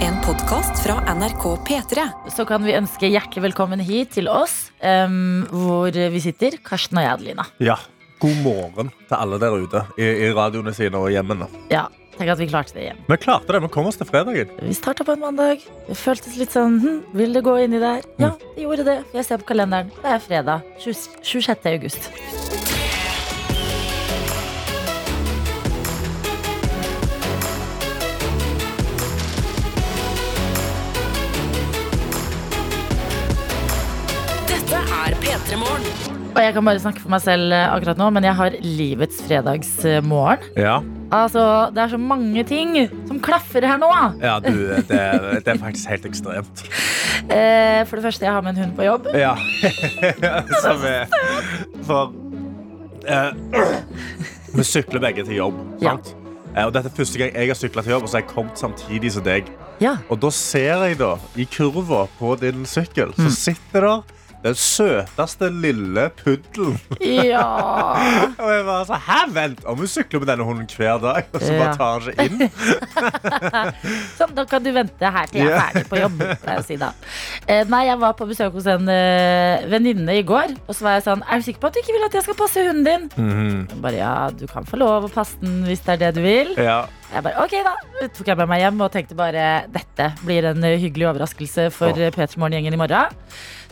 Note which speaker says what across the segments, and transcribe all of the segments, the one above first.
Speaker 1: En podkast fra NRK P3.
Speaker 2: så kan vi ønske hjertelig velkommen hit til oss, em, hvor vi sitter, Karsten og jeg, Adelina.
Speaker 3: Ja. God morgen til alle der ute i, i radioene sine og hjemmene.
Speaker 2: Ja, tenk at vi klarte det igjen.
Speaker 3: Vi klarte det. Vi kom oss til fredagen.
Speaker 2: Vi starta på en mandag. Det føltes litt sånn hm, Vil det gå inni der? Ja, det gjorde det. Jeg ser på kalenderen. Det er fredag. 20 26. august.
Speaker 1: Dette er P3 Morgen.
Speaker 2: Og jeg kan bare snakke for meg selv eh, akkurat nå, men jeg har livets fredagsmorgen.
Speaker 3: Ja,
Speaker 2: Altså, det er så mange ting som klaffer her nå.
Speaker 3: ja du, eh, det, det er faktisk helt ekstremt.
Speaker 2: Eh, for det første, jeg har med en hund på jobb.
Speaker 3: Ja. Som er For eh, Vi sykler begge til jobb, sant? Eh, Og dette er første gang jeg har sykla til jobb, og så har jeg kommet samtidig som deg.
Speaker 2: Ja.
Speaker 3: Og da ser jeg da, i kurva på din sykkel, så sitter der den søteste lille puddelen.
Speaker 2: ja.
Speaker 3: Og jeg bare så, Hæ, vent! Om hun sykler med denne hunden hver dag, og så
Speaker 2: Ja.
Speaker 3: bare tar hun seg inn.
Speaker 2: Sånn, da kan du vente her til jeg er
Speaker 3: Ja.
Speaker 2: ferdig på jobb. pleier jeg å Si da. Eh, nei, jeg var på besøk hos en eh, venninne i går, og så var jeg sånn Er du sikker på at du ikke vil at jeg skal passe hunden din?
Speaker 3: Mm.
Speaker 2: Hun bare ja, du kan få lov å passe den hvis det er det du vil.
Speaker 3: Ja.
Speaker 2: Jeg bare ok, da. Det tok jeg med meg hjem og tenkte bare dette blir en eh, hyggelig overraskelse for oh.
Speaker 3: Åh.
Speaker 2: P3 Morgen-gjengen i morgen.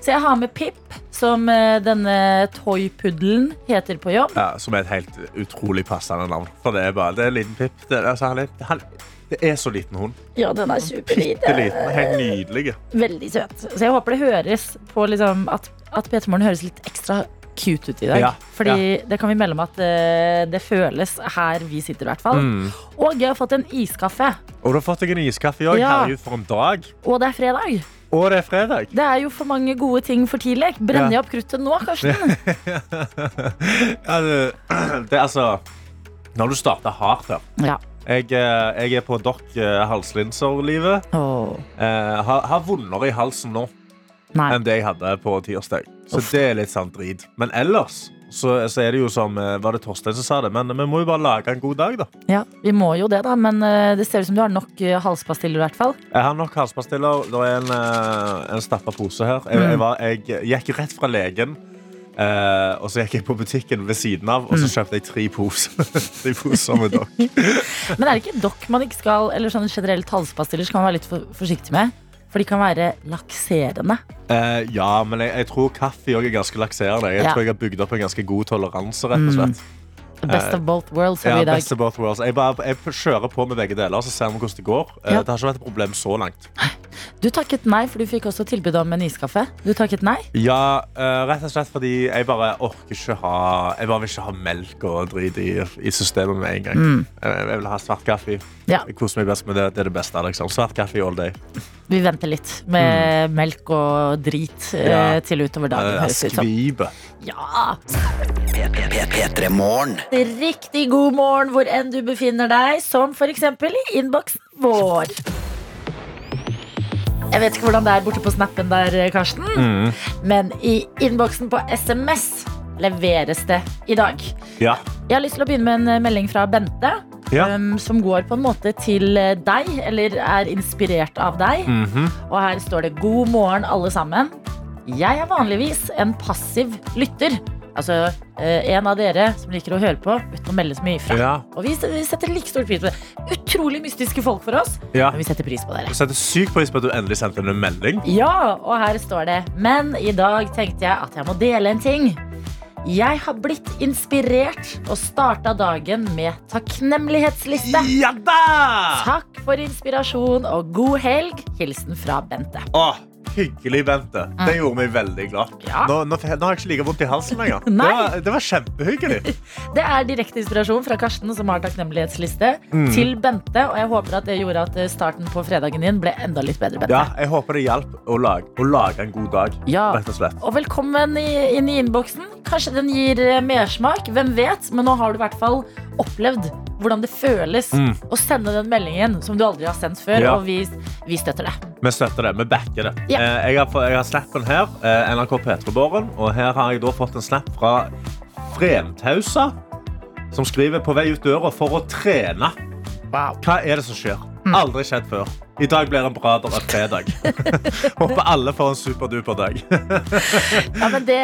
Speaker 2: Så jeg har med Pip, som eh, denne toypuddelen heter på jobb.
Speaker 3: ja, Som er et helt utrolig passende navn. For det er bare det er en liten pip. Det er, altså, han er, han, det er så liten hund.
Speaker 2: Ja, den er
Speaker 3: Det er
Speaker 2: superliten.
Speaker 3: liten, Helt nydelig.
Speaker 2: Veldig søt. Så jeg håper det høres på liksom at, at Peter Morgen høres litt ekstra cute ut i dag.
Speaker 3: Ja,
Speaker 2: Fordi det kan vi melde om at eh, det føles her vi sitter, i hvert fall.
Speaker 3: Mm.
Speaker 2: Og jeg har fått en iskaffe.
Speaker 3: Og du har fått deg en iskaffe i dag.
Speaker 2: Ja.
Speaker 3: Herregud, for en dag.
Speaker 2: Og det er fredag.
Speaker 3: Og det er fredag.
Speaker 2: Det er jo for mange gode ting for tidlig. Brenner
Speaker 3: Ja.
Speaker 2: jeg opp kruttet nå, Karsten?
Speaker 3: Ja, det, det er altså Når du starter hardt her
Speaker 2: Ja.
Speaker 3: jeg, eh, jeg er på dokk eh, halslinser-livet.
Speaker 2: Åh,
Speaker 3: Eh, har, har vondere i halsen nå.
Speaker 2: nei.
Speaker 3: enn det jeg hadde på tirsdag. Så det er litt sånn drit. Men ellers så, så er det jo som eh, Var det Torstein som sa det? Men vi må jo bare lage en god dag, da.
Speaker 2: Ja, vi må jo det, da. Men eh, det ser ut som du har nok eh, halspastiller, i hvert fall.
Speaker 3: Jeg har nok halspastiller. Det er en, eh, en stappa pose her. Jeg,
Speaker 2: Mm.
Speaker 3: jeg, var, jeg gikk rett fra legen. eh, og så gikk jeg på butikken ved siden av og så
Speaker 2: Mm.
Speaker 3: kjøpte jeg tre poser. tre poser med dokk.
Speaker 2: Men er det ikke dokk man ikke skal Eller sånn generelt halspastiller skal man være litt for, forsiktig med? For de kan være lakserende.
Speaker 3: Eh, ja, men jeg, jeg tror kaffe òg er ganske lakserende. Jeg
Speaker 2: Ja.
Speaker 3: tror jeg har bygd opp en ganske god toleranse. rett og slett
Speaker 2: The Best of both worlds har
Speaker 3: Eh, Ja,
Speaker 2: vi i dag.
Speaker 3: best of both worlds. Jeg, bare, jeg kjører på med begge deler, så ser vi hvordan det går. Eh,
Speaker 2: Ja.
Speaker 3: Det har ikke vært et problem så langt.
Speaker 2: Du takket nei, for du fikk også tilbud om en iskaffe. Du takket nei?
Speaker 3: Ja, eh, rett og slett fordi jeg bare orker ikke ha Jeg bare vil ikke ha melk og drit i, i systemet med en gang. Jeg, jeg vil ha svart kaffe.
Speaker 2: Mm. Ja.
Speaker 3: Jeg koser meg best med det. Det er det beste. liksom Svart kaffe all day.
Speaker 2: Vi venter litt med melk og drit eh,
Speaker 3: Mm. Ja.
Speaker 2: til utover dagen.
Speaker 3: Eh,
Speaker 2: høres det ut som.
Speaker 3: Skvibe.
Speaker 2: Ja! Riktig god morgen hvor enn du befinner deg, som f.eks. i innboksen vår. Jeg vet ikke hvordan det er borte på snappen der, eh, Karsten,
Speaker 3: Mm.
Speaker 2: men i innboksen på SMS leveres det i dag.
Speaker 3: Ja.
Speaker 2: Jeg har lyst til å begynne med en eh, melding fra Bente.
Speaker 3: Ja.
Speaker 2: Um, som går på en måte til eh, deg, eller er inspirert av deg.
Speaker 3: Mhm.
Speaker 2: Og her står det 'God morgen, alle sammen'. Jeg er vanligvis en passiv lytter. Altså eh, en av dere som liker å høre på uten å melde så mye fra.
Speaker 3: ja.
Speaker 2: Og vi, vi setter like stor pris på det. Utrolig mystiske folk for oss,
Speaker 3: ja.
Speaker 2: men vi setter pris på dere.
Speaker 3: Jeg setter sykt pris på at du endelig sendte en melding.
Speaker 2: Ja, og her står det Men i dag tenkte jeg at jeg må dele en ting Jeg har blitt inspirert Og startet dagen med takknemlighetsliste
Speaker 3: Ja da!
Speaker 2: Takk for inspirasjon og god helg Hilsen fra Bente
Speaker 3: Å, hyggelig, Bente. Det gjorde meg veldig glad.
Speaker 2: Mm. Ja.
Speaker 3: Nå, nå, nå har jeg ikke like vondt i halsen lenger. Det
Speaker 2: Nei.
Speaker 3: var, det var kjempehyggelig.
Speaker 2: Det er direkte inspirasjon fra Karsten som har takknemlighetsliste
Speaker 3: Mm.
Speaker 2: Til Bente Og jeg håper at det gjorde at eh, starten på fredagen din ble enda litt bedre Bente
Speaker 3: Ja, jeg håper det hjalp å lage, å lage en god dag.
Speaker 2: Ja.
Speaker 3: Rett og slett.
Speaker 2: Og velkommen i- inn i innboksen. Kanskje den gir eh, mersmak, hvem vet? Men nå har du i hvert fall opplevd hvordan det føles
Speaker 3: Mm.
Speaker 2: å sende den meldingen som du aldri har sendt før.
Speaker 3: Ja.
Speaker 2: Og vi, vi støtter det.
Speaker 3: Vi støtter det. Vi backer det.
Speaker 2: Ja.
Speaker 3: Eh, Jeg har, få- jeg har snappen her. eh, NRK P3-båren. Og her har jeg da fått en snap fra Fremtausa, som skriver på vei ut døra for å trene. Hva er det som skjer?
Speaker 2: Mm.
Speaker 3: Aldri skjedd før. I dag blir en bra dag fredag. Håper alle får en superduper dag.
Speaker 2: Ja, men det,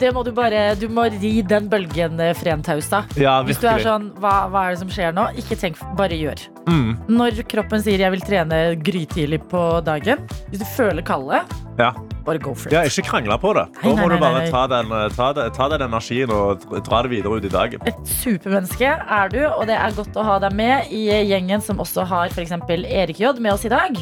Speaker 2: det må du bare Du må ri den bølgen, eh, Frentaus, da.
Speaker 3: Ja,
Speaker 2: Hvis du er
Speaker 3: virkelig.
Speaker 2: sånn hva, hva er det som skjer nå? Ikke tenk, bare gjør.
Speaker 3: Mm,
Speaker 2: Når kroppen sier 'jeg vil trene grytidlig på dagen', hvis du føler kallet,
Speaker 3: ja.
Speaker 2: bare go for it.
Speaker 3: ja, ikke krangle på det. Da
Speaker 2: Nei,
Speaker 3: må
Speaker 2: nei, nei,
Speaker 3: du bare
Speaker 2: nei.
Speaker 3: ta den, eh, ta, den, ta den energien og dra det videre ut i dagen.
Speaker 2: Et supermenneske er du, og det er godt å ha deg med i gjengen som også har f.eks. Erik J med oss i dag.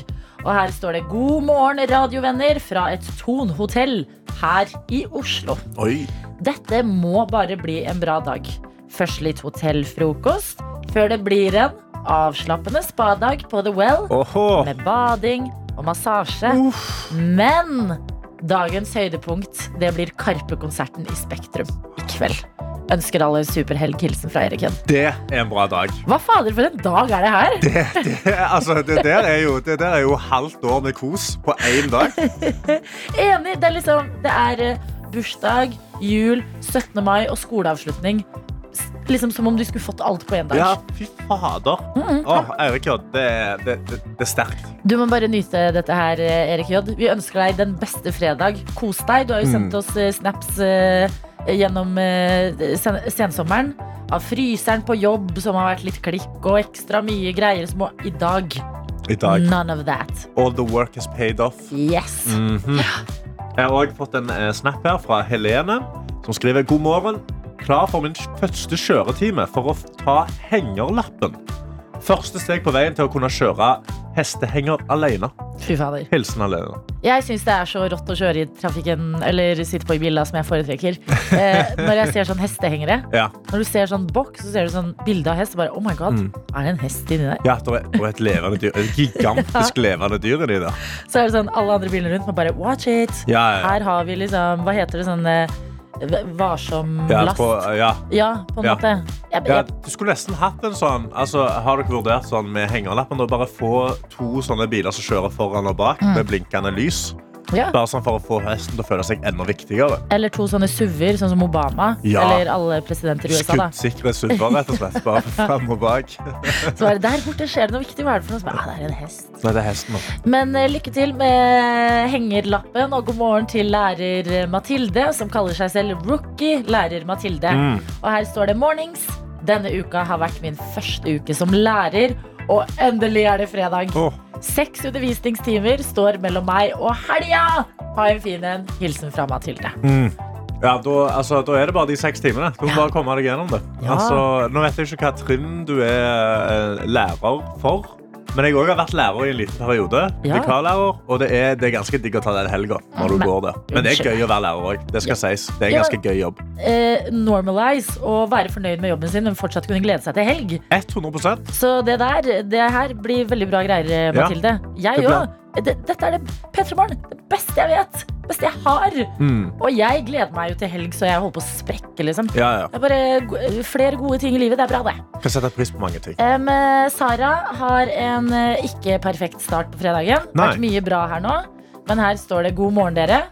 Speaker 2: Og her står det 'God morgen, radiovenner' fra et Thon-hotell her i Oslo.
Speaker 3: Oi.
Speaker 2: Dette må bare bli en bra dag. Først litt hotellfrokost, før det blir en avslappende spadag på The Well
Speaker 3: Åhå.
Speaker 2: med bading og massasje.
Speaker 3: Uff.
Speaker 2: Men dagens høydepunkt det blir Karpe-konserten i Spektrum i kveld. Ønsker alle en superhelg. Hilsen fra Eriken.
Speaker 3: Det er en bra dag.
Speaker 2: Hva fader for en dag er det her?
Speaker 3: altså, det, der er jo, det der er jo halvt år med kos på én dag.
Speaker 2: Enig! Det er liksom Det er eh, bursdag, jul, 17. mai og skoleavslutning. S- Liksom som om du skulle fått alt på én dag.
Speaker 3: Ja, fy fader. Åh, Eirik Jodd, det, er- det, det, det er sterkt.
Speaker 2: Du må bare nyte dette her, eh, Erik J. Vi ønsker deg den beste fredag. Kos deg. Du har jo sendt oss eh, snaps eh, gjennom eh, sen sensommeren. Av fryseren på jobb som har vært litt klikk og ekstra mye greier. Som må i dag.
Speaker 3: I dag. Mm.
Speaker 2: None of that.
Speaker 3: All the work is paid off.
Speaker 2: Yes.
Speaker 3: Mhm. Jeg har også fått en eh, snap her fra Helene, som skriver God morgen. Klar for min første kjøretime for å f- ta hengerlappen. Første steg på veien til å kunne kjøre hestehenger alene.
Speaker 2: Fy fader.
Speaker 3: Hilsen alene.
Speaker 2: Jeg syns det er så rått å kjøre i trafikken eller sitte på i bilen, som jeg foretrekker. Eh, når jeg ser sånn hestehengere.
Speaker 3: Ja,
Speaker 2: Når du ser sånn boks, så ser du sånn bilde av hest. Og bare, oh my god, er det en hest inni der?
Speaker 3: ja det er, det er et levende dyr. Et gigantisk levende dyr inni der.
Speaker 2: Så er det sånn alle andre bilene rundt må bare watch it.
Speaker 3: Ja, ja, ja.
Speaker 2: Her har vi liksom Hva heter det sånn eh, v- Varsom
Speaker 3: Ja,
Speaker 2: last?
Speaker 3: på, ja.
Speaker 2: Ja, på en
Speaker 3: Ja.
Speaker 2: måte. Jeg,
Speaker 3: Ja,
Speaker 2: jeg,
Speaker 3: du skulle nesten hatt en sånn altså, Har dere vurdert sånn med hengerlappen å bare få to sånne biler som kjører foran og bak med blinkende lys?
Speaker 2: ja.
Speaker 3: Bare sånn for å få hesten til å føle seg enda viktigere.
Speaker 2: Eller to sånne suver, sånn som Obama.
Speaker 3: Ja.
Speaker 2: Eller alle presidenter i USA. da
Speaker 3: Skuddsikre subber, rett og slett. Bare frem og bak.
Speaker 2: Så er det Der borte skjer det noe viktig. Hva er det for noe? Så bare, ah, det er en hest.
Speaker 3: Nei, det er hesten. nå.
Speaker 2: Men eh, lykke til med hengerlappen, og god morgen til lærer Mathilde, som kaller seg selv rookie lærer Mathilde.
Speaker 3: Mm.
Speaker 2: Og her står det 'mornings'. Denne uka har vært min første uke som lærer, og endelig er det fredag.
Speaker 3: Åh,
Speaker 2: Seks undervisningstimer står mellom meg og helga! Ha en fin en. Hilsen fra Mathilde.
Speaker 3: Mm. Ja, da, altså, da er det bare de seks timene. Du må bare komme deg gjennom det.
Speaker 2: Ja.
Speaker 3: Altså, nå vet jeg ikke hva trinn du er eh, lærer for. Men jeg også har vært lærer i en liten periode.
Speaker 2: Ja.
Speaker 3: Vikarlærer. Og det er, det er ganske digg å ta den helga når du
Speaker 2: Men-
Speaker 3: går der. Men det er gøy å være lærer òg. Det skal sies. Det er en
Speaker 2: Ja.
Speaker 3: ganske gøy jobb.
Speaker 2: Eh, normalize og være fornøyd med jobben sin, men fortsatt kunne glede seg til helg.
Speaker 3: 100
Speaker 2: Så det der, det her blir veldig bra greier, eh,
Speaker 3: Ja,
Speaker 2: Mathilde. Jeg
Speaker 3: det blir-
Speaker 2: òg. Det- Dette er det P3 Morgen. Det beste jeg vet. Det beste jeg har.
Speaker 3: mm.
Speaker 2: Og jeg gleder meg jo til helg, så jeg holder på å sprekke, liksom.
Speaker 3: Ja, ja.
Speaker 2: Det er bare go- flere gode ting i livet. Det er bra, det.
Speaker 3: Kan sette pris på mange ting.
Speaker 2: Em, eh, Sara har en eh, ikke perfekt start på fredagen. Det
Speaker 3: Nei.
Speaker 2: har vært mye bra her nå, men her står det 'God morgen, dere'.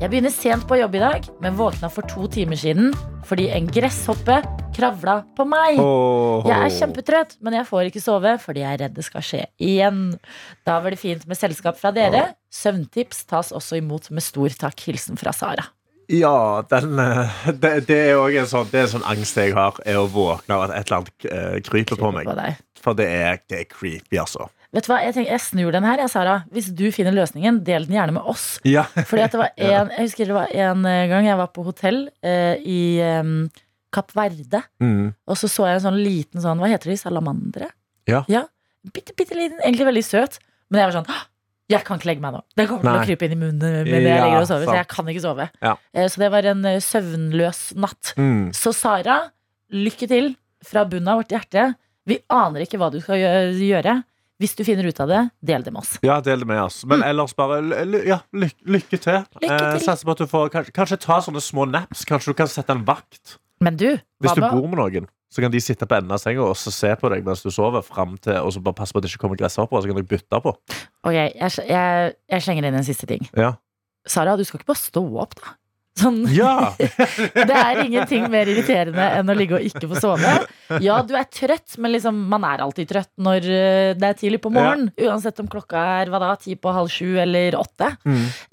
Speaker 2: Jeg begynner sent på jobb i dag, men våkna for to timer siden fordi en gresshoppe kravla på meg.
Speaker 3: Åh.
Speaker 2: Jeg er kjempetrøtt, men jeg får ikke sove fordi jeg er redd det skal skje igjen. Da var det fint med selskap fra dere. Søvntips tas også imot med stor takk. Hilsen fra Sara.
Speaker 3: Ja, den, eh, det, det er òg en sånn, det er en sånn angst jeg har, er å våkne av at et eller annet eh, kryper på meg.
Speaker 2: På deg.
Speaker 3: For det er, det er creepy, altså.
Speaker 2: Vet du hva, jeg, tenker, jeg snur den her, jeg, Sara. Hvis du finner løsningen, del den gjerne med oss.
Speaker 3: Ja.
Speaker 2: Fordi at det var en, Jeg husker det var en eh, gang jeg var på hotell eh, i eh, Kapp Verde.
Speaker 3: Mm.
Speaker 2: Og så så jeg en sånn liten sånn, hva heter de, salamandere?
Speaker 3: Ja.
Speaker 2: Bitte, bitte liten, egentlig veldig søt. Men jeg var sånn, «Åh, jeg kan ikke legge meg nå. Det kommer til
Speaker 3: Nei.
Speaker 2: å krype inn i munnen min når jeg
Speaker 3: Ja,
Speaker 2: ligger og sover.
Speaker 3: sant.
Speaker 2: Så jeg kan ikke sove.
Speaker 3: Ja.
Speaker 2: Eh, Så det var en eh, søvnløs natt.
Speaker 3: Mm.
Speaker 2: Så Sara, lykke til fra bunnen av vårt hjerte. Vi aner ikke hva du skal gjø- gjøre. Hvis du finner ut av det, del det med oss.
Speaker 3: Ja, del det med oss. Men ellers bare ly- ly- ja, lykke, Mm. lykke til.
Speaker 2: til.
Speaker 3: Eh, Satser på at du får kanskje, kanskje ta sånne små naps. Kanskje du kan sette en vakt.
Speaker 2: Men du,
Speaker 3: Hvis
Speaker 2: hva
Speaker 3: du
Speaker 2: med
Speaker 3: bor med noen, så kan de sitte på enden av senga og så se på deg mens du sover, frem til, og så bare passe på at det ikke kommer gresshopper, og så kan dere bytte på.
Speaker 2: Ok, jeg, jeg, jeg slenger inn en siste ting.
Speaker 3: Ja.
Speaker 2: Sara, du skal ikke bare stå opp, da. Sånn,
Speaker 3: Ja!
Speaker 2: det er ingenting mer irriterende enn å ligge og ikke få sove. Ja, du er trøtt, men liksom, man er alltid trøtt når eh, det er tidlig på morgenen. Uansett om klokka er hva da, ti på halv sju eller åtte.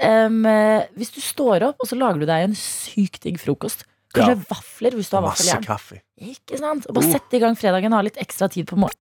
Speaker 2: Em, eh, hvis du står opp, og så lager du deg en sykt digg frokost. Kanskje vafler, hvis du har
Speaker 3: Masse
Speaker 2: vaffeljern.
Speaker 3: kaffe.
Speaker 2: Ikke sant? Og bare sette i gang fredagen og ha litt ekstra tid på morgenen.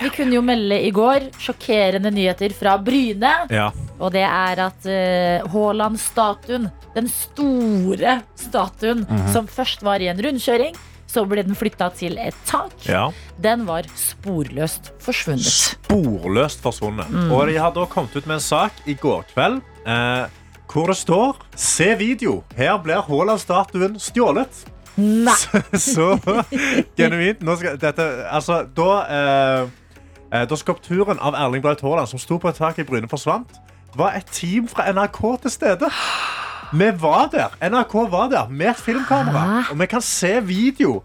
Speaker 2: Vi kunne jo melde i går sjokkerende nyheter fra Bryne.
Speaker 3: Ja.
Speaker 2: Og det er at eh, Haaland-statuen, den store statuen som først var i en rundkjøring, så ble den flytta til et tak.
Speaker 3: ja.
Speaker 2: Den var sporløst forsvunnet.
Speaker 3: sporløst forsvunnet. Og de har da kommet ut med en sak i går kveld eh, hvor det står Se video! Her blir Haaland-statuen stjålet.
Speaker 2: Nei!
Speaker 3: Så genuint. Nå skal, dette, altså, da, eh, eh, da skulpturen av Erling Braut Haaland som sto på et tak i Bryne, forsvant, var et team fra NRK til stede. Vi var der. NRK var der med et filmkamera. Og vi kan se video.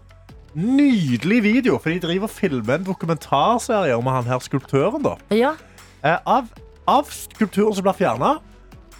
Speaker 3: Nydelig video, for de driver og filmer en dokumentarserie om han her skulptøren. da
Speaker 2: Ja,
Speaker 3: eh, av, av skulpturen som blir fjerna.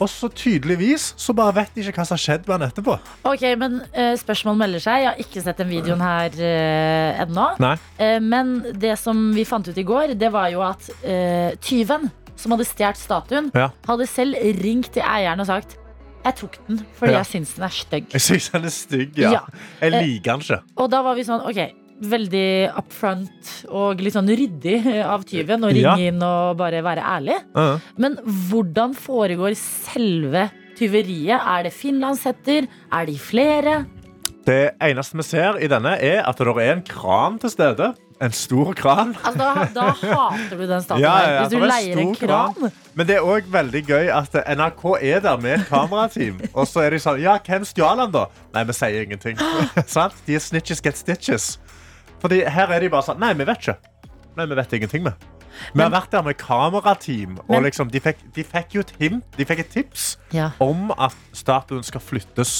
Speaker 3: Og så tydeligvis så bare vet de ikke hva som har skjedd med den etterpå.
Speaker 2: Ok, men eh, spørsmål melder seg. Jeg har ikke sett den videoen her eh, ennå.
Speaker 3: Nei.
Speaker 2: Eh, men det som vi fant ut i går, det var jo at eh, tyven som hadde stjålet statuen,
Speaker 3: Ja.
Speaker 2: hadde selv ringt til eieren og sagt jeg tok den fordi
Speaker 3: Ja.
Speaker 2: jeg syns den er stygg.
Speaker 3: Jeg syns han er stygg. Ja.
Speaker 2: Ja.
Speaker 3: Jeg
Speaker 2: Eh,
Speaker 3: liker han ikke.
Speaker 2: Og da var vi sånn, ok Veldig upfront og litt sånn ryddig av tyven Å ringe
Speaker 3: Ja.
Speaker 2: inn og bare være ærlig
Speaker 3: Uh.
Speaker 2: Men hvordan foregår selve tyveriet? Er det finlandshetter? Er de flere?
Speaker 3: Det eneste vi ser i denne, er at det er en kran til stede. En stor kran.
Speaker 2: Altså da, da hater du den staten
Speaker 3: Ja,
Speaker 2: her
Speaker 3: ja,
Speaker 2: Hvis du
Speaker 3: det er
Speaker 2: leier en
Speaker 3: stor
Speaker 2: kran
Speaker 3: Men det er òg veldig gøy at NRK er der med et kamerateam. Og så er de sånn Ja, hvem stjal han, da? Nei, vi sier ingenting. Sant? De er snitches get stitches. Fordi her er de bare sånn Nei, vi vet ikke. Nei, vi vet ingenting, vi. Vi har vært der med kamerateam, og
Speaker 2: Men-
Speaker 3: liksom, de, fikk, de fikk jo et hint, de fikk et tips
Speaker 2: ja.
Speaker 3: om at statuen skal flyttes.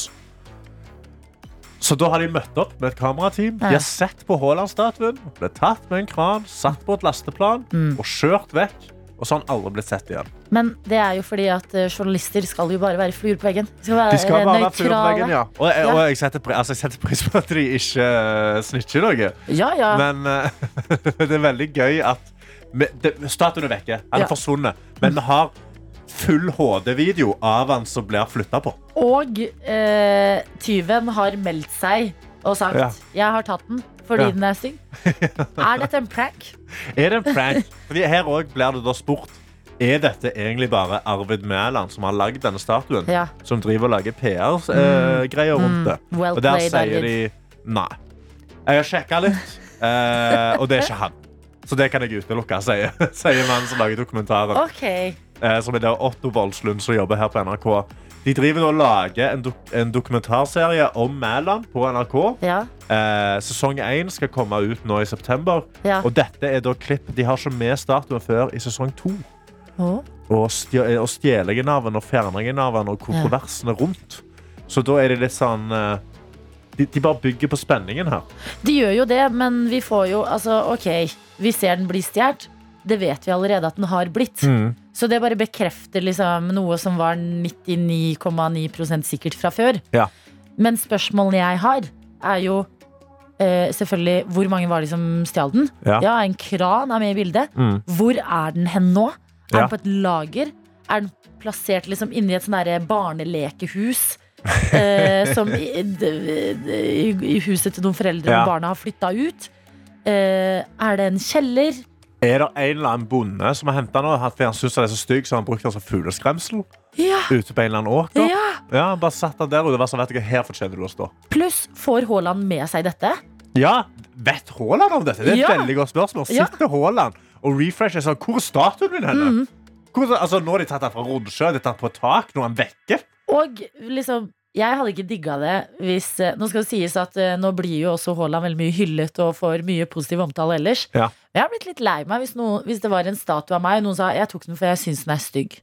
Speaker 3: Så da har de møtt opp med et kamerateam. De
Speaker 2: Ja.
Speaker 3: har sett på Haaland-statuen. Ble tatt med en kran, satt på et lasteplan
Speaker 2: Mm.
Speaker 3: og kjørt vekk. Og så har han aldri blitt sett igjen.
Speaker 2: Men det er jo fordi at eh, journalister skal jo bare være fluer på veggen De skal være,
Speaker 3: De skal bare være fyr på
Speaker 2: nøytrale.
Speaker 3: veggen, ja. Og, jeg, og jeg, setter, pri- altså, jeg setter pris på at de ikke uh, snitcher noe.
Speaker 2: Ja, ja,
Speaker 3: Men eh, det er veldig gøy at vi- det- Statuen er vekke. Han er
Speaker 2: Ja.
Speaker 3: forsvunnet. Men vi har full HD-video av han som blir flytta på.
Speaker 2: Og eh, tyven har meldt seg og sagt
Speaker 3: Ja.
Speaker 2: 'jeg har tatt den fordi
Speaker 3: Ja.
Speaker 2: den er stygg'. Er dette en prank?
Speaker 3: Er det en prank? Fordi her også blir det da spurt Er dette egentlig bare Arvid Mæland som har lagd denne statuen?
Speaker 2: Ja.
Speaker 3: Som driver og lager PR-greier rundt det.
Speaker 2: Mm. Well
Speaker 3: og der
Speaker 2: played,
Speaker 3: sier
Speaker 2: Arvid.
Speaker 3: de nei. Jeg har sjekka litt, eh, og det er ikke han. Så det kan jeg utelukke, sier, sier mannen som lager dokumentaren.
Speaker 2: Ok.
Speaker 3: Eh, som er der Otto Voldslund som jobber her på NRK. De driver nå og lager en, dok en dokumentarserie om Mæland på NRK.
Speaker 2: Ja.
Speaker 3: Eh, sesong 1 skal komme ut nå i september.
Speaker 2: Ja.
Speaker 3: Og dette er da klipp de har ikke med statuen før i sesong 2.
Speaker 2: Å.
Speaker 3: Og, stj og stjelingen av den og fjerningen av den og kontroversene rundt. Så da er det litt sånn eh, de, de bare bygger på spenningen her.
Speaker 2: De gjør jo det, men vi får jo Altså, ok, vi ser den bli stjålet. Det vet vi allerede at den har blitt. Så det bare bekrefter liksom noe som var 99,9 sikkert fra før.
Speaker 3: Ja.
Speaker 2: Men spørsmålene jeg har, er jo eh, selvfølgelig hvor mange var det som stjal den?
Speaker 3: Ja.
Speaker 2: en kran er med i bildet.
Speaker 3: Mm.
Speaker 2: Hvor er den hen nå? Er
Speaker 3: Ja.
Speaker 2: den på et lager? Er den plassert liksom inni et sånn derre barnelekehus? eh, som i, d- d- i huset til noen foreldre
Speaker 3: Ja.
Speaker 2: og barna har flytta ut. Eh, er det en kjeller?
Speaker 3: Er det en eller annen bonde som har henta den og hatt- fordi han syns den er så stygg, så har han brukt den som fugleskremsel
Speaker 2: Ja!
Speaker 3: ute på en eller annen åker?
Speaker 2: ja.
Speaker 3: Ja, han bare satt den der ute og var sånn, vet du hva, her fortjener du å stå.
Speaker 2: Pluss, får Haaland med seg dette?
Speaker 3: Ja, Vet Haaland om dette? Det er et
Speaker 2: Ja.
Speaker 3: veldig godt spørsmål.
Speaker 2: Ja.
Speaker 3: Sitter Haaland og refresher sånn Hvor er statuen min henne?
Speaker 2: Mhm.
Speaker 3: Hvor, altså, nå har de tatt den fra Rondsjø, de har tatt på et tak, nå er han vekke.
Speaker 2: Og liksom jeg hadde ikke digga det hvis eh, Nå skal det sies at eh, nå blir jo også Haaland veldig mye hyllet og får mye positiv omtale ellers.
Speaker 3: Ja.
Speaker 2: Men jeg har blitt litt lei meg hvis, noen, hvis det var en statue av meg og noen sa jeg tok den for jeg syns den er stygg.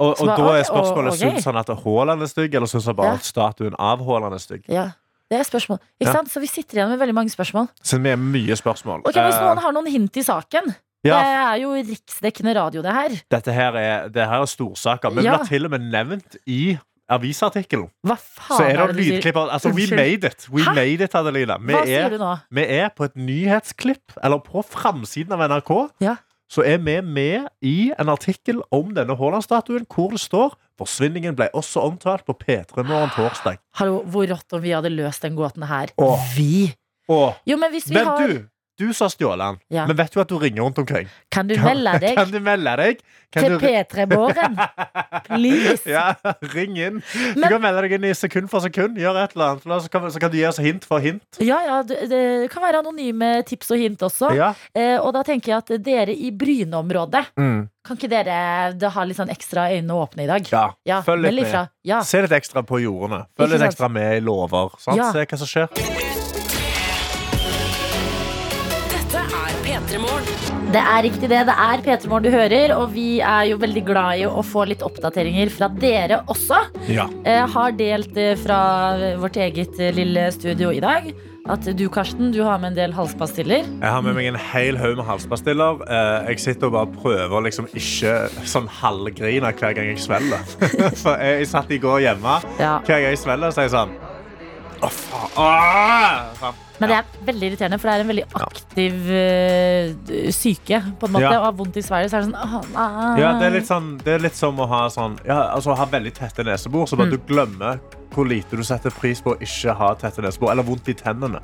Speaker 3: Og,
Speaker 2: Så
Speaker 3: og
Speaker 2: bare,
Speaker 3: da er
Speaker 2: ok,
Speaker 3: spørsmålet
Speaker 2: og- ok.
Speaker 3: Syns han at Haaland er stygg, eller syns han bare
Speaker 2: Ja.
Speaker 3: at statuen av Haaland er stygg?
Speaker 2: Ja, det er spørsmål. Ikke
Speaker 3: Ja.
Speaker 2: sant? Så vi sitter igjen med veldig mange spørsmål.
Speaker 3: Så det er mye spørsmål.
Speaker 2: Ok, Hvis
Speaker 3: Eh,
Speaker 2: noen har noen hint i saken
Speaker 3: ja,
Speaker 2: Det er jo riksdekkende radio, det her.
Speaker 3: dette her er, det her er storsaker. Men
Speaker 2: Ja.
Speaker 3: det blir til og med nevnt i avisartikkelen,
Speaker 2: Hva
Speaker 3: så
Speaker 2: faen
Speaker 3: er det
Speaker 2: du sier?
Speaker 3: lydklipp av Altså, we
Speaker 2: Unnskyld.
Speaker 3: made it. We
Speaker 2: Hæ?
Speaker 3: made it, Adelina. Vi
Speaker 2: Hva sier
Speaker 3: er,
Speaker 2: du nå?
Speaker 3: vi er på et nyhetsklipp, eller på framsiden av NRK,
Speaker 2: Ja.
Speaker 3: så er vi med i en artikkel om denne Haaland-statuen, hvor det står Forsvinningen ble også omtalt på P3 Morgen torsdag.
Speaker 2: Hallo, hvor rått om vi hadde løst den gåten her.
Speaker 3: Åh.
Speaker 2: Vi!
Speaker 3: Åh,
Speaker 2: Jo, men hvis vi
Speaker 3: men
Speaker 2: har
Speaker 3: du, du som har stjålet den,
Speaker 2: Ja.
Speaker 3: men vet du at du ringer rundt omkring?
Speaker 2: Kan du melde deg
Speaker 3: Kan du melde deg? Kan
Speaker 2: til
Speaker 3: du-
Speaker 2: P3-båren? Please!
Speaker 3: Ja, ring inn. Du
Speaker 2: Men-
Speaker 3: kan melde deg inn i sekund for sekund. Gjør et eller annet, la oss- så kan, så kan du gi oss hint for hint.
Speaker 2: Ja, ja, det, det kan være anonyme tips og hint også.
Speaker 3: Ja.
Speaker 2: Eh, og da tenker jeg at dere i Bryne-området,
Speaker 3: Mm.
Speaker 2: kan ikke dere da ha litt sånn ekstra øyne åpne i dag?
Speaker 3: Ja,
Speaker 2: Ja,
Speaker 3: følg litt
Speaker 2: meld
Speaker 3: med.
Speaker 2: ifra. Ja.
Speaker 3: Se litt ekstra på jordene.
Speaker 2: Ikke
Speaker 3: Følg litt
Speaker 2: sant?
Speaker 3: ekstra med i lover. Sant?
Speaker 2: Ja.
Speaker 3: Se hva som skjer.
Speaker 1: Dette er P3 Morgen.
Speaker 2: Det er riktig det. Det er P3 Morgen du hører, og vi er jo veldig glad i å få litt oppdateringer fra dere også.
Speaker 3: Ja.
Speaker 2: Eh, har delt eh, fra vårt eget eh, lille studio i dag at du, Karsten, du har med en del halspastiller.
Speaker 3: Jeg har med meg en hel haug med halspastiller. Eh, Jeg sitter og bare prøver å liksom ikke sånn halvgrine hver gang jeg svelger. For jeg, jeg satt i går hjemme.
Speaker 2: Ja.
Speaker 3: Hver gang jeg svelger, så er jeg sånn Å, faen! Ah! Sånn.
Speaker 2: Men det er veldig irriterende, for det er en veldig aktiv eh, syke. på en måte,
Speaker 3: Ja.
Speaker 2: Og har vondt i svelget, så er det sånn ah, ah.
Speaker 3: Ja, det er litt, sånn, det er litt som å ha, sånn, ja, altså, å ha veldig tette nesebor, så bare du glemmer hvor lite du setter pris på å ikke ha tette nesebor, eller vondt i tennene.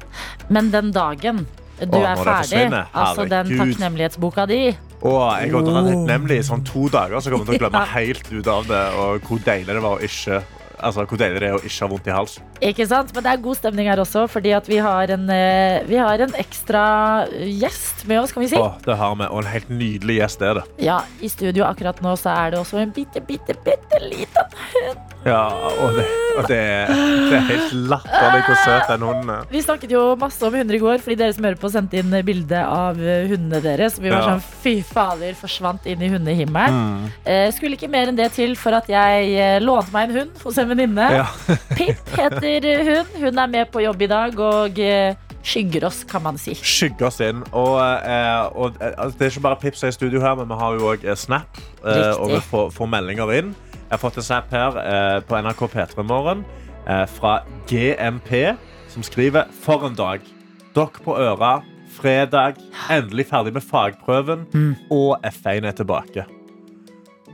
Speaker 2: Men den dagen du
Speaker 3: Åh,
Speaker 2: er
Speaker 3: når det
Speaker 2: ferdig,
Speaker 3: forsvinner.
Speaker 2: altså den
Speaker 3: Herregud.
Speaker 2: takknemlighetsboka di
Speaker 3: Og jeg kommer til å være nemlig i sånn to dager, så kommer jeg til å glemme helt ut av det, og hvor deilig det var å ikke, altså, hvor deilig det er å ikke ha vondt i halsen.
Speaker 2: Ikke sant? Men det er god stemning her også, fordi at vi har en, eh, vi har en ekstra gjest med oss, kan vi si.
Speaker 3: Åh, det har vi, og en helt nydelig gjest er det.
Speaker 2: Ja, I studio akkurat nå så er det også en bitte, bitte, bitte liten hund.
Speaker 3: Ja, og det, og det, det er helt latterlig hvor søt den hunden er.
Speaker 2: Vi snakket jo masse om hunder i går, fordi dere som hører på, sendte inn bilde av eh, hundene deres. Vi var
Speaker 3: Ja. Mm.
Speaker 2: sånn fy fader, forsvant inn i hundehimmelen. Eh, skulle ikke mer enn det til for at jeg eh, lånte meg en hund hos en venninne.
Speaker 3: Ja.
Speaker 2: Pip heter hun. Hun er med på jobb i dag og eh, skygger oss, kan man si.
Speaker 3: skygger oss inn. Og, eh, og eh, altså, det er ikke bare Pips i studio her, men vi har jo òg Snap. Eh,
Speaker 2: Riktig.
Speaker 3: og vi får, får meldinger inn. Jeg har fått en Snap her eh, på NRK P3 Morgen eh, fra GMP, som skriver For en dag. Dokk på øra. Fredag. Endelig ferdig med fagprøven. Og F1 er tilbake.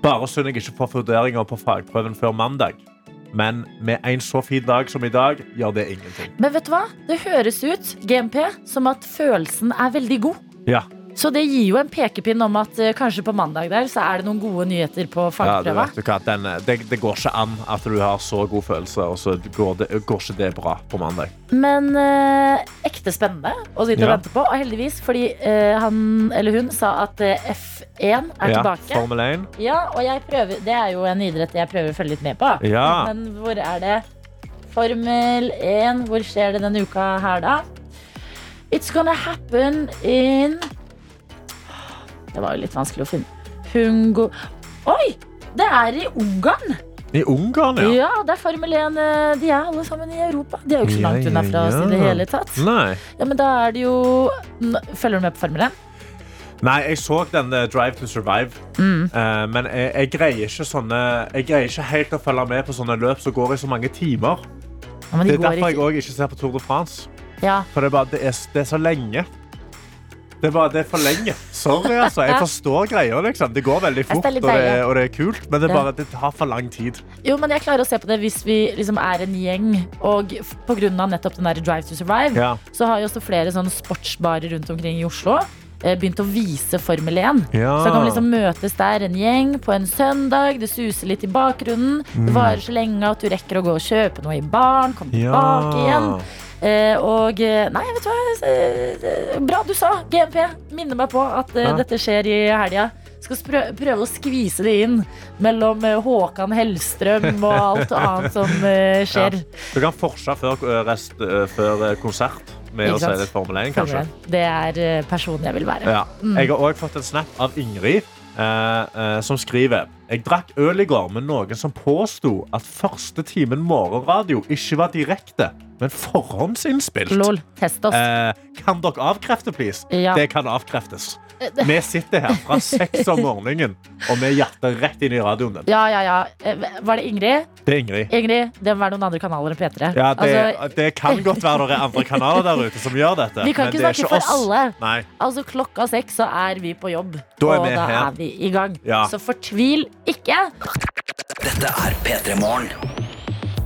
Speaker 3: Bare synd jeg ikke får vurderinger på fagprøven før mandag. Men med en så fin dag som i dag, gjør det ingenting.
Speaker 2: Men vet du hva? Det høres ut, GMP, som at følelsen er veldig god.
Speaker 3: Ja,
Speaker 2: Så det gir jo en pekepinn om at eh, kanskje på mandag der så er det noen gode nyheter på
Speaker 3: Ja, du
Speaker 2: fagprøva.
Speaker 3: vet jo hva, den, det, det går ikke an at du har så god følelse, og så går, det, går ikke det bra på mandag.
Speaker 2: Men eh, ekte spennende å sitte og
Speaker 3: Ja.
Speaker 2: vente på. Og heldigvis, fordi eh, han eller hun sa at eh, F1 er
Speaker 3: Ja,
Speaker 2: tilbake.
Speaker 3: Formel 1.
Speaker 2: Ja, og jeg prøver, det er jo en idrett jeg prøver å følge litt med på.
Speaker 3: Ja.
Speaker 2: Men hvor er det Formel 1? Hvor skjer det denne uka her, da? It's gonna happen in Det var jo litt vanskelig å finne. Hungo... Oi! Det er i Ungarn!
Speaker 3: I Ungarn,
Speaker 2: Ja.
Speaker 3: ja.
Speaker 2: det er Formel 1. eh, De er alle sammen i Europa. De er jo ikke så
Speaker 3: Ja,
Speaker 2: langt unna
Speaker 3: ja, Mm.
Speaker 2: fra oss i det
Speaker 3: ja.
Speaker 2: hele tatt.
Speaker 3: Nei.
Speaker 2: Ja, men da er det jo N- Følger du med på Formel 1?
Speaker 3: Nei, jeg så den eh, Drive to Survive, eh, men jeg, jeg, greier ikke sånne, jeg greier ikke helt å følge med på sånne løp som går i så mange timer.
Speaker 2: Ja, men de
Speaker 3: Det er
Speaker 2: går
Speaker 3: derfor
Speaker 2: ikke-
Speaker 3: jeg også ikke ser på Tour de France.
Speaker 2: Ja.
Speaker 3: For det er, bare, det er, det er så lenge. Det er, bare, det er for lenge. Sorry, altså. Jeg forstår greia. Liksom. Det går veldig
Speaker 2: er
Speaker 3: fort, og
Speaker 2: litt
Speaker 3: det, er,
Speaker 2: deilig.
Speaker 3: og det er kult, men det, er
Speaker 2: Ja.
Speaker 3: bare, det tar for lang tid.
Speaker 2: Jo, men jeg klarer å se på det hvis vi liksom er en gjeng. Og f- på grunn av nettopp den der Drive to Survive,
Speaker 3: Ja.
Speaker 2: så har jo også flere sånne sportsbarer rundt omkring i Oslo eh, begynt å vise Formel 1.
Speaker 3: Ja.
Speaker 2: Så kan man liksom møtes der, en gjeng, på en søndag. Det suser litt i bakgrunnen.
Speaker 3: Mm.
Speaker 2: Det varer så lenge at du rekker å gå og kjøpe noe i baren, komme
Speaker 3: Ja.
Speaker 2: tilbake igjen. Eh, og eh, Nei, vet du hva. eh, eh, Bra du sa, GMP. Minner meg på at eh,
Speaker 3: Ja.
Speaker 2: dette skjer i helga. Skal sprø- prøve å skvise det inn mellom eh, Håkan Hellstrøm og alt annet som eh, skjer.
Speaker 3: Du kan forse før, ø, rest, ø, før ø, konsert med
Speaker 2: Ikke
Speaker 3: å si
Speaker 2: sant?
Speaker 3: litt Formel
Speaker 2: Følger
Speaker 3: 1, kanskje.
Speaker 2: den. Det er eh, personen jeg vil være.
Speaker 3: Ja. Jeg har òg fått en snap av Ingrid, eh, eh, som skriver Jeg drakk øl i går med noen som påsto at første timen morgenradio ikke var direkte, men forhåndsinnspilt.
Speaker 2: Lol. Test oss.
Speaker 3: Eh, kan dere avkrefte, please?
Speaker 2: Ja. Eh,
Speaker 3: Det kan avkreftes. Vi sitter her fra seks om morgenen, og vi hjerter rett inn i radioen. din.
Speaker 2: Ja, ja, ja. Eh, Var det Ingrid?
Speaker 3: Det er Ingrid.
Speaker 2: Ingrid, det må være noen andre kanaler enn P3.
Speaker 3: Ja, det,
Speaker 2: altså,
Speaker 3: det kan godt være det er andre kanaler der ute som gjør dette.
Speaker 2: vi kan
Speaker 3: men
Speaker 2: ikke
Speaker 3: det er
Speaker 2: snakke for
Speaker 3: oss.
Speaker 2: alle.
Speaker 3: Nei.
Speaker 2: Altså Klokka seks så er vi på jobb,
Speaker 3: Da er
Speaker 2: og
Speaker 3: vi
Speaker 2: da
Speaker 3: her.
Speaker 2: er vi i gang.
Speaker 3: Ja.
Speaker 2: Så fortvil ikke.
Speaker 4: Dette er P3 Morgen.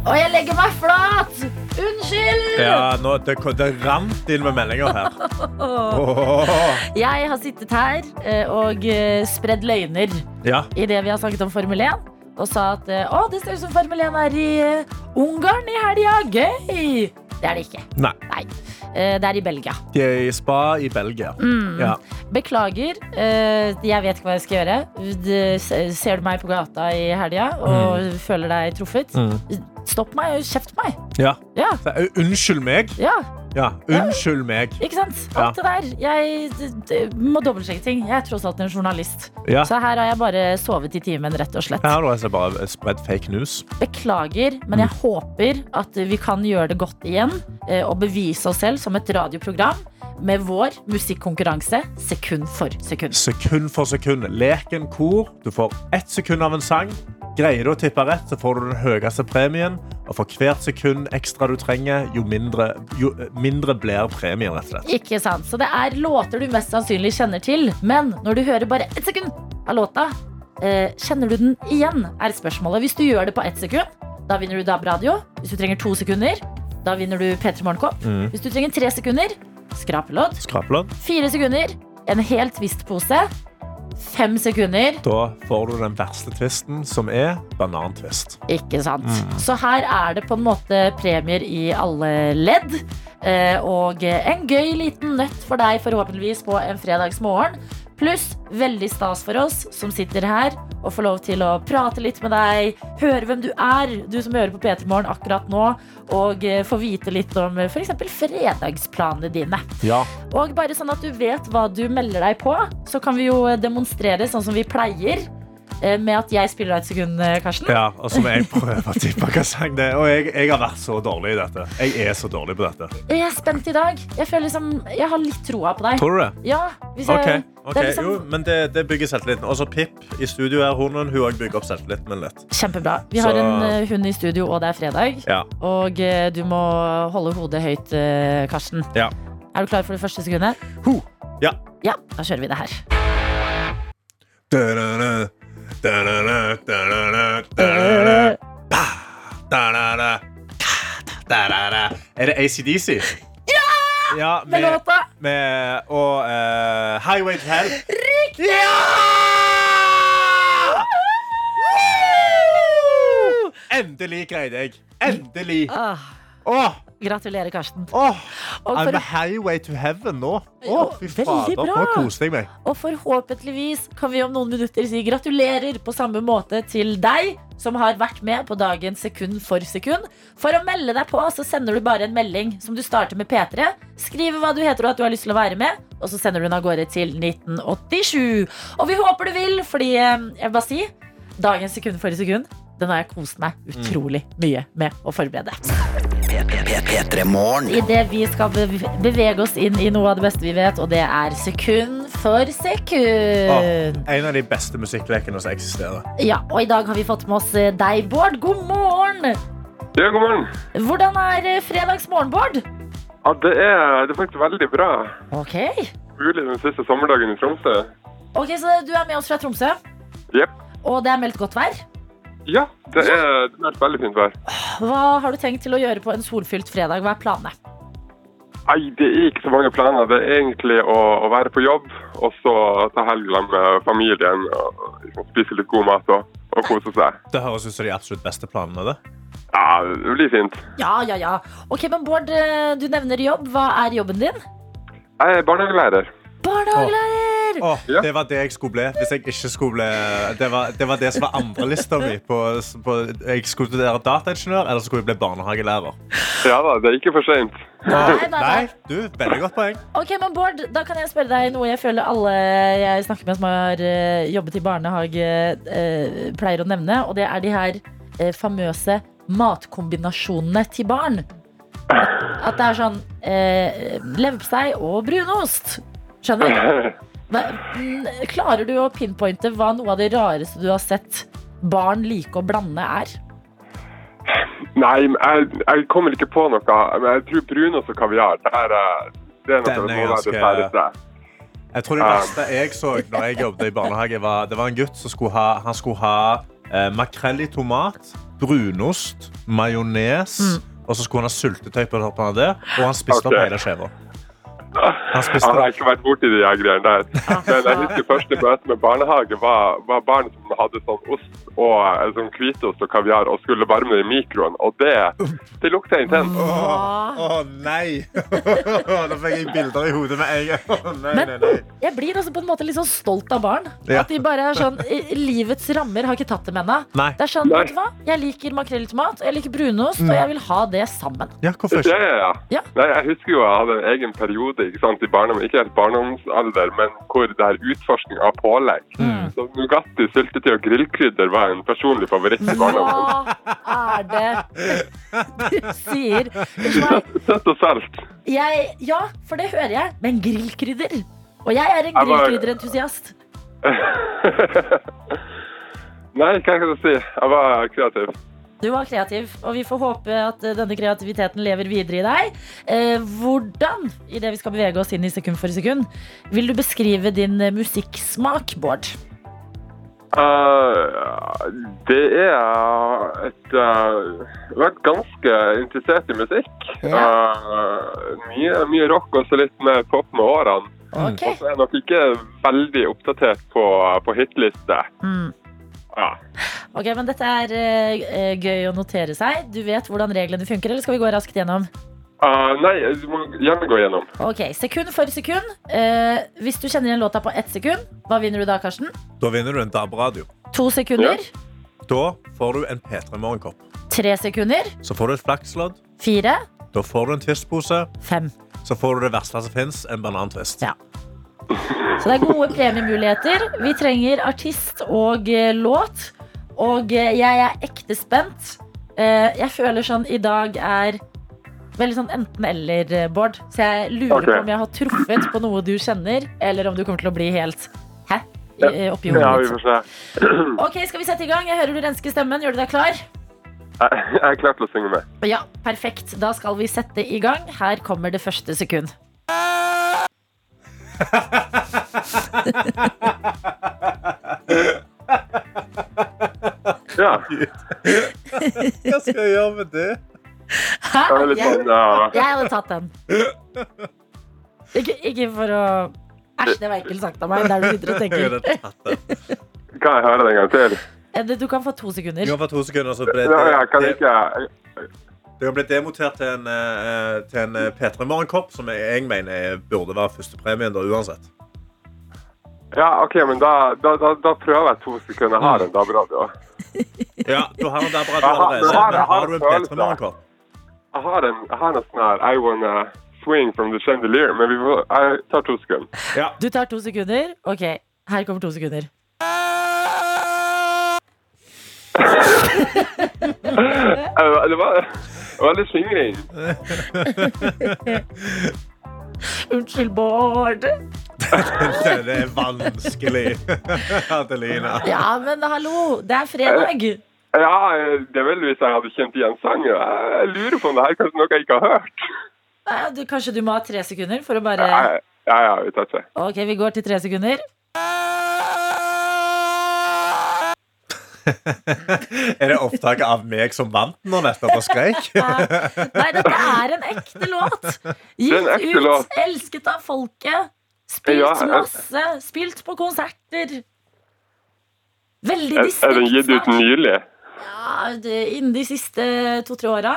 Speaker 2: Og jeg legger meg flat! Unnskyld!
Speaker 3: Ja, nå, det, det rant inn med meldinger her. Åh.
Speaker 2: Jeg har sittet her eh, og eh, spredd løgner
Speaker 3: Ja.
Speaker 2: i det vi har snakket om Formel 1. Og sa at eh, å, det ser ut som Formel 1 er i eh, Ungarn i helga. Gøy! Det er det ikke.
Speaker 3: Nei.
Speaker 2: Nei. Eh, Det er i Belgia.
Speaker 3: De er i spa i Belgia. Ja.
Speaker 2: Mm. Beklager. eh, Jeg vet ikke hva jeg skal gjøre. Det- Ser du meg på gata i helga og
Speaker 3: Mm.
Speaker 2: føler deg truffet, stopp meg og kjeft meg.
Speaker 3: Ja.
Speaker 2: Ja,
Speaker 3: Så, ø, Unnskyld meg.
Speaker 2: ja,
Speaker 3: Ja, unnskyld meg.
Speaker 2: ikke sant? Alt det der. Jeg d- d- må dobbeltsjekke ting. Jeg er tross alt en journalist.
Speaker 3: Ja.
Speaker 2: Så her har jeg bare sovet i timen, rett og slett.
Speaker 3: Her har du altså bare spredt fake news.
Speaker 2: Beklager, men
Speaker 3: Mm.
Speaker 2: jeg håper at vi kan gjøre det godt igjen eh, og bevise oss selv som et radioprogram med vår musikkonkurranse sekund for sekund.
Speaker 3: Sekund for sekund. Leken kor. Du får ett sekund av en sang. Greier du å tippe rett, så får du den høyeste premien. Og for hvert sekund ekstra du trenger, jo mindre, jo eh, mindre blir premien. rett og slett.
Speaker 2: Ikke sant? Så det er låter du mest sannsynlig kjenner til, men når du hører bare ett sekund av låta, eh, kjenner du den igjen, er spørsmålet. Hvis du gjør det på ett sekund, da vinner du DAB radio. Hvis du trenger to sekunder, da vinner du P3 Morgenkopp.
Speaker 3: Mm.
Speaker 2: Hvis du trenger tre sekunder, skrapelodd.
Speaker 3: Skrapelodd.
Speaker 2: Fire sekunder, en helt twist-pose. Fem sekunder,
Speaker 3: Da får du den verste tvisten, som er banantvist.
Speaker 2: ikke sant. Så her er det på en måte premier i alle ledd. eh, Og en gøy liten nøtt for deg, forhåpentligvis, på en fredagsmorgen. Pluss veldig stas for oss som sitter her og får lov til å prate litt med deg. Høre hvem du er, du som hører på P3 Morgen akkurat nå. Og eh, få vite litt om f.eks. fredagsplanene dine.
Speaker 3: Ja.
Speaker 2: Og bare sånn at du vet hva du melder deg på, så kan vi jo demonstrere sånn som vi pleier. eh, Med at jeg spiller deg et sekund, eh, Karsten.
Speaker 3: ja og så må jeg prøve å tippe hva sang det er. Og jeg, jeg har vært så dårlig i dette. Jeg er så dårlig på dette.
Speaker 2: Jeg er spent i dag. Jeg føler liksom, jeg har litt troa på deg.
Speaker 3: Tror du det?
Speaker 2: Ja, hvis jeg,
Speaker 3: Ok, ok.
Speaker 2: Det er liksom
Speaker 3: jo, men det, det bygger selvtilliten. Også Pip i studio er hunden. Hun også bygger opp selvtilliten min litt.
Speaker 2: kjempebra. Vi
Speaker 3: Så-
Speaker 2: har en eh, hund i studio, og det er fredag.
Speaker 3: Ja.
Speaker 2: Og eh, du må holde hodet høyt, eh, Karsten.
Speaker 3: Ja.
Speaker 2: Er du klar for det første sekundet?
Speaker 3: Ho. Ja.
Speaker 2: Ja, da kjører vi det her.
Speaker 3: Da-da-da, da-da-da, da-da-da, da-da-da, da-da-da, da-da-da. Er det ACDC? Ja! ja
Speaker 2: Med
Speaker 3: med,
Speaker 2: låta
Speaker 3: med, og eh, Highway to Hell. Riktig! Endelig greide jeg. Endelig.
Speaker 2: ah,
Speaker 3: Åh,
Speaker 2: Gratulerer, Karsten.
Speaker 3: åh.
Speaker 2: Og
Speaker 3: I'm
Speaker 2: for
Speaker 3: a highway to heaven nå. Å,
Speaker 2: Jo,
Speaker 3: fy
Speaker 2: veldig
Speaker 3: fader, nå
Speaker 2: bra.
Speaker 3: koste jeg meg.
Speaker 2: Og forhåpentligvis kan vi om noen minutter si gratulerer på samme måte til deg som har vært med på dagen sekund for sekund. For å melde deg på så sender du bare en melding som du starter med P3. Skriver hva du heter og at du har lyst til å være med, og så sender du den av gårde til 1987. Og vi håper du vil, fordi eh, jeg vil bare si dagens sekund for sekund, den har jeg kost meg utrolig mye med å forberede.
Speaker 4: P3 Morgen.
Speaker 2: Idet vi skal beve- bevege oss inn i noe av det beste vi vet, og det er sekund for sekund.
Speaker 3: En av de beste musikklekene som eksisterer.
Speaker 2: Ja, og i dag har vi fått med oss eh, deg, Bård. God morgen!
Speaker 5: Ja, god morgen.
Speaker 2: Hvordan er eh, fredagsmorgen, Bård?
Speaker 5: Ja, det, er, det er faktisk veldig bra.
Speaker 2: Ok.
Speaker 5: Mulig den siste sommerdagen i Tromsø.
Speaker 2: Ok, Så du er med oss fra Tromsø,
Speaker 5: Jepp.
Speaker 2: og det er meldt godt vær.
Speaker 5: Ja, det er, det er veldig fint vær.
Speaker 2: Hva har du tenkt til å gjøre på en solfylt fredag? Hva er planene?
Speaker 5: Nei, det er ikke så mange planer. Det er egentlig å, å være på jobb, og så ta helga med familien og liksom, spise litt god mat og, og kose seg.
Speaker 3: Det høres ut som de absolutt beste planene. det.
Speaker 5: Ja, det blir fint.
Speaker 2: Ja, ja, ja. Ok, men Bård, eh, du nevner jobb. Hva er jobben din?
Speaker 5: Jeg er barnehagelærer.
Speaker 2: Barnehagelærer!
Speaker 3: Åh,
Speaker 5: Ja.
Speaker 3: Det var det jeg skulle bli hvis jeg ikke skulle bli Det var det, var det som var andrelista mi. På, på, jeg skulle studere dataingeniør eller så skulle jeg bli barnehagelærer.
Speaker 5: Ja da, det er ikke for seint.
Speaker 2: Nei, nei, nei.
Speaker 3: du, Veldig godt poeng.
Speaker 2: Ok, men Bård, da kan jeg spørre deg noe jeg føler alle jeg snakker med som har eh, jobbet i barnehage, eh, pleier å nevne. Og det er de her eh, famøse matkombinasjonene til barn. At det er sånn eh, leverpostei og brunost. Skjønner? Hva, mm, klarer du å pinpointe hva noe av det rareste du har sett barn like å blande er?
Speaker 5: Nei, men jeg, jeg kommer ikke på noe. Men jeg tror brunost og kaviar, det er, eh, det er
Speaker 3: Den
Speaker 5: noe av det
Speaker 3: er
Speaker 5: noe av det
Speaker 3: ganske-
Speaker 5: særeste.
Speaker 3: Jeg tror det verste jeg så da jeg jobbet i barnehage, var, det var en gutt som skulle ha, han skulle ha eh, makrell i tomat, brunost, majones,
Speaker 2: Mm.
Speaker 3: og så skulle han ha syltetøy på toppen av det, og han spiste
Speaker 5: Ok.
Speaker 3: opp hele skjeva. Han spiste
Speaker 5: Jeg har
Speaker 3: opp.
Speaker 5: ikke vært borti de her greiene der. Men jeg husker første møte med barnehage var, var barn som hadde sånn ost og eh, sånn hvitost og kaviar og skulle varme det i mikroen, og det, det lukta intenst.
Speaker 3: Å nei! Nå fikk jeg bilder i hodet med en gang. Å, nei,
Speaker 2: Men
Speaker 3: nei, nei.
Speaker 2: jeg blir også på en måte litt sånn stolt av barn.
Speaker 3: Ja.
Speaker 2: At de bare er sånn i- Livets rammer har ikke tatt dem ennå.
Speaker 3: Nei.
Speaker 2: Det er sånn,
Speaker 5: Nei.
Speaker 2: vet du hva? Jeg liker makrell i tomat, jeg liker brunost, og jeg vil ha det sammen.
Speaker 3: Ja, hvorfor
Speaker 5: Ja,
Speaker 3: ikke?
Speaker 5: ja, ja.
Speaker 2: Ja.
Speaker 5: Nei, jeg husker jo jeg hadde en egen periode ikke sant, i barndom, ikke helt barndomsalder, men hvor det her utforskning av pålegg. Så Nugatti, syltetøy og grillkrydder var en personlig favoritt i barndommen.
Speaker 2: Hva er det du sier? Vet du hva?
Speaker 5: Søtt og salt.
Speaker 2: Jeg, ja, for det hører jeg. Men grillkrydder. Og jeg er en
Speaker 5: Jeg var-
Speaker 2: grillkrydderentusiast.
Speaker 5: Nei, hva skal jeg si? Jeg var kreativ.
Speaker 2: Du var kreativ, og vi får håpe at eh, denne kreativiteten lever videre i deg. Eh, hvordan, i det vi skal bevege oss inn i sekund for sekund, vil du beskrive din eh, musikksmak, Bård?
Speaker 5: Eh, det er et eh, Jeg har vært ganske interessert i musikk. Eh, mye, mye rock og så litt mer pop med årene.
Speaker 2: Ok.
Speaker 5: Og så er jeg nok ikke veldig oppdatert på, på hitliste.
Speaker 2: Mm.
Speaker 5: Ja.
Speaker 2: Ok, men dette er eh, eh, gøy å notere seg. Du vet hvordan reglene funker, eller skal vi gå raskt gjennom?
Speaker 5: Eh, nei, du må gjerne gå gjennom.
Speaker 2: Ok, sekund for sekund. Eh, hvis du kjenner igjen låta på ett sekund, hva vinner du da, Karsten?
Speaker 3: Da vinner du en DAB-radio.
Speaker 2: To sekunder.
Speaker 3: Da får du en P3 Morgenkopp.
Speaker 2: Tre sekunder.
Speaker 3: Så får du et flakslodd.
Speaker 2: Fire.
Speaker 3: Da får du en Twist-pose.
Speaker 2: Fem.
Speaker 3: Så får du det verste som fins, en banantvist.
Speaker 2: Ja. Så det er gode premiemuligheter. Vi trenger artist og eh, låt. Og eh, jeg er ekte spent. Eh, jeg føler sånn i dag er veldig sånn enten-eller, eh, Bård. Så jeg lurer
Speaker 5: Ok.
Speaker 2: på om jeg har truffet på noe du kjenner, eller om du kommer til å bli helt hæ? I, eh, oppi
Speaker 5: Ja,
Speaker 2: hodet
Speaker 5: vi
Speaker 2: ditt.
Speaker 5: får se.
Speaker 2: Ok, skal vi sette i gang? Jeg hører du rensker stemmen. Gjør du deg klar?
Speaker 5: Jeg, jeg er klar til å synge med.
Speaker 2: Ja, perfekt. Da skal vi sette i gang. Her kommer det første sekund.
Speaker 5: Ja.
Speaker 3: Hva skal jeg gjøre med det?
Speaker 2: Hæ?
Speaker 5: Jeg er litt
Speaker 2: Jeg-
Speaker 5: sånn ja.
Speaker 2: Jeg hadde tatt den. Ikke, ikke for å Æsj, det var ekkelt sagt av meg. Der du sitter og
Speaker 3: Jeg
Speaker 2: tenker.
Speaker 3: hadde tatt det.
Speaker 5: Kan jeg høre det en gang til?
Speaker 2: Edde, Eh, Du kan få to
Speaker 3: Du
Speaker 2: sekunder.
Speaker 3: kan få to sekunder, så blir
Speaker 5: Ja, jeg kan
Speaker 3: det,
Speaker 5: ikke
Speaker 3: Du kan bli demotert til en, eh, til en eh, P3 Morgenkopp, som jeg, jeg mener burde være førstepremien da uansett.
Speaker 5: Ja, OK, men da, da, da, da prøver jeg to sekunder. Jeg har en DAB-radio.
Speaker 3: Ja, du har en DAB-radio
Speaker 5: Jeg har-
Speaker 3: allerede,
Speaker 5: jeg har-
Speaker 3: men
Speaker 5: jeg har
Speaker 3: har du en
Speaker 5: følelse.
Speaker 3: P3 Morgenkopp?
Speaker 5: Jeg har en, jeg har en sånn her I wanna swing from the chandelier, men vi får, jeg tar to sekunder.
Speaker 3: Ja.
Speaker 2: Du tar to sekunder. Ok, her kommer to sekunder.
Speaker 5: Eh, Det var det var litt slingring.
Speaker 2: Unnskyld, Bård.
Speaker 3: Den er vanskelig, Adelina.
Speaker 2: Ja, men hallo, det er fredag.
Speaker 5: Ja, eh, det er vel hvis jeg hadde kjent igjen sangen. Jeg jeg lurer på om det her er kanskje noe jeg ikke har hørt.
Speaker 2: Nei, Du, kanskje du må ha tre sekunder for å
Speaker 5: Ja,
Speaker 2: bare
Speaker 5: ja, ja, vi tar ikke.
Speaker 2: Ok, vi går til tre sekunder.
Speaker 3: Er det opptaket av meg som vant nå nettopp og skreik?
Speaker 2: Nei, dette er en ekte låt.
Speaker 5: Det er en
Speaker 2: Gitt
Speaker 5: ekte
Speaker 2: ut,
Speaker 5: låt.
Speaker 2: elsket av folket. Spilt
Speaker 5: Ja, jeg-
Speaker 2: masse. Spilt på konserter. Veldig
Speaker 5: Er, er den gitt ut
Speaker 2: distriktsnær.
Speaker 5: nylig?
Speaker 2: Ja, det- innen de siste to-tre åra.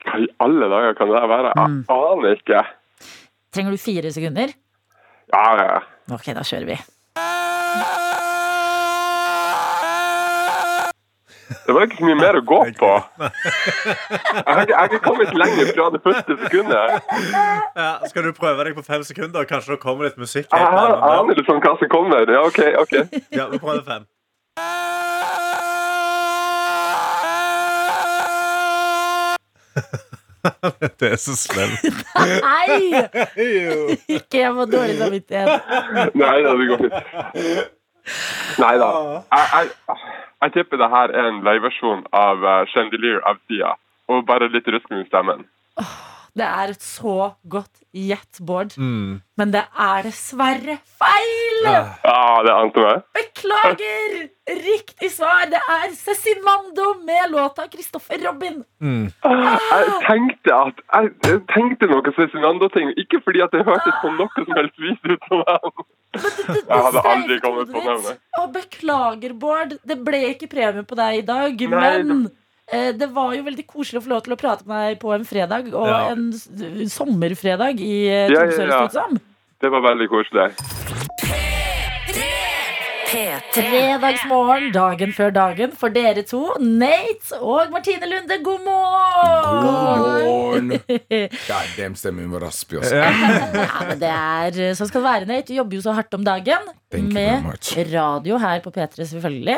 Speaker 5: Hva i alle dager kan det her være? Jeg aner ikke.
Speaker 2: Trenger du fire sekunder?
Speaker 5: Ja, ja, ja.
Speaker 2: Ok, da kjører vi.
Speaker 5: Det var ikke så mye mer å gå på. Jeg har ikke, jeg har ikke kommet lenger fra det første sekundet.
Speaker 3: Ja, skal du prøve deg på fem sekunder? Kanskje det kommer litt musikk?
Speaker 5: Jeg har- jeg
Speaker 3: Ja,
Speaker 5: aner liksom hva som kommer. Ja, OK, OK.
Speaker 3: vi prøver fem. Det er så slemt.
Speaker 2: Nei! Ikke jeg får dårlig samvittighet.
Speaker 5: Nei da, det går fint. Nei da. Jeg, jeg, jeg tipper det her er en liveversjon av eh, Chandelier av Sia. Og bare litt rusken i stemmen.
Speaker 2: Det er et så godt gjett, Bård.
Speaker 3: Mm.
Speaker 2: Men det er dessverre feil!
Speaker 3: Ah.
Speaker 5: Ja, det ante meg.
Speaker 2: Beklager! Riktig svar, det er Cezinando med låta Kristoffer Robin.
Speaker 5: Jeg tenkte at Jeg, jeg tenkte noe Cezinando-ting. Ikke fordi at det hørtes på noe som helst vis ut som han. Jeg hadde aldri kommet på navnet.
Speaker 2: Å, beklager, Bård. Det ble ikke premie på deg i dag,
Speaker 5: Nei,
Speaker 2: men eh, det var jo veldig koselig å få lov til å prate med deg på en fredag, og
Speaker 3: Ja.
Speaker 2: en s- sommerfredag i eh,
Speaker 5: Ja, ja,
Speaker 2: Tromsø.
Speaker 5: ja.
Speaker 2: høres det ut som.
Speaker 5: Det var veldig koselig.
Speaker 1: P3
Speaker 2: Fredagsmorgen, dagen før dagen, for dere to, Nate og Martine Lunde, god morgen!
Speaker 6: God morgen. God damn, stemmen var raspig, altså.
Speaker 2: Ja, men det er eh, sånn skal det være, Nate. Du jobber jo så hardt om dagen.
Speaker 6: Thank you very much.
Speaker 2: med radio her på P3, selvfølgelig.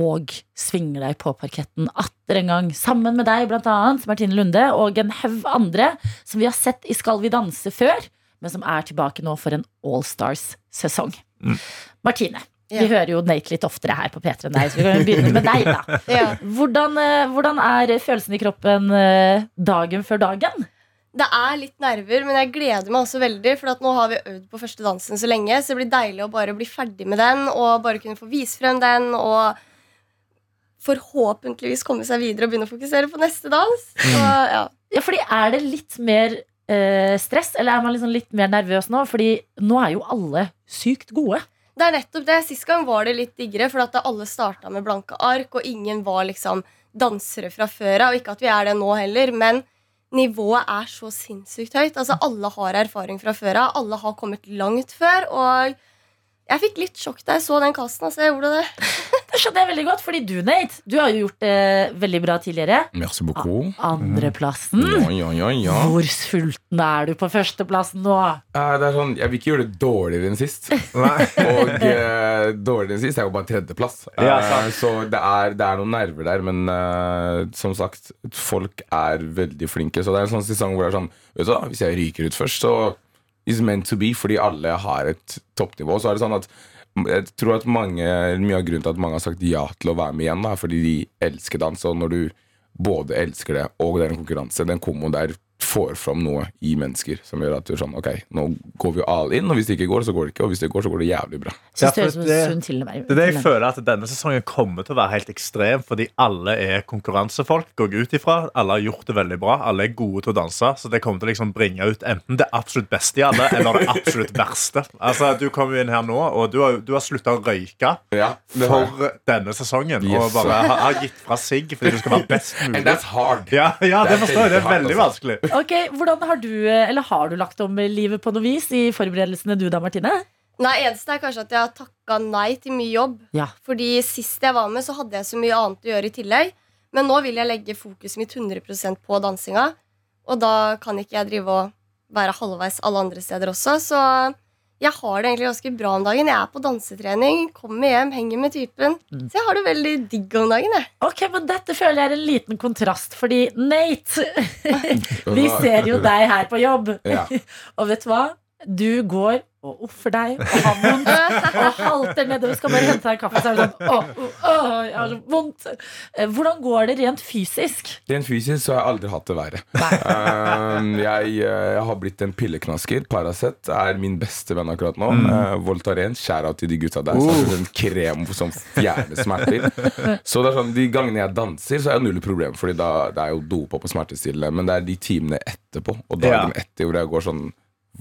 Speaker 2: Og svinger deg på parketten atter en gang. Sammen med deg, blant annet, Martine Lunde, og en haug andre som vi har sett i Skal vi danse før, men som er tilbake nå for en Allstars-sesong.
Speaker 6: Mm.
Speaker 2: Martine.
Speaker 7: Ja.
Speaker 2: Vi hører jo Nate litt oftere her på P3 enn deg, så vi kan jo begynne med deg, da.
Speaker 7: Ja.
Speaker 2: Hvordan, eh, hvordan er følelsen i kroppen eh, dagen før dagen?
Speaker 7: Det er litt nerver, men jeg gleder meg også veldig. For at nå har vi øvd på første dansen så lenge, så det blir deilig å bare bli ferdig med den. Og bare kunne få vise frem den, og forhåpentligvis komme seg videre og begynne å fokusere på neste dans. Så, ja.
Speaker 2: Ja, fordi er det litt mer eh, stress, eller er man liksom litt mer nervøs nå? Fordi nå er jo alle sykt gode.
Speaker 7: Det er nettopp det. Sist gang var det litt diggere, for at da alle starta med blanke ark, og ingen var liksom dansere fra før av. Og ikke at vi er det nå heller, men nivået er så sinnssykt høyt. Altså, alle har erfaring fra før av. Alle har kommet langt før. Og jeg fikk litt sjokk da jeg så den kassen. Altså, jeg gjorde det.
Speaker 2: Det skjønner jeg veldig godt, fordi du, Nate, du har jo gjort det veldig bra tidligere.
Speaker 6: Merci beaucoup.
Speaker 2: Andreplassen.
Speaker 3: Mm.
Speaker 6: Ja, ja, ja, ja.
Speaker 2: Hvor sulten er du på førsteplassen nå?
Speaker 6: Eh, Det er sånn, jeg vil ikke gjøre det dårligere enn sist. Og eh, dårligere enn sist er jo bare tredjeplass. Eh,
Speaker 3: Ja, sant.
Speaker 6: så det er, det er noen nerver der, men eh, som sagt, folk er veldig flinke. Så det er en sånn sesong hvor det er sånn vet du hva, Hvis jeg ryker ut først, så is meant to be, fordi alle har et toppnivå. Så er det sånn at jeg tror at mange, Mye av grunnen til at mange har sagt ja til å være med igjen, da, er fordi de elsker dans. Og når du både elsker det, og det er en konkurranse, den komboen der får fram noe i mennesker som gjør at du er sånn Ok, nå går vi jo all in, og hvis det ikke går, så går det ikke. Og hvis det går, så går det jævlig bra.
Speaker 2: Syns
Speaker 3: Ja,
Speaker 2: det høres ut som
Speaker 3: for det-
Speaker 2: en sunn tilnærming.
Speaker 3: Det er det jeg føler at Denne sesongen kommer til å være helt ekstrem, fordi alle er konkurransefolk. går jeg ut ifra. Alle har gjort det veldig bra, alle er gode til å danse. Så det kommer til å liksom bringe ut enten det absolutt beste i alle, eller det absolutt verste. Altså, Du kommer jo inn her nå, og du har, du har slutta å røyke
Speaker 6: Ja, det har jeg.
Speaker 3: for denne sesongen.
Speaker 6: Yes,
Speaker 3: Og bare har, har gitt fra sigg fordi du skal være best
Speaker 6: And
Speaker 3: mulig.
Speaker 6: that's hard.
Speaker 3: Ja, ja, det
Speaker 6: Det er
Speaker 3: forstår jeg. Det er
Speaker 6: kjempehardt,
Speaker 3: veldig
Speaker 6: altså.
Speaker 3: vanskelig.
Speaker 2: Ok, hvordan Har du, eh, eller har du lagt om livet på noe vis i forberedelsene du da, Martine?
Speaker 7: Nei, eneste er kanskje at jeg har takka nei til mye jobb.
Speaker 2: Ja.
Speaker 7: Fordi sist jeg var med, så hadde jeg så mye annet å gjøre i tillegg. Men nå vil jeg legge fokuset mitt 100 på dansinga. Og da kan ikke jeg drive og være halvveis alle andre steder også. Så jeg har det egentlig ganske bra om dagen. Jeg er på dansetrening, kommer hjem, henger med typen. Så jeg har det veldig digg om dagen, jeg.
Speaker 2: Ok, men Dette føler jeg er en liten kontrast, fordi Nate Vi ser jo deg her på jobb.
Speaker 6: Ja.
Speaker 2: Og vet du hva? Du går og offer deg og har vondt og halter nedover. Skal bare hente deg en kaffe, så er du sånn Åh, åh, åh, jeg har så vondt. Eh, Hvordan går det rent fysisk?
Speaker 6: Rent fysisk så har jeg aldri hatt det verre. Ehm, jeg, eh, jeg har blitt en pilleknasker. Paracet er min beste venn akkurat nå. Eh, Voltaren, skjæra til de gutta der. Så er det en krem som fjerner smerter. så det er sånn, De gangene jeg danser, så er det null problem, Fordi da det er jo dopa på smertestillende. Men det er de timene etterpå og dagen etter hvor jeg går sånn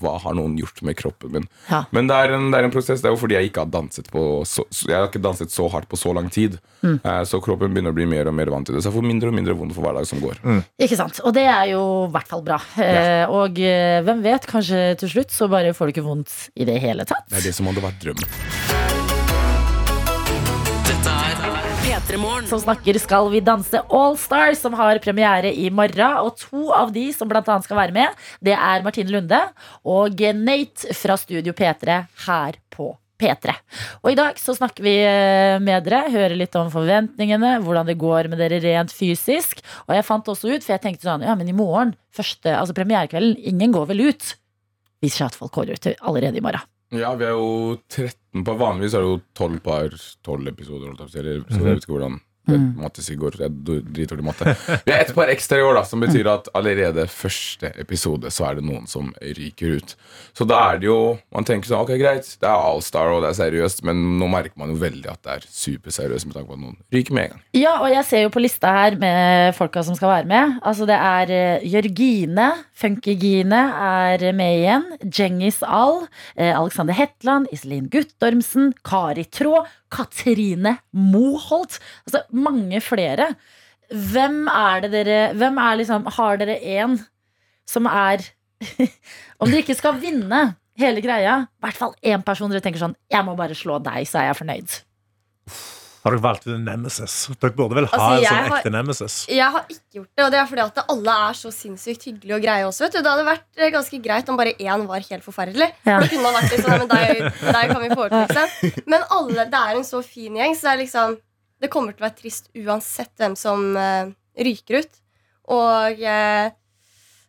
Speaker 6: hva har noen gjort med kroppen min?
Speaker 2: Ja.
Speaker 6: Men det er, en, det er en prosess. Det er jo fordi jeg ikke har danset på så, så- Jeg har ikke danset så hardt på så lang tid. Eh, Så kroppen begynner å bli mer og mer vant til det. Så jeg får mindre og mindre vondt for hver dag som går.
Speaker 2: Ikke sant? Og det er jo i hvert fall bra. Eh, Og eh, hvem vet, kanskje til slutt så bare får du ikke vondt i det hele tatt.
Speaker 6: Det er det som hadde vært drømmen.
Speaker 1: P3-morgen
Speaker 2: som snakker Skal vi danse All Stars, som har premiere i morgen. Og to av de som blant annet skal være med, det er Martine Lunde og Nate fra Studio P3 her på P3. Og i dag så snakker vi eh, med dere, hører litt om forventningene, hvordan det går med dere rent fysisk. Og jeg fant også ut, for jeg tenkte sånn, ja, men i morgen, første, altså premierekvelden, ingen går vel ut? Viser seg at folk går ut allerede i morgen.
Speaker 6: Ja, vi er jo 13 på Vanligvis er det jo 12 par 12 episoder. holdt jeg på å si, Eller, så jeg vet ikke hvordan det
Speaker 2: Mhm.
Speaker 6: mattes i går. Jeg er dår- dritdårlig i matte. Vi er ett par ekstra i år, da, som betyr at allerede første episode så er det noen som ryker ut. Så da er det jo Man tenker sånn Ok, greit, det er Allstar og det er seriøst, men nå merker man jo veldig at det er superseriøst med tanke på at noen ryker med en gang.
Speaker 2: Ja, og jeg ser jo på lista her med folka som skal være med. Altså Det er eh, Jørgine, Funkygine er med igjen. Djengis Al, eh, Alexander Hetland, Iselin Guttormsen, Kari Traa, Katrine Moholt. Altså mange flere. Hvem er det dere Hvem er liksom Har dere én som er Om dere ikke skal vinne hele greia, i hvert fall én person dere tenker sånn Jeg må bare slå deg, så er jeg fornøyd.
Speaker 3: Har dere valgt ut en nemesis? Dere burde vel ha
Speaker 7: Altså,
Speaker 3: en
Speaker 7: jeg
Speaker 3: sånn
Speaker 7: har-
Speaker 3: ekte nemesis?
Speaker 7: Jeg har ikke gjort det, og det er fordi at alle er så sinnssykt hyggelige og greie også. vet du. Det hadde vært eh, ganske greit om bare én var helt forferdelig.
Speaker 2: Ja.
Speaker 7: Da kunne man vært litt sånn, "Nei, men deg, deg kan vi få til, liksom. Men alle, det er en så fin gjeng, så det er liksom Det kommer til å være trist uansett hvem som eh, ryker ut. Og eh,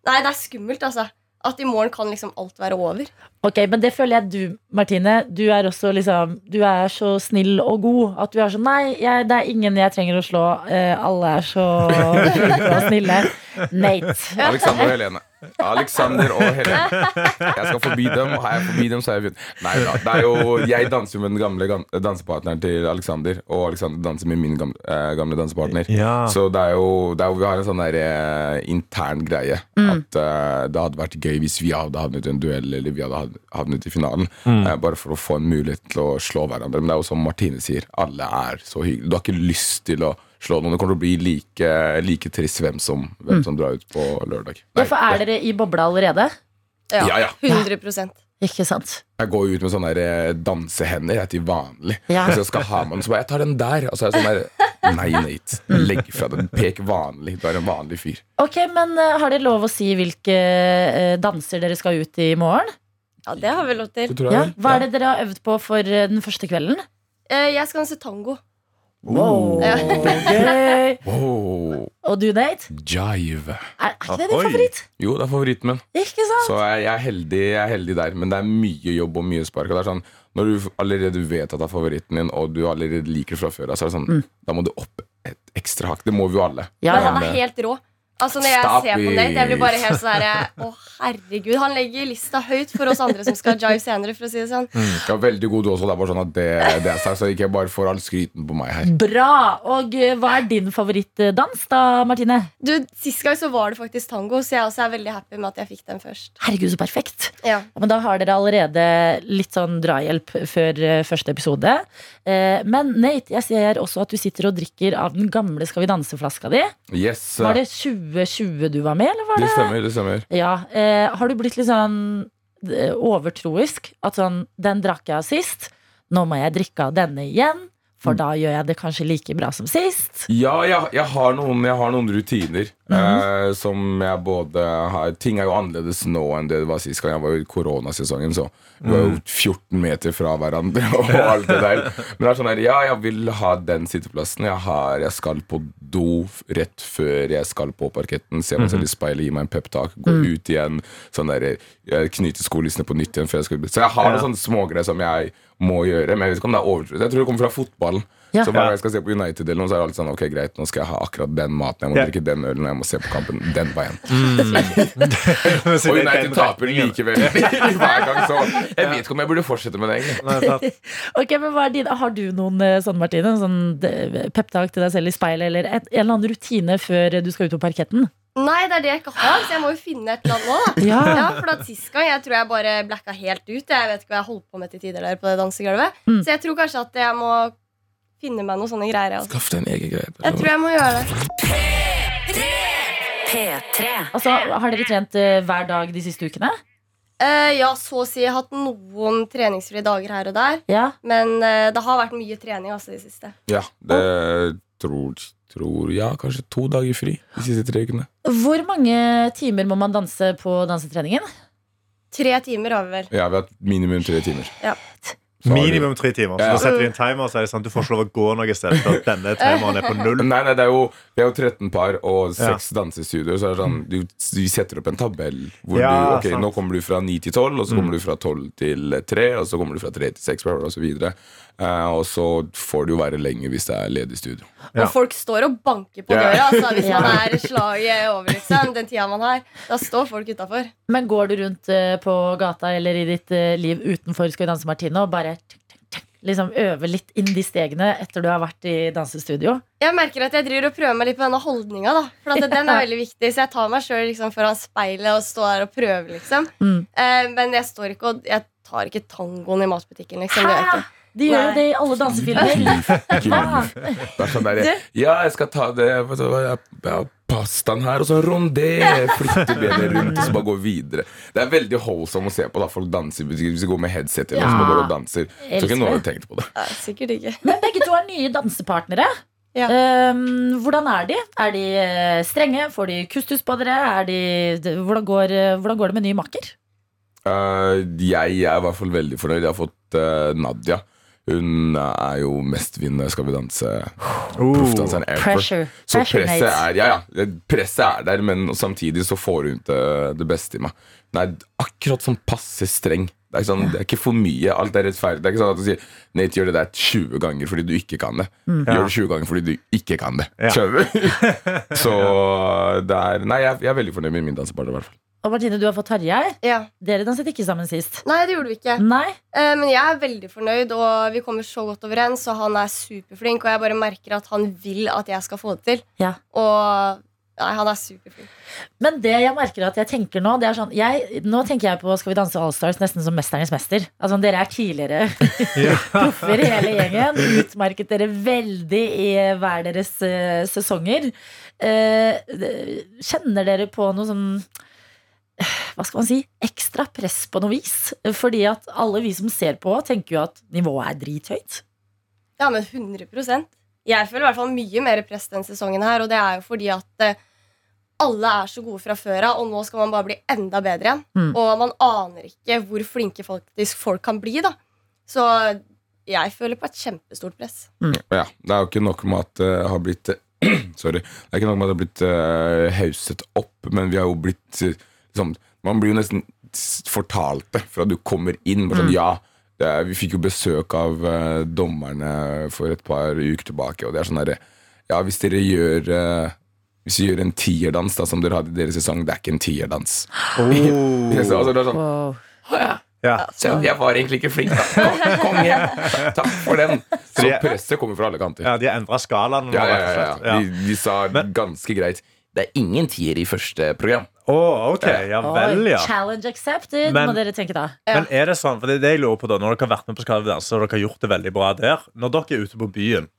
Speaker 7: Nei, det er skummelt, altså. At i morgen kan liksom alt være over.
Speaker 2: Ok, men det føler jeg du, Martine. Du er også liksom Du er så snill og god at du er sånn Nei, jeg, det er ingen jeg trenger å slå. Eh, alle er så flinke og snille. Nate.
Speaker 6: Alexander og Helene. Alexander og Helene. Jeg skal forbi dem, og har jeg forbi dem, så er jeg vunnet. Nei da. Det er jo, jeg danser jo med den gamle gan- dansepartneren til Alexander, og Alexander danser med min gamle, eh, gamle dansepartner.
Speaker 3: Ja.
Speaker 6: Så det er jo, det er jo vi har en sånn der, eh, intern greie.
Speaker 2: Mm.
Speaker 6: At eh, det hadde vært gøy hvis vi hadde havnet i en duell, eller vi hadde hav- havnet i finalen. eh, bare for å få en mulighet til å slå hverandre. Men det er jo som Martine sier, alle er så hyggelige. Du har ikke lyst til å slå noen. Det kommer til å bli like, like trist hvem som, hvem
Speaker 2: Mm.
Speaker 6: som drar ut på lørdag. Nei,
Speaker 2: Derfor er dere i bobla allerede.
Speaker 7: Ja,
Speaker 6: Ja, ja.
Speaker 7: 100
Speaker 2: Ikke sant?
Speaker 6: Jeg går jo ut med sånne der, eh, dansehender jeg er til vanlig.
Speaker 2: Ja.
Speaker 6: Hvis jeg skal ha med den, så bare 'jeg tar den der'. Og så er jeg sånn der Nei, Nate.
Speaker 2: Mm.
Speaker 6: Legg fra deg. Pek vanlig. Du er en vanlig fyr.
Speaker 2: Ok, men eh, Har dere lov å si hvilke eh, danser dere skal ut i morgen?
Speaker 7: Ja, det har vi lov til.
Speaker 6: Så tror jeg
Speaker 2: Ja.
Speaker 6: vel.
Speaker 2: Hva er det dere har øvd på for eh, den første kvelden?
Speaker 7: Eh, jeg skal danse tango.
Speaker 2: Wow, gøy.
Speaker 6: Wow,
Speaker 2: Og du, Nate?
Speaker 6: jive.
Speaker 2: Er, er ikke det din
Speaker 3: Oi.
Speaker 2: favoritt?
Speaker 6: Jo, det er favoritten min.
Speaker 2: Ikke sant?
Speaker 6: Så jeg, jeg, er heldig, jeg er heldig der. Men det er mye jobb og mye spark. Og det er sånn, når du allerede vet at det er favoritten din, og du allerede liker det fra før av, så er det sånn, da må du opp et ekstra hakk. Det må vi jo alle.
Speaker 2: Mm. Ja,
Speaker 7: Men
Speaker 2: ja.
Speaker 7: han er helt rå. Altså Når jeg
Speaker 6: Stop
Speaker 7: ser på Nate, jeg blir bare
Speaker 6: it.
Speaker 7: helt sånn herre Å, herregud. Han legger lista høyt for oss andre som skal jive senere, for å si det sånn.
Speaker 6: Ja, eh, veldig god du også. Det er bare sånn at det, det er sagt, så ikke jeg bare får all skryten på meg her.
Speaker 2: Bra! Og eh, hva er din favorittdans da, Martine?
Speaker 7: Du, Sist gang så var det faktisk tango, så jeg også er veldig happy med at jeg fikk den først.
Speaker 2: Herregud, så perfekt!
Speaker 7: Ja,
Speaker 2: Ja, Men da har dere allerede litt sånn drahjelp før eh, første episode. Eh, Men Nate, jeg ser også at du sitter og drikker av den gamle Skal vi danse-flaska di.
Speaker 6: Yes,
Speaker 2: Var det 2020 du var med, eller var
Speaker 6: det
Speaker 2: det
Speaker 6: stemmer, det stemmer.
Speaker 2: Ja. eh, Har du blitt litt sånn eh, overtroisk? At sånn Den drakk jeg av sist. Nå må jeg drikke av denne igjen, for da gjør jeg det kanskje like bra som sist.
Speaker 6: Ja, jeg, jeg, har noen, jeg har noen rutiner eh, som jeg både har Ting er jo annerledes nå enn det det var sist gang. Jeg var jo i koronasesongen, så vi var jo 14 meter fra hverandre og alt det der. Men det er sånn her, ja, jeg vil ha den sitteplassen. Jeg, har, jeg skal på do f- rett før jeg skal på parketten. Se meg selv i speilet, gi meg en peptalk, gå ut igjen. Sånn der, eh, Knyte skolissene på nytt igjen før jeg skal Så jeg har noen sånne smågreier som jeg må gjøre, men jeg vet ikke om det er overtroisk. Jeg tror det kommer fra fotballen.
Speaker 2: Ja.
Speaker 6: Så hver gang jeg skal se på United, eller noe, så er det alltid sånn Ok, greit, nå skal jeg ha akkurat den maten, jeg må
Speaker 3: Ja.
Speaker 6: drikke den ølen, og jeg må se på kampen den veien.
Speaker 3: Så det er
Speaker 6: Og United
Speaker 3: den
Speaker 6: taper
Speaker 3: retningen.
Speaker 6: likevel hver gang, så jeg vet ikke om jeg burde fortsette med det, egentlig.
Speaker 3: Nei, sant.
Speaker 2: Ok, men hva er din, Har du noen eh, sånn, Martine? Sånn eh, peptalk til deg selv i speilet, eller et, en eller annen rutine før eh, du skal ut på parketten?
Speaker 7: Nei, det er det jeg ikke har, så jeg må jo finne et eller annet nå. da.
Speaker 2: Ja.
Speaker 7: for at Sist gang jeg tror jeg bare blacka helt ut. Jeg vet ikke hva jeg holdt på med til tider der på det dansegulvet.
Speaker 2: Mm.
Speaker 7: Så jeg tror kanskje at jeg må finne meg noen sånne greier. jeg også.
Speaker 6: Skaff deg en egen
Speaker 7: Jeg tror
Speaker 6: greie.
Speaker 7: jeg må gjøre det.
Speaker 1: P3.
Speaker 2: Altså, Har dere trent eh, hver dag de siste ukene?
Speaker 7: Eh, ja, så å si. Jeg har hatt noen treningsfrie dager her og der.
Speaker 2: Ja.
Speaker 7: Men eh, det har vært mye trening altså, i det siste.
Speaker 6: Ja, det tror, tror Ja, kanskje to dager fri de siste tre ukene.
Speaker 2: Hvor mange timer må man danse på dansetreningen?
Speaker 7: Tre timer har vi vel.
Speaker 6: Ja, vi har hatt minimum tre timer. så har du-
Speaker 3: Minimum tre timer. Så
Speaker 6: Ja.
Speaker 3: da setter de en timer, så er det sånn du får ikke lov å gå noe sted for at denne timeren er på null.
Speaker 6: Nei, nei, det er jo, det er jo 13 par og seks dansestudioer. Så er det sånn, du, du setter opp en tabell hvor du
Speaker 3: Ja,
Speaker 6: Ok,
Speaker 3: sant. Mm.
Speaker 6: nå kommer du fra 9 til 12, og så kommer du fra 12 til 3, og så kommer du fra 3 til 6, bla, bla, bla, og så videre. Eh, og så får det jo være lenger hvis det er ledig studio.
Speaker 3: Ja.
Speaker 7: Og folk står og banker på
Speaker 6: Ja.
Speaker 7: døra altså, hvis
Speaker 2: Ja.
Speaker 7: man er slaget over, liksom. Den tida man har. Da står folk utafor.
Speaker 2: Men går du rundt eh, på gata eller i ditt eh, liv utenfor Skal vi danse Martine og bare tsk, tsk, tsk, liksom øve litt inn de stegene etter du har vært i dansestudio?
Speaker 7: Jeg merker at jeg driver og prøver meg litt på denne holdninga. da For at den er veldig viktig Så jeg tar meg sjøl liksom, foran speilet og står der og prøver, liksom.
Speaker 2: Mm.
Speaker 7: Eh, men jeg står ikke og Jeg tar ikke tangoen i matbutikken, liksom. Det gjør jeg ikke.
Speaker 2: De gjør jo
Speaker 7: Nei.
Speaker 2: det i alle dansefilmer. Hva?
Speaker 6: Det er sånn der, ja, jeg skal ta det vet du hva, jeg, jeg har pastaen her, og så rondé! Flytte benet rundt, og så bare gå videre. Det er veldig holdsom å se på da folk danser. Hvis de går med headset eller noe, så bare går og danser. Jeg tror ikke noen hadde tenkt på det.
Speaker 7: Nei, sikkert ikke.
Speaker 2: Men begge to er nye dansepartnere.
Speaker 7: Ja.
Speaker 2: Ehm, hvordan er de? Er de eh, strenge? Får de kustus på dere? Er de, de, hvordan, går, eh, hvordan går det med ny makker?
Speaker 6: Eh, jeg er i hvert fall veldig fornøyd. Jeg har fått eh, Nadia. Hun eh, er jo mestvinnende Skal vi danse proffdanseren ever.
Speaker 2: Pressure.
Speaker 6: Så
Speaker 2: Pressure,
Speaker 6: presset
Speaker 2: Nate.
Speaker 6: er, ja, ja, presset er der, men samtidig så får hun ut det, det beste i meg. Hun er akkurat sånn passe streng. Det er, ikke sånn, det er ikke for mye. Alt er rettferdig. Det er ikke sånn at du sier Nate gjør det der 20 ganger fordi du ikke kan det.
Speaker 2: Mm.
Speaker 6: Gjør det 20 ganger fordi du ikke kan det.
Speaker 3: Ja.
Speaker 6: Skjønner du? så eh, det er Nei, jeg, jeg er veldig fornøyd med min dansepartner, i hvert fall.
Speaker 2: Og Martine, du har fått Tarjei.
Speaker 7: Ja.
Speaker 2: Dere danset ikke sammen sist.
Speaker 7: Nei, det gjorde vi ikke.
Speaker 2: Nei?
Speaker 7: Eh, Men jeg er veldig fornøyd, og vi kommer så godt overens. Og han er superflink, og jeg bare merker at han vil at jeg skal få det til.
Speaker 2: Ja.
Speaker 7: Og nei, han er superflink.
Speaker 2: Men det jeg merker at jeg tenker nå, det er sånn jeg, Nå tenker jeg på Skal vi danse Allstars nesten som Mesternes mester. Altså dere er tidligere proffer hele gjengen. Utmerket dere veldig i hver deres eh, sesonger. Eh, det- kjenner dere på noe sånn eh, hva skal man si? Ekstra press på noe vis. Fordi at alle vi som ser på, tenker jo at nivået er drithøyt.
Speaker 7: Ja, men 100 Jeg føler i hvert fall mye mer press denne sesongen her, og det er jo fordi at eh, alle er så gode fra før av, og nå skal man bare bli enda bedre igjen.
Speaker 2: Mm.
Speaker 7: Og man aner ikke hvor flinke faktisk folk kan bli, da. Så jeg føler på et kjempestort press.
Speaker 6: Ja, det er jo ikke nok med at det har blitt Sorry. Det er ikke nok med at det har blitt eh, hauset opp, men vi har jo blitt eh, liksom, Man blir jo nesten s- fortalt det fra du kommer inn. Bare sånn, ja, det er, Vi fikk jo besøk av eh, dommerne for et par uker tilbake, og det er sånn derre Ja, hvis dere gjør eh, hvis vi gjør en tierdans da, som dere hadde i deres sesong, det er ikke en tierdans. Så, altså, det er sånn,
Speaker 2: Wow.
Speaker 3: Ja.
Speaker 6: «Ja, jeg var egentlig ikke flink, da. Kom igjen. Takk for den. Så presset kommer fra alle kanter.
Speaker 3: ja, de har endra skalaen. nå,
Speaker 6: Ja, ja,
Speaker 3: rett og
Speaker 6: ja,
Speaker 3: slett. Ja.
Speaker 6: ja. De, de sa
Speaker 3: Men-
Speaker 6: ganske greit Det er ingen tier i første program.
Speaker 3: Å, ok. Ja vel, ja.
Speaker 2: Challenge accepted,
Speaker 3: Men-
Speaker 2: må dere tenke da.
Speaker 3: Men er det sånn, for det er det jeg lurer på da Når dere har vært med på Skal vi danse og dere har gjort det veldig bra der Når dere er ute på byen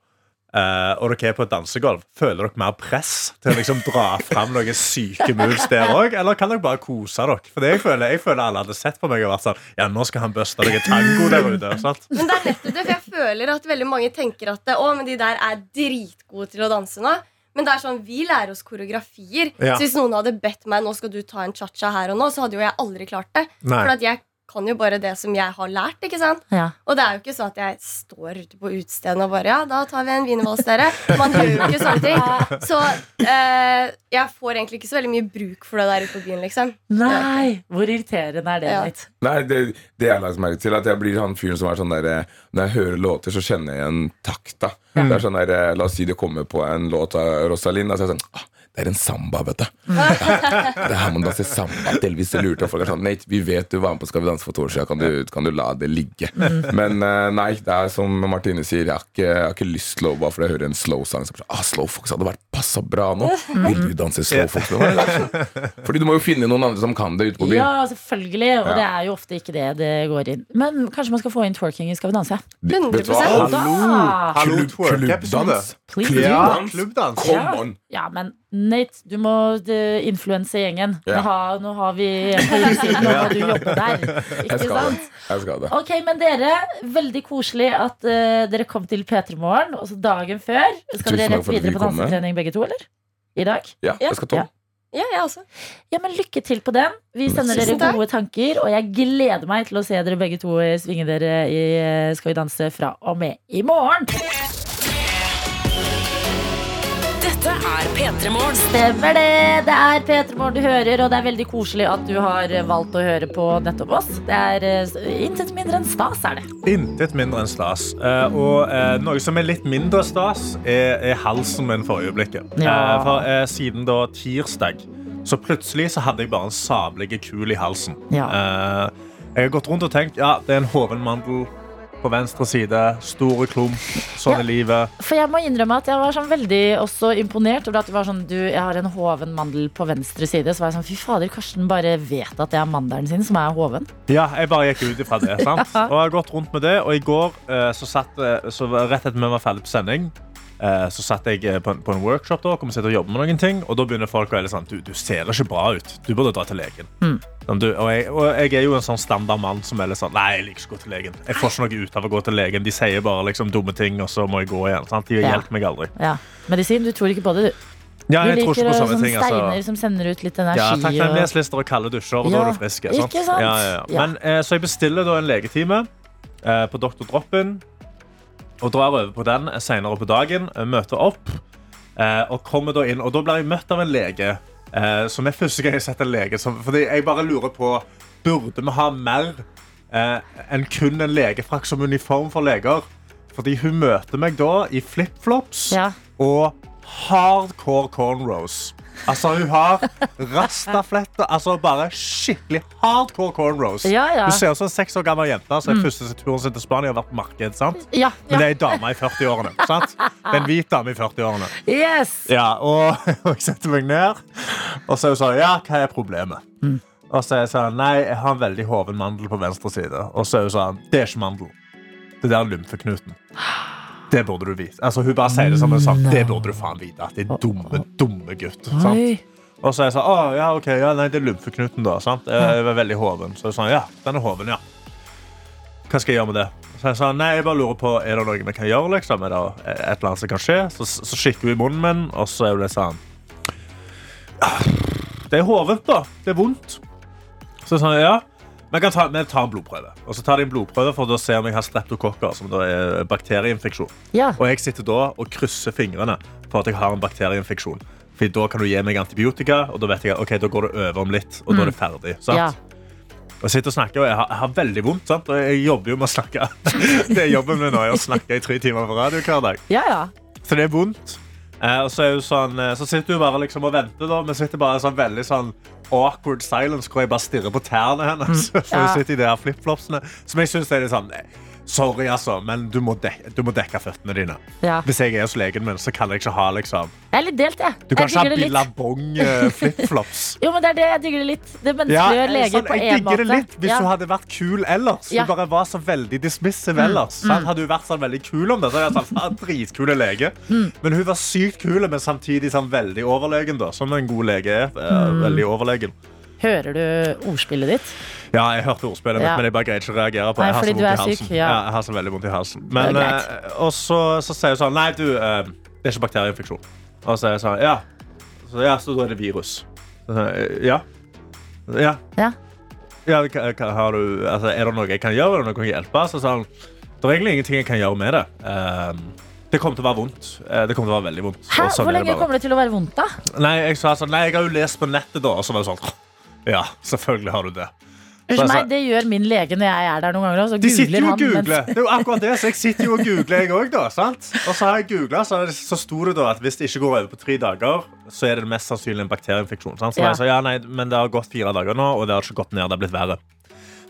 Speaker 3: eh, og dere er på et dansegolv Føler dere mer press til å liksom dra frem noen syke moves der også Eller kan dere bare kose dere? For det jeg føler, jeg føler alle hadde sett på meg og vært sånn Ja, nå skal han bøste noen tango der ute sant?
Speaker 7: Men det er nettopp det, for jeg føler at veldig mange tenker at Å, men de der er dritgode til å danse nå. Men det er sånn, vi lærer oss koreografier.
Speaker 3: Ja.
Speaker 7: Så hvis noen hadde bedt meg nå skal du ta en cha-cha her og nå, så hadde jo jeg aldri klart det.
Speaker 3: Nei.
Speaker 7: For at jeg kan jo bare det som jeg har lært. ikke sant?
Speaker 2: Ja.
Speaker 7: Og det er jo ikke sånn at jeg står ute på utestedene og bare Ja, da tar vi en wienervals, dere. Man gjør jo ikke sånne ting. Så eh, jeg får egentlig ikke så veldig mye bruk for det der ute på byen, liksom.
Speaker 2: Nei! Hvor irriterende er det,
Speaker 7: Ja.
Speaker 2: Nate?
Speaker 6: Nei, det, det jeg har lagt merke til, at jeg blir han fyren som er sånn der eh, Når jeg hører låter, så kjenner jeg igjen takta. Det er sånn der, eh, La oss si det kommer på en låt av Rosalind. Da, så er jeg sånn, ah, det er en samba, vet du. Ja, det er her man danser samba til hvis du lurte. Og folk er sånn Nate, vi vet du var med på Skal vi danse for to år siden, kan du, kan du la det ligge? Men eh, nei, det er som Martine sier, jeg har ikke, jeg har ikke lyst til å bare fordi jeg hører en slow-sang som ah, Slowfox hadde vært passa bra nå. Vil du danse slowfox med meg? Fordi du må jo finne noen andre som kan det ute på byen.
Speaker 2: Ja, selvfølgelig. Og
Speaker 6: Ja.
Speaker 2: det er jo ofte ikke det det går inn. Men kanskje man skal få inn twerking i Skal vi danse?
Speaker 6: Det- vet du hva?
Speaker 7: 100%.
Speaker 2: Da!
Speaker 3: Hallo, twerk-episode
Speaker 6: Klubbdans.
Speaker 2: Please.
Speaker 3: Ja,
Speaker 6: Klubbdans.
Speaker 3: klubbdans
Speaker 6: Kom on!
Speaker 2: Ja, men Nate, du må eh, influense gjengen.
Speaker 6: Ja.
Speaker 2: Nå, har, nå har vi en på utsiden, nå må du jobbe der.
Speaker 6: Jeg
Speaker 2: Ikke
Speaker 6: skal det.
Speaker 2: sant?
Speaker 6: Jeg skal det.
Speaker 2: Ok, men dere, veldig koselig at eh, dere kom til P3 Morgen. Også dagen før. Skal
Speaker 6: Tusen
Speaker 2: dere
Speaker 6: takk
Speaker 2: rett
Speaker 6: for at vi
Speaker 2: videre på
Speaker 6: kom med.
Speaker 2: dansetrening begge to, eller? I dag?
Speaker 6: Ja, jeg skal ta
Speaker 2: Ja.
Speaker 7: Ja, jeg også.
Speaker 2: Ja, men Lykke til på den. Vi sender dere
Speaker 7: Tusen takk.
Speaker 2: gode tanker. Og jeg gleder meg til å se dere begge to svinge dere i eh, Skal vi danse fra og med i morgen.
Speaker 1: Dette er P3 Morgen.
Speaker 2: Stemmer det. Det er P3 Morgen du hører, og det er veldig koselig at du har eh, valgt å høre på nettopp oss. Det er eh, intet mindre enn stas, er det.
Speaker 3: Intet mindre enn stas. Eh, og eh, noe som er litt mindre stas, er, er halsen min for øyeblikket.
Speaker 2: Ja.
Speaker 3: Eh, for eh, siden da tirsdag så plutselig så hadde jeg bare en sablige kul i halsen. Eh, jeg har gått rundt og tenkt ja, det er en hoven mandel på venstre side. Store klump. Sånn
Speaker 2: Ja.
Speaker 3: er livet.
Speaker 2: For jeg må innrømme at jeg var sånn veldig også imponert over at du var sånn Du, jeg har en hoven mandel på venstre side. Så var jeg sånn Fy fader, Karsten bare vet at det er mandelen sin som er hoven.
Speaker 3: Ja, jeg bare gikk ut ifra det. sant? Og jeg har gått rundt med det, og i går, eh, så satt, eh, så var- rett etter vi var ferdig på sending, eh, så satt jeg eh, på en, på en workshop da, og kom og sitte og jobbe med noen ting, og da begynner folk å være litt sånn, du, du ser ikke bra ut, du burde dra til legen.
Speaker 2: Mm.
Speaker 3: Sånn, Du, og, jeg, og jeg er jo en sånn standard mann som er litt sånn, nei, jeg liker ikke å gå til legen. Jeg får ikke noe ut av å gå til legen, de sier bare liksom dumme ting, og så må jeg gå igjen. sant? De
Speaker 2: Ja.
Speaker 3: hjelper meg aldri.
Speaker 2: Ja. Medisin, du tror ikke på det, du.
Speaker 3: Ja,
Speaker 2: Du
Speaker 3: jeg
Speaker 2: liker
Speaker 3: tror ikke på
Speaker 2: å- sånn
Speaker 3: sånne
Speaker 2: sånne
Speaker 3: ting, altså.
Speaker 2: steiner som sender ut litt energi.
Speaker 3: Ja,
Speaker 2: og-
Speaker 3: takknemlighetslister og kalde dusjer, og da
Speaker 2: Ja,
Speaker 3: er du frisk.
Speaker 2: ikke sant?
Speaker 3: Ja, ja, ja.
Speaker 2: Ja.
Speaker 3: Men, eh, så jeg bestiller da en legetime eh, på Dr. Droppen, og drar over på den senere på dagen, eh, møter opp, eh, og kommer da inn, og da blir jeg møtt av en lege, eh, som er første gang jeg har sett en lege, som, fordi jeg bare lurer på, burde vi ha mer eh, enn kun en legefrakk som uniform for leger? Fordi hun møter meg da i flip-flops
Speaker 2: Ja.
Speaker 3: og hardcore cornrows. Altså, hun har rastafletter. Altså, bare skikkelig hardcore cornrows.
Speaker 2: Ja, ja. Mm.
Speaker 3: Hun ser ut som en seks år gammel jente som er første turen sin til Spania og har vært på marked. sant?
Speaker 2: Ja,
Speaker 3: Men
Speaker 2: ja.
Speaker 3: det er ei dame i 40-årene. sant? Det er en hvit dame i 40-årene.
Speaker 2: Yes!
Speaker 3: Ja, og, og jeg setter meg ned, og så er hun sånn Ja, hva er problemet? Og så er jeg sånn Nei, jeg har en veldig hoven mandel på venstre side. Og så er hun sånn Det er ikke mandel. Det der er lymfeknuten. Det burde du vite. Altså, hun bare sier det som en sånn Det burde du faen vite. At det er dumme, dumme gutt. Sant?
Speaker 2: Oi.
Speaker 3: Og så er jeg sånn Å, ja, OK, ja, nei, det er lymfeknuten, da. Sant? Jeg jeg var veldig hoven. Så er hun sånn Ja, den er hoven, ja. Hva skal jeg gjøre med det? Så jeg sa, nei, jeg bare lurer på, er det noe vi kan gjøre, liksom? Er det et eller annet som kan skje? Så, så kikker hun i munnen min, og så er hun litt sånn «Ah, Det er hovet, da. Det er vondt. Så jeg sa, ja, vi kan ta, vi tar en blodprøve. Og så tar de en blodprøve for å se om jeg har streptokokker, som da er bakterieinfeksjon.
Speaker 2: Ja.
Speaker 3: Og jeg sitter da og krysser fingrene for at jeg har en bakterieinfeksjon. For da kan du gi meg antibiotika, og da vet jeg, ok, da går det over om litt, og da er det ferdig. Sant?
Speaker 2: Ja.
Speaker 3: Og jeg sitter og snakker, og jeg har, jeg har veldig vondt, sant? og jeg jobber jo med å snakke. Det er jobben min nå, er å snakke i tre timer på radio hver dag.
Speaker 2: ja, ja.
Speaker 3: Så det er vondt. Eh, og så, er hun sånn, eh, så sitter hun bare liksom og venter, da, men sitter bare i sånn veldig sånn awkward silence hvor jeg bare stirrer på tærne hennes. For hun
Speaker 2: Mm. Ja.
Speaker 3: sitter i de her flipflopsene. Som jeg syns er litt sånn eh, Sorry, altså, men du må, dek du må dekke føttene dine.
Speaker 2: Ja.
Speaker 3: Hvis jeg er hos legen min, så kan jeg ikke ha liksom
Speaker 2: Jeg er litt delt, jeg.
Speaker 3: Du kan
Speaker 2: jeg
Speaker 3: ikke ha eh,
Speaker 2: digger det litt.
Speaker 3: billabong-flipflops.
Speaker 2: Jo, men det er det jeg digger det litt. Det
Speaker 3: Ja,
Speaker 2: menneskeliggjør leger
Speaker 3: sånn,
Speaker 2: på
Speaker 3: jeg
Speaker 2: en
Speaker 3: digger
Speaker 2: måte.
Speaker 3: det litt hvis
Speaker 2: ja.
Speaker 3: hun hadde vært kul ellers.
Speaker 2: Ja. Mm.
Speaker 3: Hun bare var så veldig dismissive ellers. sant? Hadde hun vært sånn veldig kul om det, så hadde jeg sagt faen, dritkule lege.
Speaker 2: Mm.
Speaker 3: Men hun var sykt kul, men samtidig sånn veldig overlegen, da. Som en god lege er. eh,
Speaker 2: Mm.
Speaker 3: Veldig overlegen.
Speaker 2: Hører du ordspillet ditt?
Speaker 3: Ja, jeg hørte ordspillet mitt,
Speaker 2: Ja.
Speaker 3: men jeg bare greide ikke å reagere på det.
Speaker 2: Nei,
Speaker 3: Jeg har så
Speaker 2: fordi du
Speaker 3: vondt i
Speaker 2: er syk,
Speaker 3: halsen.
Speaker 2: ja.
Speaker 3: Ja, jeg har så veldig vondt i halsen. Men,
Speaker 2: Det er greit.
Speaker 3: eh, og så, så sier hun sånn Nei, du, eh, det er ikke bakterieinfeksjon. Og så sier jeg sånn Ja, så, ja, så da er det virus. Så, sier jeg, ja. Ja.
Speaker 2: Ja.
Speaker 3: Ja, hva, hva har du, altså, er det noe jeg kan gjøre? Er det noe jeg kan hjelpe? Så sa han, det er egentlig ingenting jeg kan gjøre med det. Ehm, det kommer til å være vondt. Eh, Det kommer til å være veldig vondt.
Speaker 2: Hæ?
Speaker 3: Og sånn
Speaker 2: Hvor
Speaker 3: er det
Speaker 2: lenge
Speaker 3: bare.
Speaker 2: kommer det til å være vondt, da?
Speaker 3: Nei, jeg sa sånn, nei, jeg har jo lest på nettet da. Og så var det sånn, ja, selvfølgelig har du det.
Speaker 2: Unnskyld
Speaker 3: Altså-
Speaker 2: meg, det gjør min lege når jeg er der noen ganger. og Så
Speaker 3: De
Speaker 2: googler
Speaker 3: sitter jo og
Speaker 2: han
Speaker 3: googler.
Speaker 2: mens-
Speaker 3: Det er jo akkurat det, så jeg sitter jo og googler, jeg òg, da. Sant? Og så har jeg googlet, så, så sto det da at hvis det ikke går over på tre dager, så er det mest sannsynlig en bakterieinfeksjon. Sant? Så
Speaker 2: Ja.
Speaker 3: jeg sa ja, nei, men det har gått fire dager nå, og det har ikke gått ned, det har blitt verre.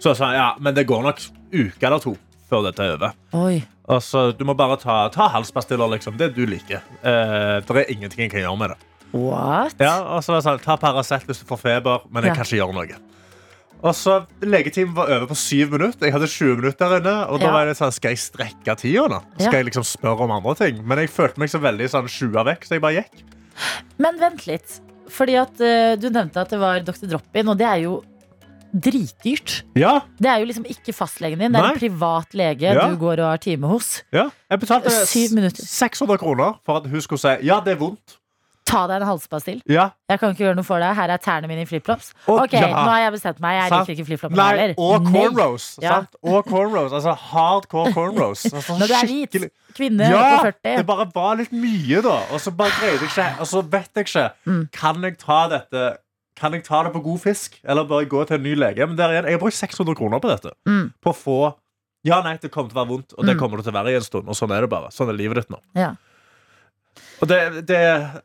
Speaker 3: Så jeg sa ja, men det går nok uke eller to før dette er over.
Speaker 2: Oi.
Speaker 3: Altså, du må bare ta, ta halspastiller, liksom. Det du liker. Eh, det er ingenting jeg kan gjøre med det.
Speaker 2: What?
Speaker 3: Ja, og så var det sånn, Ta Paracet hvis du får feber, men jeg
Speaker 2: Ja.
Speaker 3: kan ikke gjøre noe. Og så Legetimen var over på syv minutter. Jeg hadde 20 minutter der inne. Og da
Speaker 2: Ja.
Speaker 3: var jeg litt sånn, Skal jeg strekke tida nå?
Speaker 2: Ja.
Speaker 3: Skal jeg liksom spørre om andre ting? Men jeg følte meg så veldig sånn sjua vekk, så jeg bare gikk.
Speaker 2: Men vent litt. Fordi at eh, Du nevnte at det var Dr. Drop-in, og det er jo dritdyrt.
Speaker 3: Ja,
Speaker 2: Det er jo liksom ikke fastlegen din, det er
Speaker 3: Nei.
Speaker 2: en privat lege
Speaker 3: Ja.
Speaker 2: du går og har time hos.
Speaker 3: ja. Jeg betalte
Speaker 2: Syv minutter.
Speaker 3: 600 kroner for at hun skulle si ja, det er vondt.
Speaker 2: Ta deg en halspastill.
Speaker 3: Ja.
Speaker 2: Jeg kan ikke gjøre noe for deg. Her er tærne mine i flipflops.
Speaker 3: Å,
Speaker 2: Ok,
Speaker 3: ja.
Speaker 2: nå har jeg bestemt meg. Jeg
Speaker 3: Sant.
Speaker 2: liker ikke flipflopene
Speaker 3: Nei,
Speaker 2: heller.
Speaker 3: og
Speaker 2: Nei.
Speaker 3: cornrows.
Speaker 2: Ja.
Speaker 3: Sant? Og cornrows. Altså hardcore cornrows. Altså,
Speaker 2: Når du er hvit
Speaker 3: skikkelig-
Speaker 2: kvinne
Speaker 3: Ja!
Speaker 2: på
Speaker 3: Det
Speaker 2: 40.
Speaker 3: bare var litt mye, da. Og så bare greide jeg ikke Og så vet jeg ikke.
Speaker 2: Mm.
Speaker 3: Kan jeg ta dette Kan jeg ta det på god fisk, eller bare gå til en ny lege? Men der igjen, jeg har brukt 600 kroner på dette.
Speaker 2: Mm.
Speaker 3: På å få Ja, nei, det kommer til å være vondt, og det
Speaker 2: Mm.
Speaker 3: kommer det til å være i en stund. Og sånn er det bare. Sånn er livet ditt nå.
Speaker 2: Ja.
Speaker 3: Og det, det,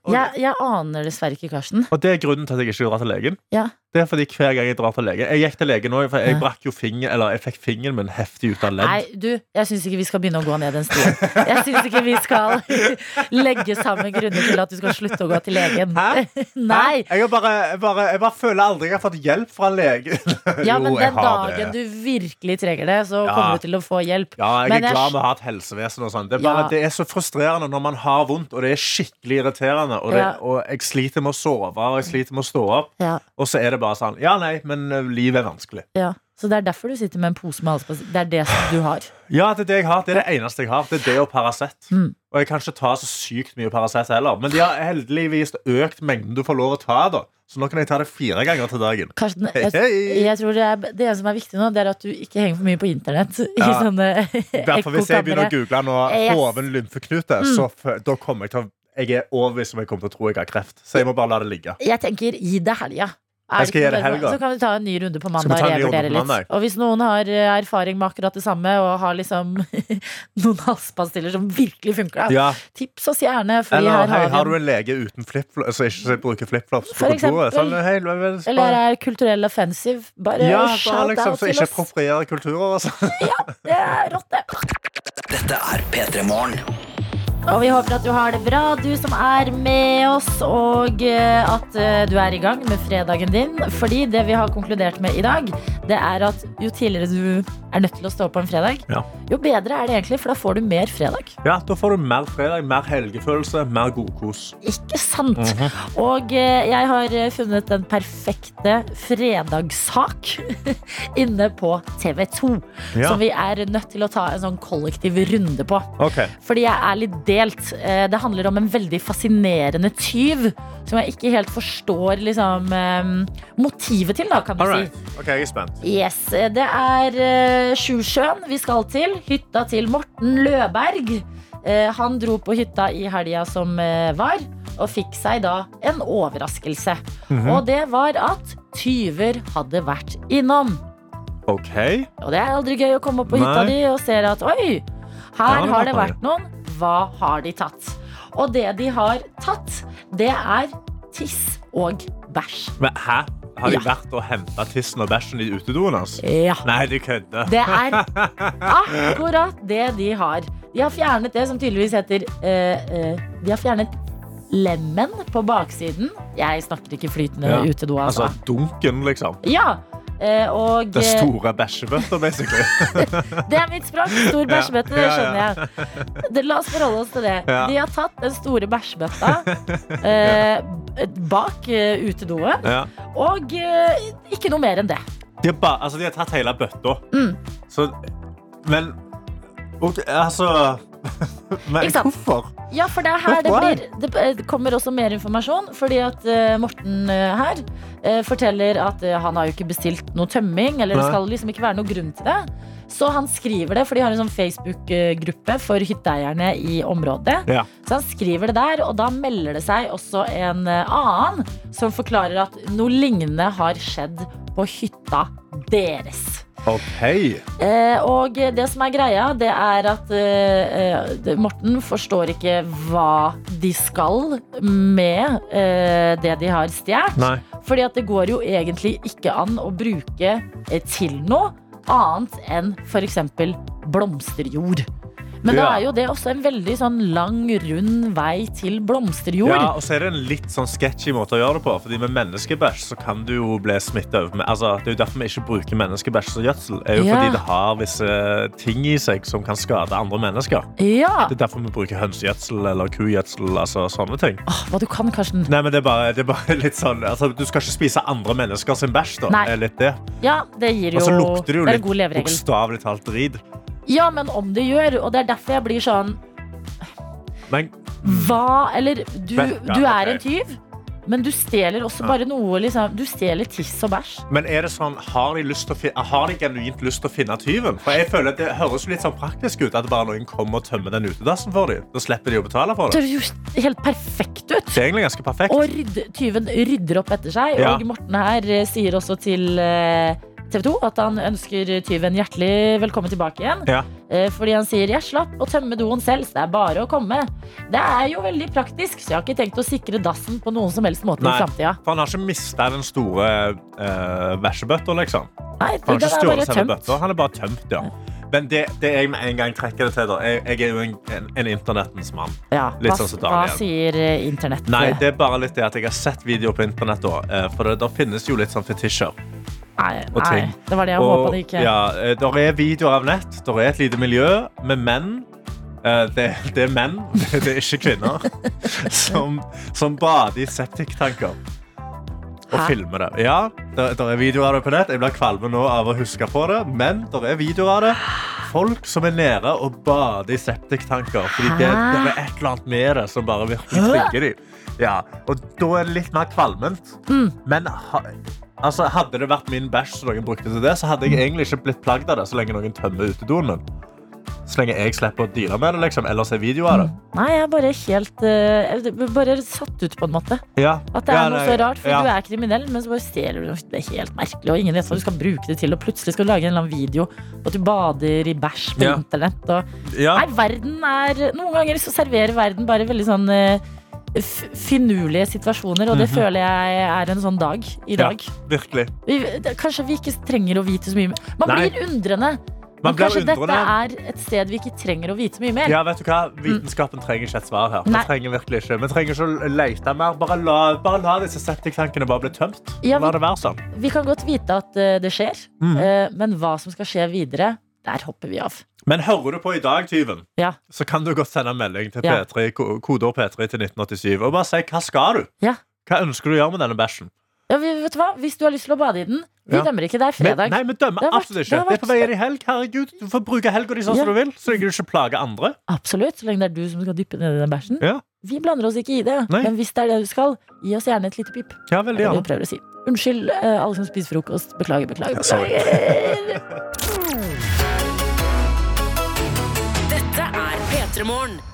Speaker 3: og,
Speaker 2: Jeg, jeg aner dessverre ikke, Karsten.
Speaker 3: og det er grunnen til at jeg ikke drar til legen.
Speaker 2: Ja.
Speaker 3: Det er fordi hver gang jeg drar til lege Jeg gikk til legen òg, for jeg
Speaker 2: Ja.
Speaker 3: brakk jo finger, eller jeg fikk fingeren min heftig ut av ledd.
Speaker 2: Nei, du, jeg syns ikke vi skal begynne å gå ned den stien. Jeg syns ikke vi skal legge sammen grunner til at du skal slutte å gå til legen.
Speaker 3: Hæ?
Speaker 2: Nei!
Speaker 3: Jeg, har bare, jeg, bare, jeg bare føler aldri jeg har fått hjelp fra en lege.
Speaker 2: Ja, men
Speaker 3: Jo, jeg
Speaker 2: den
Speaker 3: har det.
Speaker 2: dagen du virkelig trenger det, så
Speaker 3: Ja.
Speaker 2: kommer du til å få hjelp.
Speaker 3: Ja, jeg
Speaker 2: Men
Speaker 3: er
Speaker 2: jeg
Speaker 3: glad
Speaker 2: sk-
Speaker 3: vi har et helsevesen. og sånn Det er, bare,
Speaker 2: Ja.
Speaker 3: det er så frustrerende når man har vondt, og det er skikkelig irriterende. Og, det,
Speaker 2: Ja.
Speaker 3: og jeg sliter med å sove, og jeg sliter med å stå opp.
Speaker 2: Ja,
Speaker 3: Og så er det bare sånn Ja, nei, men eh, livet er vanskelig.
Speaker 2: ja. Så det er derfor du sitter med en pose med halspastill. Det er det som du har.
Speaker 3: Ja, det er det jeg har. Det er det eneste jeg har. Det er det og Paracet.
Speaker 2: Mm.
Speaker 3: Og jeg kan ikke ta så sykt mye Paracet heller. Men de har heldigvis økt mengden du får lov å ta, da. Så nå kan jeg ta det fire ganger til dagen.
Speaker 2: Karsten,
Speaker 3: Hei,
Speaker 2: jeg,
Speaker 3: hei.
Speaker 2: jeg tror det, er, det ene som er viktig nå, det er at du ikke henger for mye på internett. I
Speaker 3: Ja.
Speaker 2: sånne
Speaker 3: Derfor hvis jeg begynner å
Speaker 2: ekkokamre.
Speaker 3: google nå
Speaker 2: Yes.
Speaker 3: hoven lymfeknute,
Speaker 2: Mm.
Speaker 3: så f- da kommer jeg til å jeg er overbevist om jeg kommer til å tro jeg har kreft. Så jeg må bare la det ligge.
Speaker 2: Jeg tenker gi det helga. Er
Speaker 3: Jeg skal
Speaker 2: ikke
Speaker 3: gi det
Speaker 2: noe bedre?
Speaker 3: helga.
Speaker 2: Så kan vi ta en ny runde på
Speaker 3: Skal vi
Speaker 2: mandag
Speaker 3: ta
Speaker 2: og
Speaker 3: en ny runde
Speaker 2: revurdere
Speaker 3: på
Speaker 2: litt.
Speaker 3: mandag?
Speaker 2: Og hvis noen har eh, erfaring med akkurat det samme, og har liksom noen halspastiller som virkelig funker, da,
Speaker 3: Ja.
Speaker 2: tips oss gjerne. For
Speaker 3: Eller
Speaker 2: her
Speaker 3: hei,
Speaker 2: har vi
Speaker 3: har du
Speaker 2: en-
Speaker 3: en lege uten flipflops Som ikke bruker flipflops på
Speaker 2: For
Speaker 3: kontoret?
Speaker 2: eksempel.
Speaker 3: Sånn, hei, la- la- la-
Speaker 2: eller er kulturell offensive? Bare
Speaker 3: ja, bare
Speaker 2: shout
Speaker 3: liksom,
Speaker 2: out
Speaker 3: så
Speaker 2: til
Speaker 3: ikke
Speaker 2: oss.
Speaker 3: approprierer kulturer og sånn.
Speaker 2: Det er rått, det.
Speaker 4: Dette er P3 Morgen.
Speaker 2: Og vi håper at du har det bra, du som er med oss, og eh, at eh, du er i gang med fredagen din. Fordi det vi har konkludert med i dag, det er at jo tidligere du er nødt til å stå opp på en fredag,
Speaker 3: Ja.
Speaker 2: jo bedre er det egentlig, for da får du mer fredag.
Speaker 3: Ja, da får du mer fredag, mer helgefølelse, mer godkos.
Speaker 2: Ikke sant?
Speaker 4: Mhm.
Speaker 2: Og eh, jeg har eh, funnet den perfekte fredagssak inne på TV 2.
Speaker 3: Ja.
Speaker 2: Som vi er nødt til å ta en sånn kollektiv runde på.
Speaker 3: Ok,
Speaker 2: Fordi jeg er litt delt. Eh, Det handler om en veldig fascinerende tyv som jeg ikke helt forstår liksom, eh, motivet til, da, kan du
Speaker 3: All
Speaker 2: si.
Speaker 3: right. Ok, jeg er spent.
Speaker 2: Yes, eh, Det er eh, Sjusjøen vi skal til. Hytta til Morten Løberg. Eh, Han dro på hytta i helga som eh, var, og fikk seg da en overraskelse. Og det var at tyver hadde vært innom.
Speaker 3: Ok,
Speaker 2: Og det er aldri gøy å komme opp på hytta
Speaker 3: Nei.
Speaker 2: di og ser at oi,
Speaker 3: Ja,
Speaker 2: her
Speaker 3: det
Speaker 2: har det
Speaker 3: kan man
Speaker 2: vært noen. Hva har de tatt? Og det de har tatt, det er tiss og bæsj.
Speaker 3: men hæ? Har de
Speaker 2: Ja.
Speaker 3: vært og hentet tissen og bæsjen i utedoen hans?
Speaker 2: Ja.
Speaker 3: Nei, de kødder.
Speaker 2: Det er akkurat det de har. De har fjernet det som tydeligvis heter eh, eh, De har fjernet lemmen på baksiden. Jeg snakker ikke flytende
Speaker 3: Ja.
Speaker 2: utedo, altså.
Speaker 3: Altså, dunken, liksom.
Speaker 2: Ja. eh, Og
Speaker 3: Den
Speaker 2: eh,
Speaker 3: store bæsjebøtta, basically.
Speaker 2: Det er mitt språk. Stor bæsjebøtte, det
Speaker 3: Ja, ja, ja.
Speaker 2: skjønner jeg. Det, la oss forholde oss til det.
Speaker 3: Ja.
Speaker 2: De har tatt den store bæsjebøtta eh, bak eh, utedoen,
Speaker 3: Ja.
Speaker 2: og eh, ikke noe mer enn det.
Speaker 3: De har, ba, altså, de har tatt hele bøtta.
Speaker 2: Mm.
Speaker 3: Så, men ok, Altså Men
Speaker 2: Ikke sant?
Speaker 3: hvorfor?
Speaker 2: Ja, for det er her det,
Speaker 3: Hvorfor?
Speaker 2: blir, det eh, kommer også mer informasjon. Fordi at eh, Morten eh, her eh, forteller at eh, han har jo ikke bestilt noe tømming. Eller det
Speaker 3: Nei.
Speaker 2: skal liksom ikke være noe grunn til det. Så han skriver det, for de har en sånn Facebook-gruppe for hytteeierne i området.
Speaker 3: Ja.
Speaker 2: Så han skriver det der, og da melder det seg også en eh, annen som forklarer at noe lignende har skjedd på hytta deres.
Speaker 3: OK.
Speaker 2: Eh, og det som er greia, det er at eh, eh, det- Morten forstår ikke hva de skal med eh, det de har stjålet.
Speaker 3: Nei.
Speaker 2: Fordi at det går jo egentlig ikke an å bruke eh, til noe annet enn f.eks. blomsterjord. Men da
Speaker 3: Ja.
Speaker 2: er jo det også en veldig sånn lang, rund vei til blomsterjord.
Speaker 3: Ja, og så er det en litt sånn sketchy måte å gjøre det på. Fordi med menneskebæsj så kan du jo bli smitta over med altså, Det er jo derfor vi ikke bruker menneskebæsj som gjødsel. Det er jo
Speaker 2: Ja.
Speaker 3: fordi det har visse ting i seg som kan skade andre mennesker.
Speaker 2: Ja.
Speaker 3: Det er derfor vi bruker hønsegjødsel eller kugjødsel. Altså, sånne ting.
Speaker 2: Åh, Ah, hva du kan, Karsten.
Speaker 3: Nei, men det er bare, det er bare litt sånn altså, Du skal ikke spise andre mennesker sin bæsj, da.
Speaker 2: Nei.
Speaker 3: Det er litt det.
Speaker 2: Ja, det gir jo,
Speaker 3: Og så Altså, lukter det jo
Speaker 2: er en
Speaker 3: litt
Speaker 2: god leveregel.
Speaker 3: bokstavelig talt drit.
Speaker 2: Ja, men om det gjør, og det er derfor jeg blir sånn
Speaker 3: Men
Speaker 2: Hva Eller du,
Speaker 3: Men- ja,
Speaker 2: du er en
Speaker 3: ok.
Speaker 2: tyv, men du stjeler også bare noe liksom. Du stjeler tiss og bæsj.
Speaker 3: Men er det sånn, har de, lyst til å finne, har de genuint lyst til å finne tyven? For jeg føler at Det høres jo litt sånn praktisk ut at bare noen kommer og tømmer den utedassen for dem. Da slipper de å betale for
Speaker 2: Det
Speaker 3: det.
Speaker 2: høres jo helt perfekt ut.
Speaker 3: Det er egentlig ganske perfekt.
Speaker 2: Og rydde, tyven rydder opp etter seg.
Speaker 3: Ja.
Speaker 2: Og Morten her eh, sier også til eh, TV 2 at han ønsker tyven hjertelig velkommen tilbake igjen.
Speaker 3: Ja.
Speaker 2: Eh, Fordi han sier 'jeg slapp å tømme doen selv, så det er bare å komme'. Det er jo veldig praktisk, så jeg har ikke tenkt å sikre dassen på noen som helst måte
Speaker 3: Nei.
Speaker 2: i framtida.
Speaker 3: For han har ikke mista den store uh, bæsjebøtta, liksom.
Speaker 2: Nei,
Speaker 3: Han har
Speaker 2: den
Speaker 3: ikke
Speaker 2: er
Speaker 3: stjålet
Speaker 2: bare
Speaker 3: selve
Speaker 2: tømt.
Speaker 3: bøtta. Han er bare tømt, ja. Men det, det jeg med en gang trekker det til, da Jeg, jeg er jo en, en, en internettens mann.
Speaker 2: Ja,
Speaker 3: Litt
Speaker 2: hva,
Speaker 3: sånn som
Speaker 2: hva
Speaker 3: Daniel.
Speaker 2: sier eh, internett?
Speaker 3: Nei, det er bare litt det at jeg har sett videoer på internett da. eh, For det, der finnes jo litt sånn fetisjer.
Speaker 2: nei,
Speaker 3: og
Speaker 2: nei,
Speaker 3: ting.
Speaker 2: det var det jeg håpa
Speaker 3: Og,
Speaker 2: det ikke
Speaker 3: ja, eh, der er videoer av nett. Der er et lite miljø med menn. Eh, Det, det er menn, det det er ikke kvinner, som, som bader i septiktanker. Og
Speaker 2: Hæ?
Speaker 3: filmer det. Ja, der, der er videoer av det på nett. Jeg blir kvalm nå av å huske på det. Men der er videoer av det. Folk som er nede og bader i septiktanker. Fordi det,
Speaker 2: Hæ?
Speaker 3: det er et eller annet med det som bare virkelig trigger dem. Ja, og da er det litt mer kvalment.
Speaker 2: Mm.
Speaker 3: Men ha, altså, hadde det vært min bæsj som noen brukte til det, så hadde
Speaker 2: Mm.
Speaker 3: jeg egentlig ikke blitt plagd av det så lenge noen tømmer utedoen min. Så lenge jeg slipper å deale med det, liksom, eller se video av det.
Speaker 2: Nei, jeg er bare helt eh, jeg er Bare satt ut, på en måte.
Speaker 3: Ja.
Speaker 2: At det er
Speaker 3: Ja,
Speaker 2: noe
Speaker 3: nei,
Speaker 2: så rart, for
Speaker 3: ja.
Speaker 2: du er kriminell, men så bare stjeler du noe. Det er helt merkelig, og ingen vet hva du skal bruke det til, og plutselig skal du lage en eller annen video på at du bader i bæsj på
Speaker 3: Ja.
Speaker 2: internett. Og...
Speaker 3: Ja.
Speaker 2: Nei, verden er Noen ganger så serverer verden bare veldig sånn eh, f- finurlige situasjoner, og det føler jeg er en sånn dag i
Speaker 3: Mhm. Ja.
Speaker 2: dag.
Speaker 3: Virkelig.
Speaker 2: Vi, det, kanskje vi ikke trenger å vite så mye mer. Man
Speaker 3: Nei.
Speaker 2: blir undrende.
Speaker 3: Man
Speaker 2: Men
Speaker 3: blir
Speaker 2: kanskje
Speaker 3: undrende.
Speaker 2: dette er et sted vi ikke trenger å vite så mye mer.
Speaker 3: Ja, vet du hva? Vitenskapen trenger ikke et svar her. Vi
Speaker 2: Mm. Nei.
Speaker 3: trenger virkelig ikke. Vi trenger ikke å lete mer. Bare la, bare la disse septiktankene bare bli tømt.
Speaker 2: Ja,
Speaker 3: La
Speaker 2: men-
Speaker 3: det være sånn.
Speaker 2: Vi kan godt vite at eh, det skjer,
Speaker 3: Mhm.
Speaker 2: eh, men hva som skal skje videre, der hopper vi av.
Speaker 3: Men hører du på i dag, tyven,
Speaker 2: Ja.
Speaker 3: så kan du godt sende en melding til
Speaker 2: Ja.
Speaker 3: P3, ko- kodeord P3 til 1987 og bare si hva skal du?
Speaker 2: Ja.
Speaker 3: Hva ønsker du å gjøre med denne bæsjen?
Speaker 2: Ja, vi, vet du hva? Hvis du har lyst til å bade i den, vi
Speaker 3: Ja.
Speaker 2: dømmer ikke deg
Speaker 3: Men-
Speaker 2: fredag.
Speaker 3: Nei, vi dømmer
Speaker 2: Det har vært-
Speaker 3: absolutt
Speaker 2: det
Speaker 3: ikke.
Speaker 2: har
Speaker 3: Det er
Speaker 2: vært-
Speaker 3: på vei inn i helg. Herregud, du får bruke helga di
Speaker 2: Ja.
Speaker 3: sånn som du vil. Så lenge du ikke plager andre.
Speaker 2: Absolutt, så lenge det er du som skal dyppe ned i den bæsjen.
Speaker 3: Ja.
Speaker 2: Vi blander oss ikke i det,
Speaker 3: Nei.
Speaker 2: men hvis det er det du skal, gi oss gjerne et lite pip.
Speaker 3: Ja, veldig
Speaker 2: Det er det
Speaker 3: gjerne.
Speaker 2: vi prøver å si. Unnskyld, eh, alle som spiser frokost. Beklager, beklager.
Speaker 3: sorry.
Speaker 2: beklager.
Speaker 1: Dette er P3 Morgen.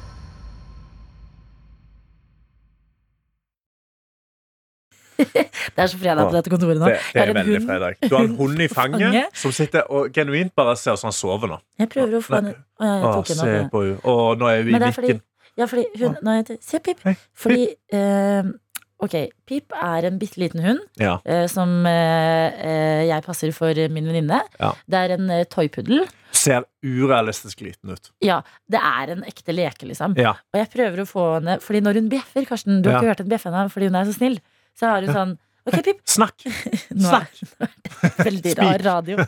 Speaker 2: Det er så fredag på dette kontoret nå.
Speaker 3: Det, det
Speaker 2: Jeg
Speaker 3: er
Speaker 2: har en
Speaker 3: veldig
Speaker 2: hund.
Speaker 3: fredag. Du har en hund i
Speaker 2: Fange.
Speaker 3: fanget som sitter og genuint bare ser sånn sover nå.
Speaker 2: Jeg prøver å få henne Å, jeg
Speaker 3: Å,
Speaker 2: Eh, tok henne
Speaker 3: Ah, se
Speaker 2: opp.
Speaker 3: på henne. Å, nå er hun i
Speaker 2: Men det er fordi,
Speaker 3: mikken.
Speaker 2: ja, fordi hun Nei, jeg- Se, Pip.
Speaker 3: Ah. Hei,
Speaker 2: Fordi eh, Ok, Pip er en bitte liten hund
Speaker 3: Ja.
Speaker 2: eh, som eh, eh, jeg passer for min venninne.
Speaker 3: Ja.
Speaker 2: Det er en eh, toypuddel.
Speaker 3: Ser urealistisk liten ut.
Speaker 2: Ja, det er en ekte leke, liksom.
Speaker 3: Ja.
Speaker 2: Og jeg prøver å få henne Fordi når hun bjeffer, Karsten Du har
Speaker 3: Ja.
Speaker 2: ikke hørt henne bjeffe ennå fordi hun er så snill. Så har hun sånn Ok, Pip.
Speaker 3: Snakk!
Speaker 2: Nå er, nå er det veldig rar radio.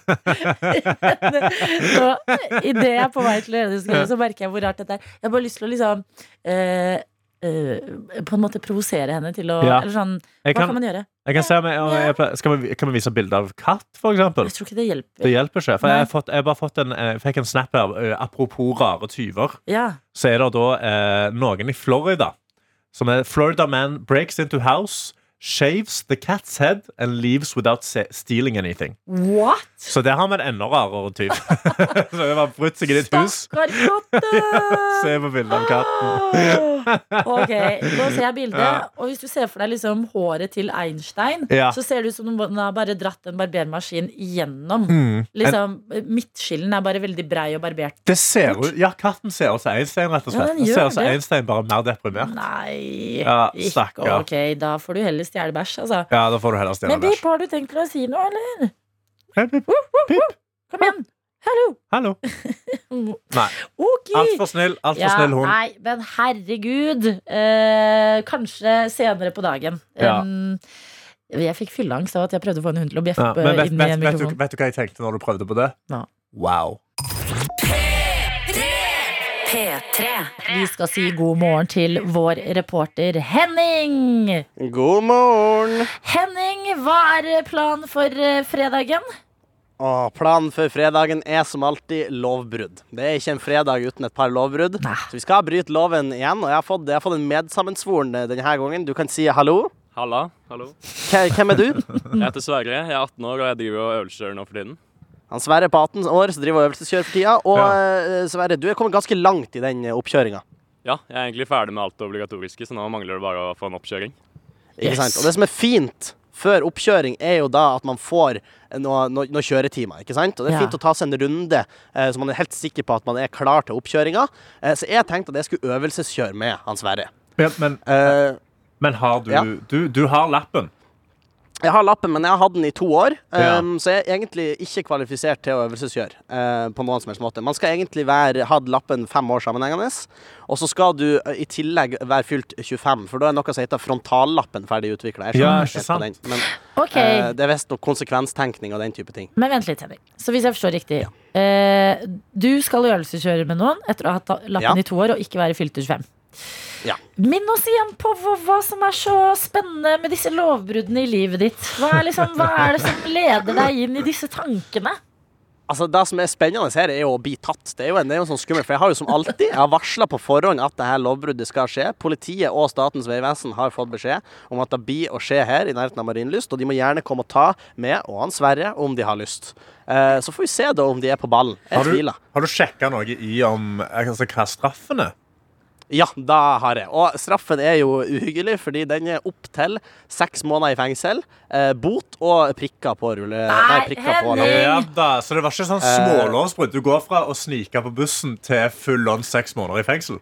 Speaker 2: Og idet jeg er på vei til å gjøre det, så- så merker jeg hvor rart dette er. Jeg har bare lyst til å liksom eh, eh, På en måte provosere henne til å
Speaker 3: Ja.
Speaker 2: Eller sånn Hva
Speaker 3: Jeg
Speaker 2: kan,
Speaker 3: kan,
Speaker 2: man gjøre?
Speaker 3: jeg kan, se om jeg, om jeg, skal vi, kan vi vise bilde av katt, for eksempel?
Speaker 2: Jeg tror ikke det hjelper.
Speaker 3: Det hjelper ikke. For jeg, har
Speaker 2: Nei.
Speaker 3: fått, jeg, har bare fått en, jeg fikk en snap her. eh, Apropos rare tyver,
Speaker 2: Ja.
Speaker 3: så er det da eh, noen i Florida som er Florida man breaks into house, shaves the cat's head and leaves without se stealing anything.
Speaker 2: What?!
Speaker 3: Så der har vi en enda rarere tyv. så det var brutt seg inn i et hus.
Speaker 2: Stakkar katte!
Speaker 3: Se på bildet av katten.
Speaker 2: Ok, nå ser jeg bildet. Og hvis du ser for deg liksom håret til Einstein,
Speaker 3: Ja.
Speaker 2: så ser det ut som om han har bare dratt en barbermaskin igjennom.
Speaker 3: Mm. En,
Speaker 2: Liksom, Midtskillen er bare veldig brei og barbert.
Speaker 3: det ser ut, ja, katten ser ut som Einstein, rett og
Speaker 2: Ja,
Speaker 3: slett.
Speaker 2: den
Speaker 3: Den
Speaker 2: gjør
Speaker 3: ser ut som
Speaker 2: det.
Speaker 3: Einstein, bare mer deprimert.
Speaker 2: Nei
Speaker 3: Ja,
Speaker 2: ikke-
Speaker 3: stakkar.
Speaker 2: Ok, da får du heller stjele bæsj, altså.
Speaker 3: Ja, da får du heller stjele
Speaker 2: Men Pip,
Speaker 3: bæsj.
Speaker 2: har du tenkt å si noe, eller?
Speaker 3: Hei, Pip. Pip.
Speaker 2: Kom igjen! Hallo!
Speaker 3: Hallo. Nei.
Speaker 2: Ok!
Speaker 3: Altfor snill, altfor snill hund.
Speaker 2: Nei, men herregud. Eh, kanskje senere på dagen.
Speaker 3: Ja.
Speaker 2: Um, jeg fikk fylleangst av at jeg prøvde å få en hund til å
Speaker 3: Ja,
Speaker 2: bjeffe
Speaker 3: men vet,
Speaker 2: inn i
Speaker 3: vet,
Speaker 2: en
Speaker 3: vet, du,
Speaker 2: mikrofon.
Speaker 3: vet du hva jeg tenkte når du prøvde på det?
Speaker 2: Hva?
Speaker 3: Wow.
Speaker 1: P3.
Speaker 2: Vi skal si god morgen til vår reporter Henning.
Speaker 8: God morgen!
Speaker 2: Henning, hva er planen for eh, fredagen?
Speaker 8: Og planen for fredagen er som alltid lovbrudd. Det er ikke en fredag uten et par lovbrudd.
Speaker 2: Nei.
Speaker 8: Så vi skal bryte loven igjen, og jeg har fått, jeg har fått en medsammensvoren eh, denne her gangen. Du kan si hallo.
Speaker 9: Halla. Hallo.
Speaker 8: K hvem er du?
Speaker 9: Jeg heter Sverre. Jeg er 18 år, og jeg driver og øvelseskjører nå for tiden.
Speaker 8: Han Sverre på 18 år som driver og øvelseskjører for tida. Og eh, Sverre, du er kommet ganske langt i den eh, oppkjøringa.
Speaker 9: Ja, jeg er egentlig ferdig med alt det obligatoriske, så nå mangler det bare å få en oppkjøring.
Speaker 8: Ikke
Speaker 2: Yes.
Speaker 8: sant? Og det som er fint før oppkjøring, er jo da at man får noen noe, noe kjøretimer. ikke sant? Og det er
Speaker 2: Ja.
Speaker 8: fint å ta seg en runde, eh, så man er helt sikker på at man er klar til oppkjøringa. Eh, så jeg tenkte at jeg skulle øvelseskjøre med han Sverre.
Speaker 3: Men, men,
Speaker 8: Eh,
Speaker 3: men har du,
Speaker 8: Ja.
Speaker 3: du Du har lappen.
Speaker 8: jeg har lappen, men jeg har hatt den i to år,
Speaker 3: Ja.
Speaker 8: ehm, så jeg er egentlig ikke kvalifisert til å øvelseskjøre. eh, på noen som helst måte. Man skal egentlig være, ha lappen fem år sammenhengende, og så skal du eh, i tillegg være fylt 25, for da er noe som heter frontallappen ferdig utvikla.
Speaker 3: Ja, ikke sant.
Speaker 8: Men
Speaker 2: Ok,
Speaker 8: eh, det er visstnok konsekvenstenkning og den type ting.
Speaker 2: Men vent litt, Henrik. Så hvis jeg forstår riktig. Eh, du skal øvelseskjøre med noen etter å ha hatt lappen
Speaker 8: Ja.
Speaker 2: i to år og ikke være fylt 25.
Speaker 8: Ja.
Speaker 2: Minn oss igjen på hva, hva som er så spennende med disse lovbruddene i livet ditt. Hva er, liksom, hva er det som leder deg inn i disse tankene?
Speaker 8: Altså, Det som er spennende her, er jo å bli tatt. Det er jo en, det er jo en sånn skummel, for Jeg har jo som alltid jeg har varsla på forhånd at det her lovbruddet skal skje. Politiet og Statens vegvesen har fått beskjed om at det blir å skje her i nærheten av Marienlyst. Og de må gjerne komme og ta med og han Sverre om de har lyst. Eh, så får vi se da om de er på ballen. Jeg
Speaker 3: Har du,
Speaker 8: tviler.
Speaker 3: har du sjekka noe i om altså, hva straffen er?
Speaker 8: Ja, da har jeg. Og straffen er jo uhyggelig, fordi den er opptil seks måneder i fengsel, eh, bot og prikker på rulle... Nei,
Speaker 2: Nei,
Speaker 8: prikker på
Speaker 2: Henning!
Speaker 3: Ja da, Så det var ikke sånn
Speaker 8: Eh.
Speaker 3: smålovsbrudd? Du går fra å snike på bussen til full on seks måneder i fengsel?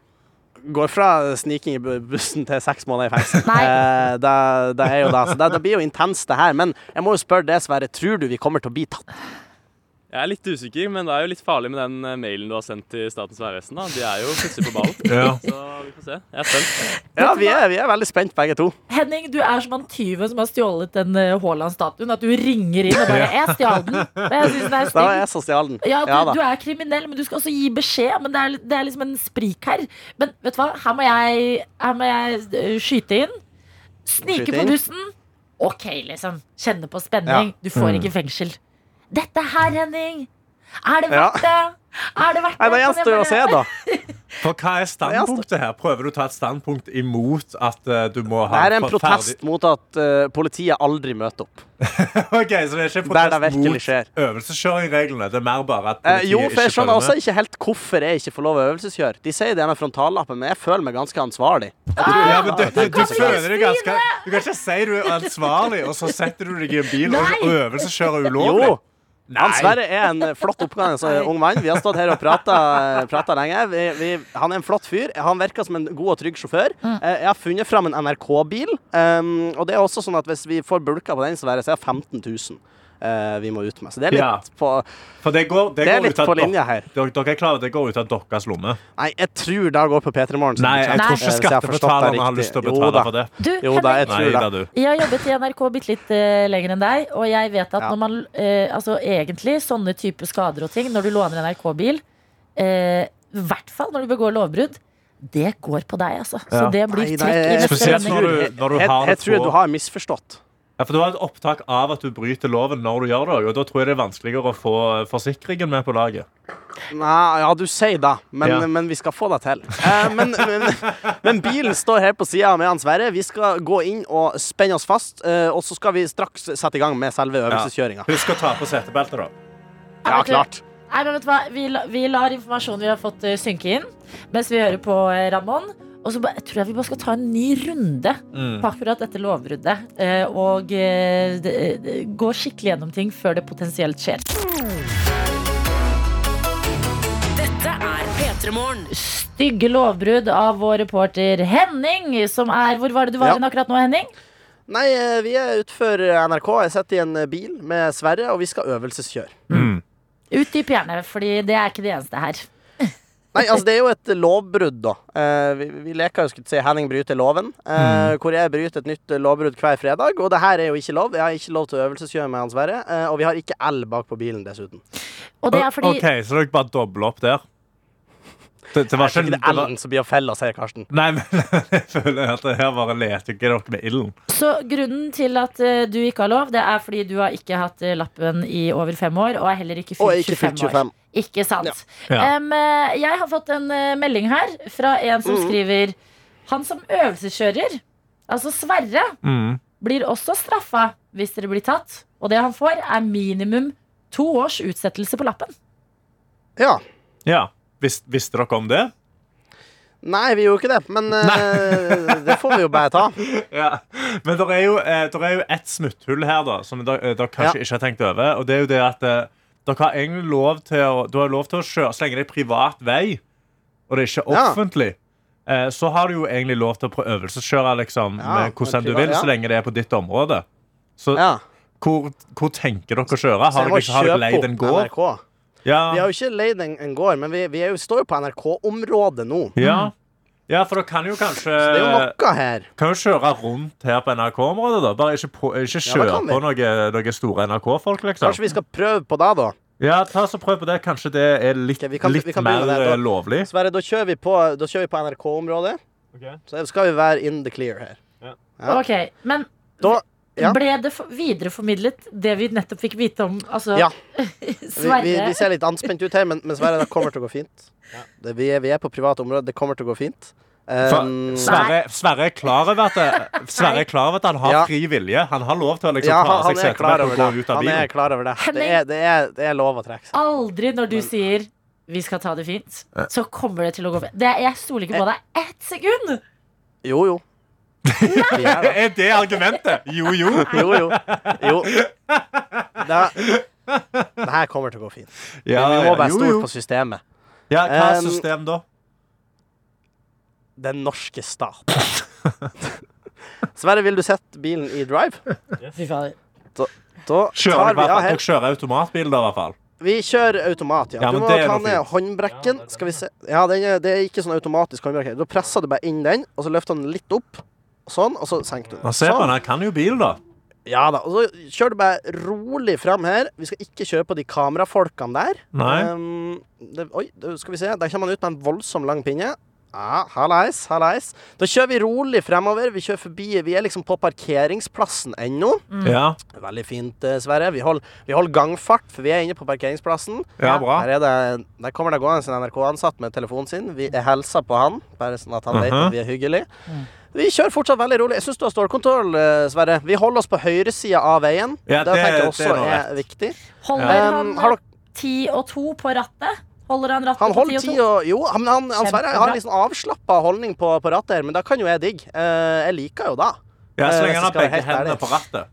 Speaker 8: går fra sniking i bu- bussen til seks måneder i fengsel.
Speaker 2: Nei.
Speaker 8: Eh, det, det er jo det. Så det, det blir jo intenst, det her. Men jeg må jo spørre deg, Sverre. Tror du vi kommer til å bli tatt?
Speaker 9: Jeg er litt usikker, men det er jo litt farlig med den eh, mailen du har sendt til Statens vegvesen. da. De er jo plutselig på ballen,
Speaker 3: Ja.
Speaker 9: så vi får se. Jeg er spent.
Speaker 8: Ja, vi er, vi er veldig spent, begge to.
Speaker 2: Henning, du er som han tyven som har stjålet den eh, Haaland-statuen. At du ringer inn og bare 'Jeg stjal den'. Jeg synes den er
Speaker 8: Da var
Speaker 2: stygg.
Speaker 8: jeg som stjal den.
Speaker 2: Ja, du,
Speaker 8: Ja da.
Speaker 2: du er kriminell, men du skal også gi beskjed. Men det er, det er liksom en sprik her. Men vet du hva, her må jeg, her må jeg øh, skyte inn. Snike
Speaker 8: Skyte
Speaker 2: på
Speaker 8: inn.
Speaker 2: bussen. OK, liksom. Kjenne på spenning. Du
Speaker 8: Mm.
Speaker 2: får ikke fengsel. Dette her, Henning. Er det
Speaker 8: Ja.
Speaker 2: verdt det? Er det verdt
Speaker 8: Nei,
Speaker 2: Kan
Speaker 8: Da
Speaker 2: jeg
Speaker 8: gjenstår det å se,
Speaker 2: bare-
Speaker 8: da.
Speaker 3: For hva er standpunktet her? Prøver du å ta et standpunkt imot at eh, du må
Speaker 8: Det
Speaker 3: ha
Speaker 8: her er en
Speaker 3: for-
Speaker 8: protest mot at eh, politiet aldri møter opp.
Speaker 3: Ok, så det er ikke en
Speaker 8: Der det
Speaker 3: protest
Speaker 8: virkelig
Speaker 3: mot
Speaker 8: skjer.
Speaker 3: øvelseskjøringreglene. Det er mer bare at
Speaker 8: Eh,
Speaker 3: politiet
Speaker 8: jo, for jeg
Speaker 3: ikke
Speaker 8: skjønner også
Speaker 3: følger med.
Speaker 8: ikke helt hvorfor jeg ikke får lov å øvelseskjøre. De sier det med frontallappen, men jeg føler meg ganske ansvarlig.
Speaker 3: Ja, men du, du, du
Speaker 2: Kan vi
Speaker 3: føler deg
Speaker 2: skrive?
Speaker 3: ganske Du kan ikke si du er ansvarlig, og så setter du deg i en bil og
Speaker 2: Nei.
Speaker 3: øvelseskjører ulovlig.
Speaker 8: Jo! Han Sverre er en flott oppgående så- ung mann. Vi har stått her og prata lenge. Vi, vi, han er en flott fyr. Han virker som en god og trygg sjåfør.
Speaker 2: Mm.
Speaker 8: Eh, Jeg har funnet fram en NRK-bil. Um, og det er også sånn at hvis vi får bulka på den, så er det så er det 15 000 eh, vi må ut med. Så det er litt
Speaker 3: Ja.
Speaker 8: på
Speaker 3: For det går, det
Speaker 8: Det er
Speaker 3: går
Speaker 8: litt
Speaker 3: ut av
Speaker 8: på
Speaker 3: dok-
Speaker 8: linja her.
Speaker 3: Dere, dere er klar over at det går ut av deres lomme?
Speaker 8: Nei, jeg tror det går på P3 Morgen.
Speaker 3: Nei, jeg tror
Speaker 8: Eh,
Speaker 2: Nei.
Speaker 3: ikke skattebetalerne har lyst til å betale for det.
Speaker 2: Du,
Speaker 8: Jo da,
Speaker 2: Henning,
Speaker 8: jeg
Speaker 3: Nei
Speaker 8: tror
Speaker 3: da,
Speaker 8: det.
Speaker 3: du.
Speaker 2: Jeg har jobbet i NRK bitte litt eh, lenger enn deg, og jeg vet at
Speaker 8: Ja.
Speaker 2: når man eh, Altså egentlig sånne type skader og ting, når du låner en NRK-bil, eh, i hvert fall når du begår lovbrudd, det går på deg, altså. Så
Speaker 3: Ja.
Speaker 2: det blir
Speaker 8: Nei, nei,
Speaker 2: trekk i
Speaker 8: jeg-
Speaker 2: neste
Speaker 3: Spesielt
Speaker 2: sending.
Speaker 3: når du, når du
Speaker 8: Jeg,
Speaker 3: har
Speaker 8: jeg
Speaker 3: det
Speaker 8: tror du
Speaker 3: på
Speaker 8: har misforstått.
Speaker 3: Ja, for Du har et opptak av at du bryter loven når du gjør det. Og da tror jeg det er vanskeligere å få forsikringen med på laget.
Speaker 8: Nei, ja, du sier det, men,
Speaker 3: Ja.
Speaker 8: men vi skal få det til. Eh, men, men, men bilen står her på sida med han Sverre. Vi skal gå inn og spenne oss fast, eh, og så skal vi straks sette i gang med selve øvelseskjøringa.
Speaker 3: Husk å ta på setebeltet, da.
Speaker 8: Ja, klart.
Speaker 2: Nei, men vet du hva? Vi, la, vi lar informasjonen vi har fått, eh, synke inn mens vi hører på eh, Ramón. Og så ba, jeg tror jeg vi bare skal ta en ny runde på akkurat dette lovbruddet. eh, og eh, d- d- gå skikkelig gjennom ting før det potensielt skjer.
Speaker 1: Dette er P3morgen.
Speaker 2: stygge lovbrudd av vår reporter Henning, som er Hvor var det du var
Speaker 8: Ja.
Speaker 2: hen akkurat nå, Henning?
Speaker 8: Nei, eh, vi er utenfor NRK. Jeg sitter i en eh, bil med Sverre, og vi skal øvelseskjøre.
Speaker 2: Utdyp gjerne, fordi det er ikke det eneste her.
Speaker 8: Nei, altså det er jo et lovbrudd, da. Eh, vi, vi leker jo skulle si Henning bryter loven. eh, Hvor jeg bryter et nytt eh, lovbrudd hver fredag. Og det her er jo ikke lov. Jeg har ikke lov til å øvelseskjøre med han Sverre. eh, og vi har ikke L bak på bilen, dessuten.
Speaker 2: Og det er fordi
Speaker 3: OK, så dere bare dobler opp der. Det, det var
Speaker 8: Jeg tror
Speaker 3: ikke
Speaker 8: ikke det
Speaker 3: det
Speaker 8: er
Speaker 3: var,
Speaker 8: Ellen som blir å felle, sier Karsten.
Speaker 3: Nei, men jeg føler at det her bare leker dere med ilden.
Speaker 2: Så grunnen til at eh, du ikke har lov, det er fordi du har ikke hatt eh, lappen i over fem år, og er heller ikke
Speaker 8: Og
Speaker 2: fylt
Speaker 8: ikke
Speaker 2: 25,
Speaker 8: fylt 25.
Speaker 2: år. Ikke sant.
Speaker 3: Ja.
Speaker 2: Em, eh, jeg har fått en eh, melding her fra en som
Speaker 8: Mm.
Speaker 2: skriver Han som øvelseskjører, altså Sverre,
Speaker 3: Mm.
Speaker 2: blir også straffa hvis dere blir tatt. Og det han får, er minimum to års utsettelse på lappen.
Speaker 8: Ja.
Speaker 3: Ja. Vis, visste dere om det?
Speaker 8: Nei, vi gjorde ikke det, men eh, det får vi jo bare ta.
Speaker 3: Ja. Men det er, jo, eh, der er jo et smutthull her da som dere, eh, dere kanskje
Speaker 8: Ja.
Speaker 3: ikke har tenkt over. Og det er jo det at eh, dere har egentlig lov til å, du har lov til å kjøre så lenge det er privat vei, og det er ikke
Speaker 8: Ja.
Speaker 3: offentlig. eh, Så har du jo egentlig lov til å prøve øvelseskjøre liksom,
Speaker 8: Ja,
Speaker 3: med hvordan du
Speaker 8: men
Speaker 3: vil,
Speaker 8: privat- ja.
Speaker 3: så lenge det er på ditt område. Så
Speaker 8: Ja.
Speaker 3: hvor, hvor tenker dere å kjøre?
Speaker 8: Så
Speaker 3: Har
Speaker 8: jeg må
Speaker 3: dere, ikke- har dere
Speaker 8: kjøpe
Speaker 3: leid
Speaker 8: opp
Speaker 3: en gård?
Speaker 8: NRK. Vi har jo ikke leid en, en gård, men vi, vi er jo, står jo på NRK-området nå.
Speaker 3: Ja. ja, for dere kan jo kanskje
Speaker 8: Det er jo noe her.
Speaker 3: Kan jo kjøre rundt her på NRK-området, da. Bare ikke, på, ikke
Speaker 8: Ja, det
Speaker 3: kjøre
Speaker 8: kan vi.
Speaker 3: på noen noe store NRK-folk, liksom.
Speaker 8: Kanskje vi skal prøve på det, da.
Speaker 3: Ja, ta så prøv på det. Kanskje det er litt,
Speaker 8: Ok, vi kan- vi
Speaker 3: litt
Speaker 8: kan
Speaker 3: mer
Speaker 8: begynne der, da.
Speaker 3: eh, lovlig.
Speaker 8: Sverre, da kjører vi på, da kjører vi på NRK-området.
Speaker 9: Ok.
Speaker 8: Så skal vi være in the clear her. Ja.
Speaker 2: Ok, Men
Speaker 8: Da ja.
Speaker 2: ble det for- videreformidlet det vi nettopp fikk vite om altså,
Speaker 8: Ja. Vi,
Speaker 2: Sverre?
Speaker 8: vi, vi ser litt anspent ut her, men, men Sverre, det kommer til å gå fint. Det, vi, er, vi er på privat område, det kommer til å gå fint.
Speaker 3: For
Speaker 8: Um,
Speaker 3: Sverre, Sverre, er klar over at det, Sverre er klar over at han har
Speaker 8: Ja.
Speaker 3: fri vilje. Han har lov til å liksom,
Speaker 8: ja,
Speaker 3: ta
Speaker 8: han,
Speaker 3: av
Speaker 8: han
Speaker 3: seg
Speaker 8: er klar over
Speaker 3: setebeltet og gå
Speaker 8: det.
Speaker 3: ut av
Speaker 8: Han er
Speaker 3: bilen.
Speaker 8: klar over det. Det
Speaker 2: Henning.
Speaker 8: er, det er, det er lov å trekke seg.
Speaker 2: Aldri når du sier vi skal ta det fint, så kommer det til å gå fint. Det, jeg stoler ikke på deg ett sekund!
Speaker 8: Jo, jo. Vi er det.
Speaker 3: Er det argumentet? Jo, jo.
Speaker 8: Jo, jo. jo. Det, det her kommer til å gå fint.
Speaker 3: Ja,
Speaker 8: vi må
Speaker 3: ja,
Speaker 8: være
Speaker 3: jo,
Speaker 8: stort
Speaker 3: jo.
Speaker 8: på systemet.
Speaker 3: Ja, hva er
Speaker 8: Um,
Speaker 3: system da?
Speaker 8: Den norske stat. Sverre, vil du sette bilen i drive?
Speaker 2: Fy fader.
Speaker 8: Da
Speaker 3: Kjører,
Speaker 8: tar vi av
Speaker 3: dere
Speaker 8: her.
Speaker 3: kjører automatbil, da, i hvert fall.
Speaker 8: Vi kjører automat, ja.
Speaker 3: Ja,
Speaker 8: du
Speaker 3: men
Speaker 8: må
Speaker 3: det er
Speaker 8: ta
Speaker 3: noe
Speaker 8: ned
Speaker 3: fint.
Speaker 8: håndbrekken. Skal vi se. Ja, den er, det er ikke sånn automatisk håndbrekk. her. Da presser du bare inn den, og så løfter du den litt opp. Sånn, og så senker du den.
Speaker 3: Man ser på
Speaker 8: Sånn.
Speaker 3: han, han kan jo bil, da.
Speaker 8: Ja da, og så kjør det bare rolig fram her. Vi skal ikke kjøre på de kamerafolkene der.
Speaker 3: Nei.
Speaker 8: Ehm, det, oi, det, skal vi se. Der kommer man ut med en voldsom lang pinne. Ja, Hallais, hallais. Da kjører vi rolig fremover. Vi kjører forbi. Vi er liksom på parkeringsplassen ennå.
Speaker 3: Ja,
Speaker 8: Veldig fint, eh, Sverre. Vi holder, vi holder gangfart, for vi er inne på parkeringsplassen.
Speaker 3: ja bra.
Speaker 8: Der, er det, der kommer det gående en NRK-ansatt med telefonen sin. Vi jeg hilser på han, bare sånn at han vet
Speaker 3: Mhm.
Speaker 8: at vi er hyggelige.
Speaker 2: Mm.
Speaker 8: Vi kjører fortsatt veldig rolig. Jeg syns du har stålkontroll, eh, Sverre. Vi holder oss på høyresida av veien.
Speaker 3: Ja,
Speaker 8: det,
Speaker 3: det-
Speaker 8: tenker jeg
Speaker 3: det
Speaker 8: også
Speaker 3: er noe
Speaker 8: er, viktig.
Speaker 2: Holder han
Speaker 8: Um, har dere,
Speaker 2: ti og to på rattet? Holder han rattet
Speaker 8: han
Speaker 2: på
Speaker 8: holder
Speaker 2: ti og
Speaker 8: ti
Speaker 2: to?
Speaker 8: og Jo, han, han, han Sverre har
Speaker 2: Kjempebra.
Speaker 8: en liksom avslappa holdning på, på rattet her, men det kan jo jeg digge. Eh, jeg liker jo det.
Speaker 3: Ja, så
Speaker 8: Eh,
Speaker 3: lenge
Speaker 8: så
Speaker 3: han har
Speaker 8: skal jeg
Speaker 3: begge
Speaker 8: helt
Speaker 3: hendene
Speaker 8: ærlig.
Speaker 3: på rattet.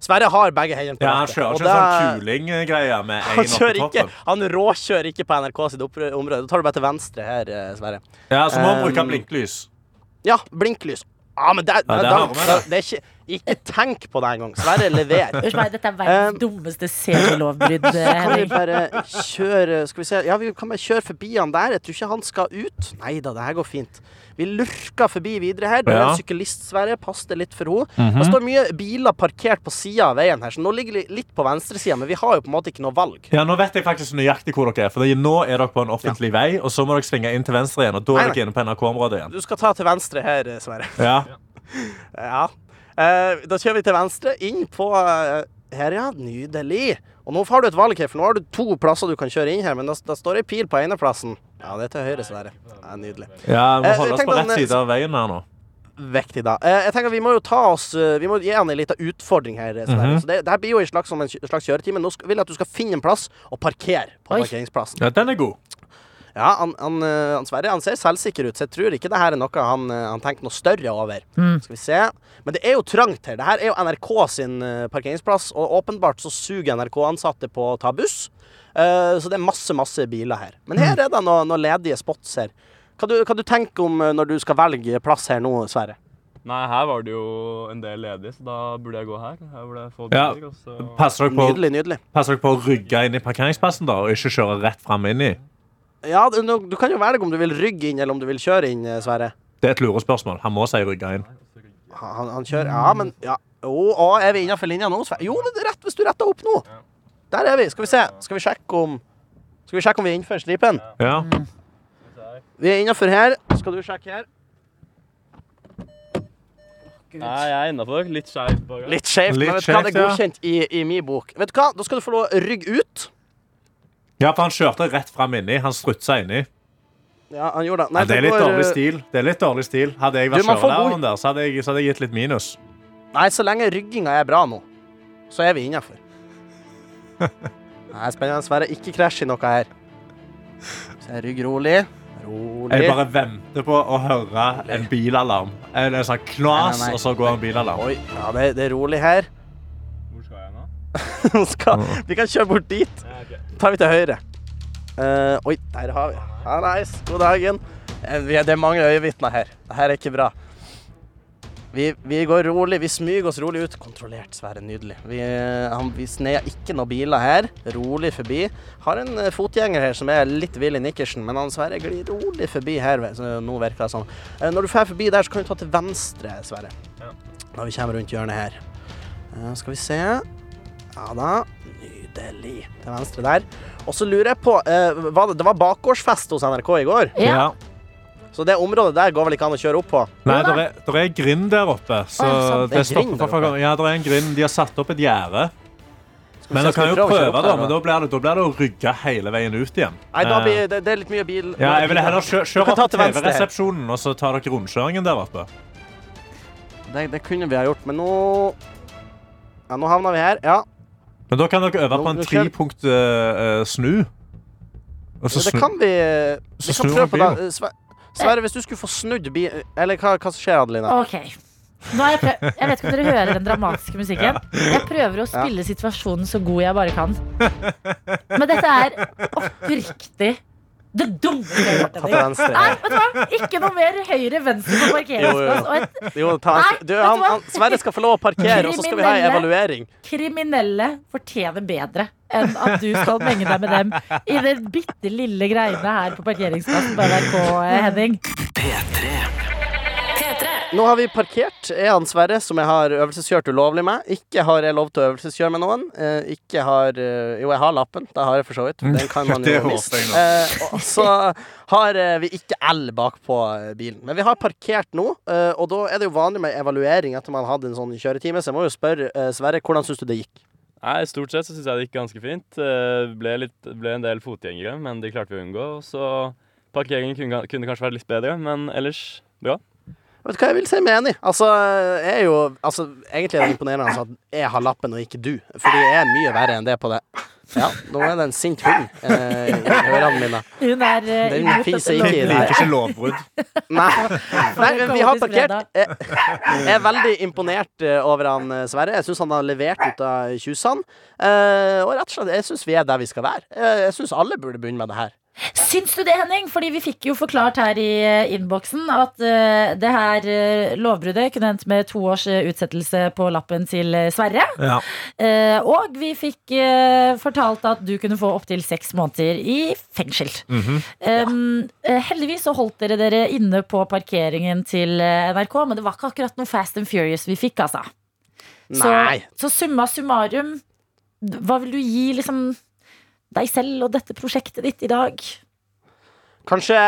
Speaker 8: Sverre har begge hendene på
Speaker 3: Ja, Han
Speaker 8: rattet,
Speaker 3: kjører
Speaker 8: og
Speaker 3: ikke sånn
Speaker 8: det-
Speaker 3: kulinggreie med én
Speaker 8: han
Speaker 3: oppå
Speaker 8: kjører ikke,
Speaker 3: toppen.
Speaker 8: han råkjører ikke på NRK sitt oppr- område. Da tar du bare til venstre her, eh, Sverre.
Speaker 3: Ja, Så må han bruke
Speaker 8: Um,
Speaker 3: blinklys.
Speaker 8: Ja, blinklys. Ja, men det,
Speaker 3: Ja, det
Speaker 8: det,
Speaker 3: har vi med,
Speaker 8: det, det er ikke Ikke tenk på det engang. Sverre, lever.
Speaker 2: Unnskyld meg, dette er verdens
Speaker 8: Um,
Speaker 2: dummeste serielovbrudd. eh,
Speaker 8: Kan vi
Speaker 2: Henning.
Speaker 8: bare kjøre Skal vi se Ja, vi kan bare kjøre forbi han der. Jeg tror ikke han skal ut. Nei da, det her går fint. Vi lurker forbi videre her. Det er
Speaker 3: Ja. Mhm.
Speaker 8: en syklist, Sverre. Pass deg litt for henne. Det står mye biler parkert på sida av veien her, så nå ligger vi litt på venstresida, men vi har jo på en måte ikke noe valg.
Speaker 3: Ja, Nå vet jeg faktisk nøyaktig hvor dere er. For Nå er dere på en offentlig vei, og så må dere svinge inn til venstre igjen. Og da
Speaker 8: Nei,
Speaker 3: er
Speaker 8: nei.
Speaker 3: dere inne på NRK-området igjen.
Speaker 8: Du skal ta til venstre her, eh, Sverre.
Speaker 3: Ja,
Speaker 8: Ja. Eh, da kjører vi til venstre, inn på eh, Her, ja. Nydelig. Og nå har du et valg her, for nå har du to plasser du kan kjøre inn her, men det, det står ei pil på ene plassen. Ja, det er til høyre, Sverre. Ja, nydelig.
Speaker 3: ja Vi må
Speaker 8: Eh,
Speaker 3: holde oss
Speaker 8: tenk
Speaker 3: på
Speaker 8: på
Speaker 3: rett
Speaker 8: den-
Speaker 3: side av veien her nå.
Speaker 8: Viktig, da. Eh, jeg tenker Vi må jo ta oss eh, Vi må gi han en liten utfordring her. Sverre. Så det, det her blir jo en slags, som en kj- slags kjøretime. Nå skal, vil jeg at du skal finne en plass og parkere på
Speaker 2: Oi.
Speaker 8: parkeringsplassen.
Speaker 3: Ja, Den er god.
Speaker 8: Ja, han, han, eh, han Sverre han ser selvsikker ut, så jeg tror ikke det her er noe han, eh, han tenker noe større over. Skal vi se. Men det er jo trangt her. Det her er jo NRK sin eh, parkeringsplass, og åpenbart så suger NRK-ansatte på å ta buss. Eh, så det er masse, masse biler her. Men her er det noen noe ledige spots her. Hva du, hva du tenker om eh, når du skal velge plass her nå, Sverre?
Speaker 9: Nei, her var det jo en del ledige, så da burde jeg gå her. Her burde jeg få
Speaker 3: Ja.
Speaker 9: biler, og så
Speaker 3: Passer dere, på,
Speaker 8: Nydelig, nydelig.
Speaker 3: passer dere på å rygge inn i parkeringsplassen da, og ikke kjøre rett fram inn i?
Speaker 8: Ja, du, nå- du kan jo velge om du vil rygge inn, eller om du vil kjøre inn, eh, Sverre.
Speaker 3: Det er et lurespørsmål. Han må si rygge inn.
Speaker 8: Han, han- han kjører Ja, men ja. Jo, å, er vi innafor linja nå? Sve- Jo, men det er rett hvis du retter opp nå. Der er vi. Skal vi se. Skal vi sjekke om Skal vi sjekke om vi er innenfor stripen?
Speaker 3: Ja.
Speaker 8: Vi er innafor her. Skal du sjekke her?
Speaker 9: Nei, jeg er innafor. Litt skeiv bak her.
Speaker 8: Litt skjevt, men
Speaker 3: Litt
Speaker 8: vet du hva, det
Speaker 3: skjevt,
Speaker 8: er
Speaker 3: ja.
Speaker 8: godkjent i, i min bok. Vet du hva, Da skal du få lov å rygge ut.
Speaker 3: Ja, for han kjørte rett fram inni. Han strutsa inni.
Speaker 8: Ja, han gjorde det. Nei,
Speaker 3: Ja, det er
Speaker 8: for
Speaker 3: litt
Speaker 8: går,
Speaker 3: dårlig
Speaker 8: eh,
Speaker 3: stil. Det er litt dårlig stil. Hadde jeg
Speaker 8: Du,
Speaker 3: vært
Speaker 8: man får
Speaker 3: kjørelæreren der, så hadde, jeg, så hadde jeg gitt litt minus.
Speaker 8: Nei, så lenge rygginga er bra nå, så er vi innafor. Nei, spennende. Sverre, ikke krasj i noe her. Så jeg rygg rolig. Rolig.
Speaker 3: Jeg bare venter på å høre en bilalarm. En, en sånn knas,
Speaker 8: Nei, nei, nei.
Speaker 3: og så går en bilalarm.
Speaker 8: Oi, ja, det, det er rolig her.
Speaker 9: Hvor skal jeg nå?
Speaker 8: Nå skal, vi kan kjøre bort dit.
Speaker 9: Ja, ok.
Speaker 8: Så tar vi til høyre. Eh, oi, der har vi. Ja, nice. God dagen. Eh, vi er- Det er mange øyevitner her. Dette er ikke bra. Vi, vi går rolig. Vi smyger oss rolig ut. Kontrollert, Sverre. Nydelig. Vi, eh, han, vi sneier ikke noen biler her. Rolig forbi. Har en eh, fotgjenger her som er litt Willy Nikkersen, men han Sverre glir rolig forbi her. vet du. nå virker det sånn. Eh, når du drar forbi der, så kan du ta til venstre, Sverre. Når vi kommer rundt hjørnet her. Eh, skal vi se. Ja da. Nydelig. Til venstre der. Og så lurer jeg på eh, var det, det var bakgårdsfest hos NRK i går,
Speaker 2: Ja.
Speaker 8: så det området der går vel ikke an å kjøre opp på?
Speaker 3: Nei, det er, der er en grind der oppe. Så
Speaker 2: Å, ja, sant.
Speaker 3: det
Speaker 8: Det er grind
Speaker 3: stopper
Speaker 8: der
Speaker 3: for folk. Ja, det er en grind. De har satt opp et gjerde.
Speaker 8: Skal vi
Speaker 3: Men
Speaker 8: se,
Speaker 3: du kan
Speaker 8: skal vi
Speaker 3: jo prøve,
Speaker 8: å kjøre opp
Speaker 3: da.
Speaker 8: der,
Speaker 3: Men da blir det, da blir det å rygge hele veien ut igjen.
Speaker 8: Nei, da
Speaker 3: Eh,
Speaker 8: blir det, det er litt mye bil.
Speaker 3: ja, jeg ville heller kjøre,
Speaker 8: Du kan
Speaker 3: kjøre
Speaker 8: ta
Speaker 3: opp
Speaker 8: til venstre her.
Speaker 3: TV-resepsjonen, og så tar dere rundkjøringen der oppe.
Speaker 8: det, det kunne vi ha gjort, men nå Ja, nå havna vi her. Ja.
Speaker 3: Men da kan dere øve på en
Speaker 8: Nå- nå kjører-
Speaker 3: trepunkt eh, eh, snu. Og så
Speaker 8: det
Speaker 3: snu.
Speaker 8: kan vi Vi
Speaker 3: Så
Speaker 8: kan
Speaker 3: snur han
Speaker 8: prøve på da.
Speaker 3: bilen.
Speaker 8: Eh, Sve- Sverre, hvis du skulle få snudd bi... Eller hva, hva som skjer, Adeline?
Speaker 2: Ok. Nå har jeg, prøv... jeg vet ikke om dere hører den dramatiske musikken. Jeg prøver å spille situasjonen så god jeg bare kan. Men dette er oppriktig det dummeste jeg har hørt.
Speaker 8: Ta til
Speaker 2: Henrik.
Speaker 8: venstre.
Speaker 2: Nei, vet du hva? Ikke noe mer høyre-venstre på parkeringsplass. Og et
Speaker 8: Jo, ta
Speaker 2: Nei,
Speaker 8: venstre.
Speaker 2: vet
Speaker 8: Du,
Speaker 2: du
Speaker 8: han,
Speaker 2: hva?
Speaker 8: han, Sverre skal få lov å parkere, og så skal vi ha en evaluering.
Speaker 2: kriminelle fortjener bedre enn at du skal menge deg med dem i den bitte lille greiene her på parkeringsplassen på NRK, eh, Henning.
Speaker 1: P3.
Speaker 8: Nå har vi parkert. Jeg han Sverre, som jeg har øvelseskjørt ulovlig med. Ikke har jeg lov til å øvelseskjøre med noen. Eh, ikke har eh, Jo, jeg har lappen. Det har jeg for så vidt. Den kan man
Speaker 3: Det
Speaker 8: jo
Speaker 3: håper
Speaker 8: miste.
Speaker 3: jeg nå.
Speaker 8: Eh, og så har eh, vi ikke L bakpå eh, bilen. Men vi har parkert nå, eh, og da er det jo vanlig med evaluering etter man har hatt en sånn kjøretime, så jeg må jo spørre eh, Sverre, hvordan syns du det gikk?
Speaker 9: Nei, Stort sett så syns jeg det gikk ganske fint. Eh, Ble, litt, ble en del fotgjengere, men de klarte vi å unngå. Så parkeringen kunne, kunne kanskje vært litt bedre, men ellers bra.
Speaker 8: Vet du hva, jeg vil si meg enig. Altså, jeg er jo altså, Egentlig er det imponerende altså, at jeg har lappen og ikke du. Fordi jeg er mye verre enn det på det. Ja, nå er det en sint hund eh, i ørene mine.
Speaker 2: Hun er eh,
Speaker 8: Den
Speaker 2: imot
Speaker 8: finnes
Speaker 2: dette
Speaker 8: ikke
Speaker 2: lovforslaget.
Speaker 8: i det her.
Speaker 3: Liker ikke lovbrudd.
Speaker 8: Nei, Nei men vi har
Speaker 2: Kaotisk
Speaker 8: parkert.
Speaker 2: fredag.
Speaker 8: Jeg, jeg er veldig imponert eh, over han eh, Sverre. Jeg syns han har levert ut av tjusene. Eh, og rett og slett, jeg syns vi er der vi skal være. Eh, jeg syns alle burde begynne med det her.
Speaker 2: Syns du det, Henning? Fordi vi fikk jo forklart her i eh, innboksen at eh, det her eh, lovbruddet kunne endt med to års eh, utsettelse på lappen til eh, Sverre.
Speaker 3: Ja.
Speaker 2: Eh, og vi fikk eh, fortalt at du kunne få opptil seks måneder i fengsel.
Speaker 8: Mhm.
Speaker 2: um, eh, heldigvis så holdt dere dere inne på parkeringen til eh, NRK, men det var ikke akkurat noe Fast and Furious vi fikk, altså. Så,
Speaker 8: Nei.
Speaker 2: så summa summarum, hva vil du gi liksom deg selv og dette prosjektet ditt i dag?
Speaker 8: Kanskje,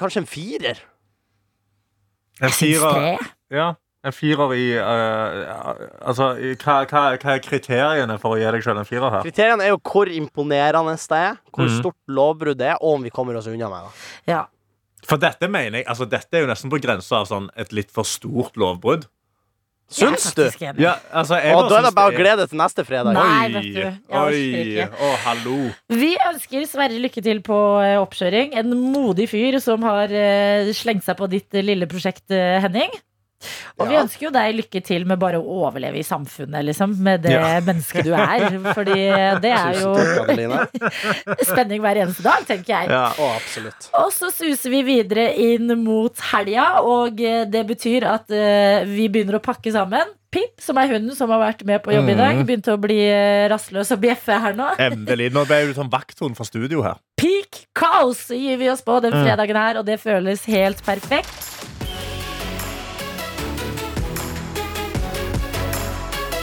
Speaker 8: kanskje en firer.
Speaker 3: En
Speaker 2: Syns
Speaker 3: firer
Speaker 2: tre?
Speaker 3: Ja, en firer i eh, Altså, i, hva, hva, hva er kriteriene for å gi deg selv en firer her?
Speaker 8: Kriteriene er jo hvor imponerende det er, hvor
Speaker 3: Mhm.
Speaker 8: stort lovbrudd det er, og om vi kommer oss unna med det.
Speaker 2: Ja.
Speaker 3: For dette mener jeg, altså dette er jo nesten på grensa av sånn et litt for stort lovbrudd.
Speaker 8: Syns du?
Speaker 2: Jeg er faktisk enig.
Speaker 3: Ja, altså, jeg
Speaker 8: Og da er det
Speaker 3: syns
Speaker 8: bare å glede til neste fredag.
Speaker 2: Nei.
Speaker 3: Oi,
Speaker 2: vet du, jeg orker
Speaker 3: oi,
Speaker 2: ikke.
Speaker 3: å hallo.
Speaker 2: Vi ønsker Sverre lykke til på eh, oppkjøring. En modig fyr som har eh, slengt seg på ditt eh, lille prosjekt, eh, Henning. Og vi
Speaker 8: Ja.
Speaker 2: ønsker jo deg lykke til med bare å overleve i samfunnet, liksom. Med det
Speaker 3: Ja.
Speaker 2: mennesket du er. Fordi eh, det er jo
Speaker 8: Tusen takk, Adeline.
Speaker 2: spenning hver eneste dag, tenker jeg.
Speaker 3: Ja.
Speaker 8: Å, absolutt.
Speaker 2: Og så suser vi videre inn mot helga, og eh, det betyr at eh, vi begynner å pakke sammen. Pip, som er hunden som har vært med på jobb i
Speaker 8: Mm.
Speaker 2: dag, begynte å bli eh, rastløs og bjeffe her nå.
Speaker 3: Endelig. Nå ble du sånn vakthund fra studio her.
Speaker 2: Peak kaos gir vi oss på den fredagen her, og det føles helt perfekt.
Speaker 1: P3.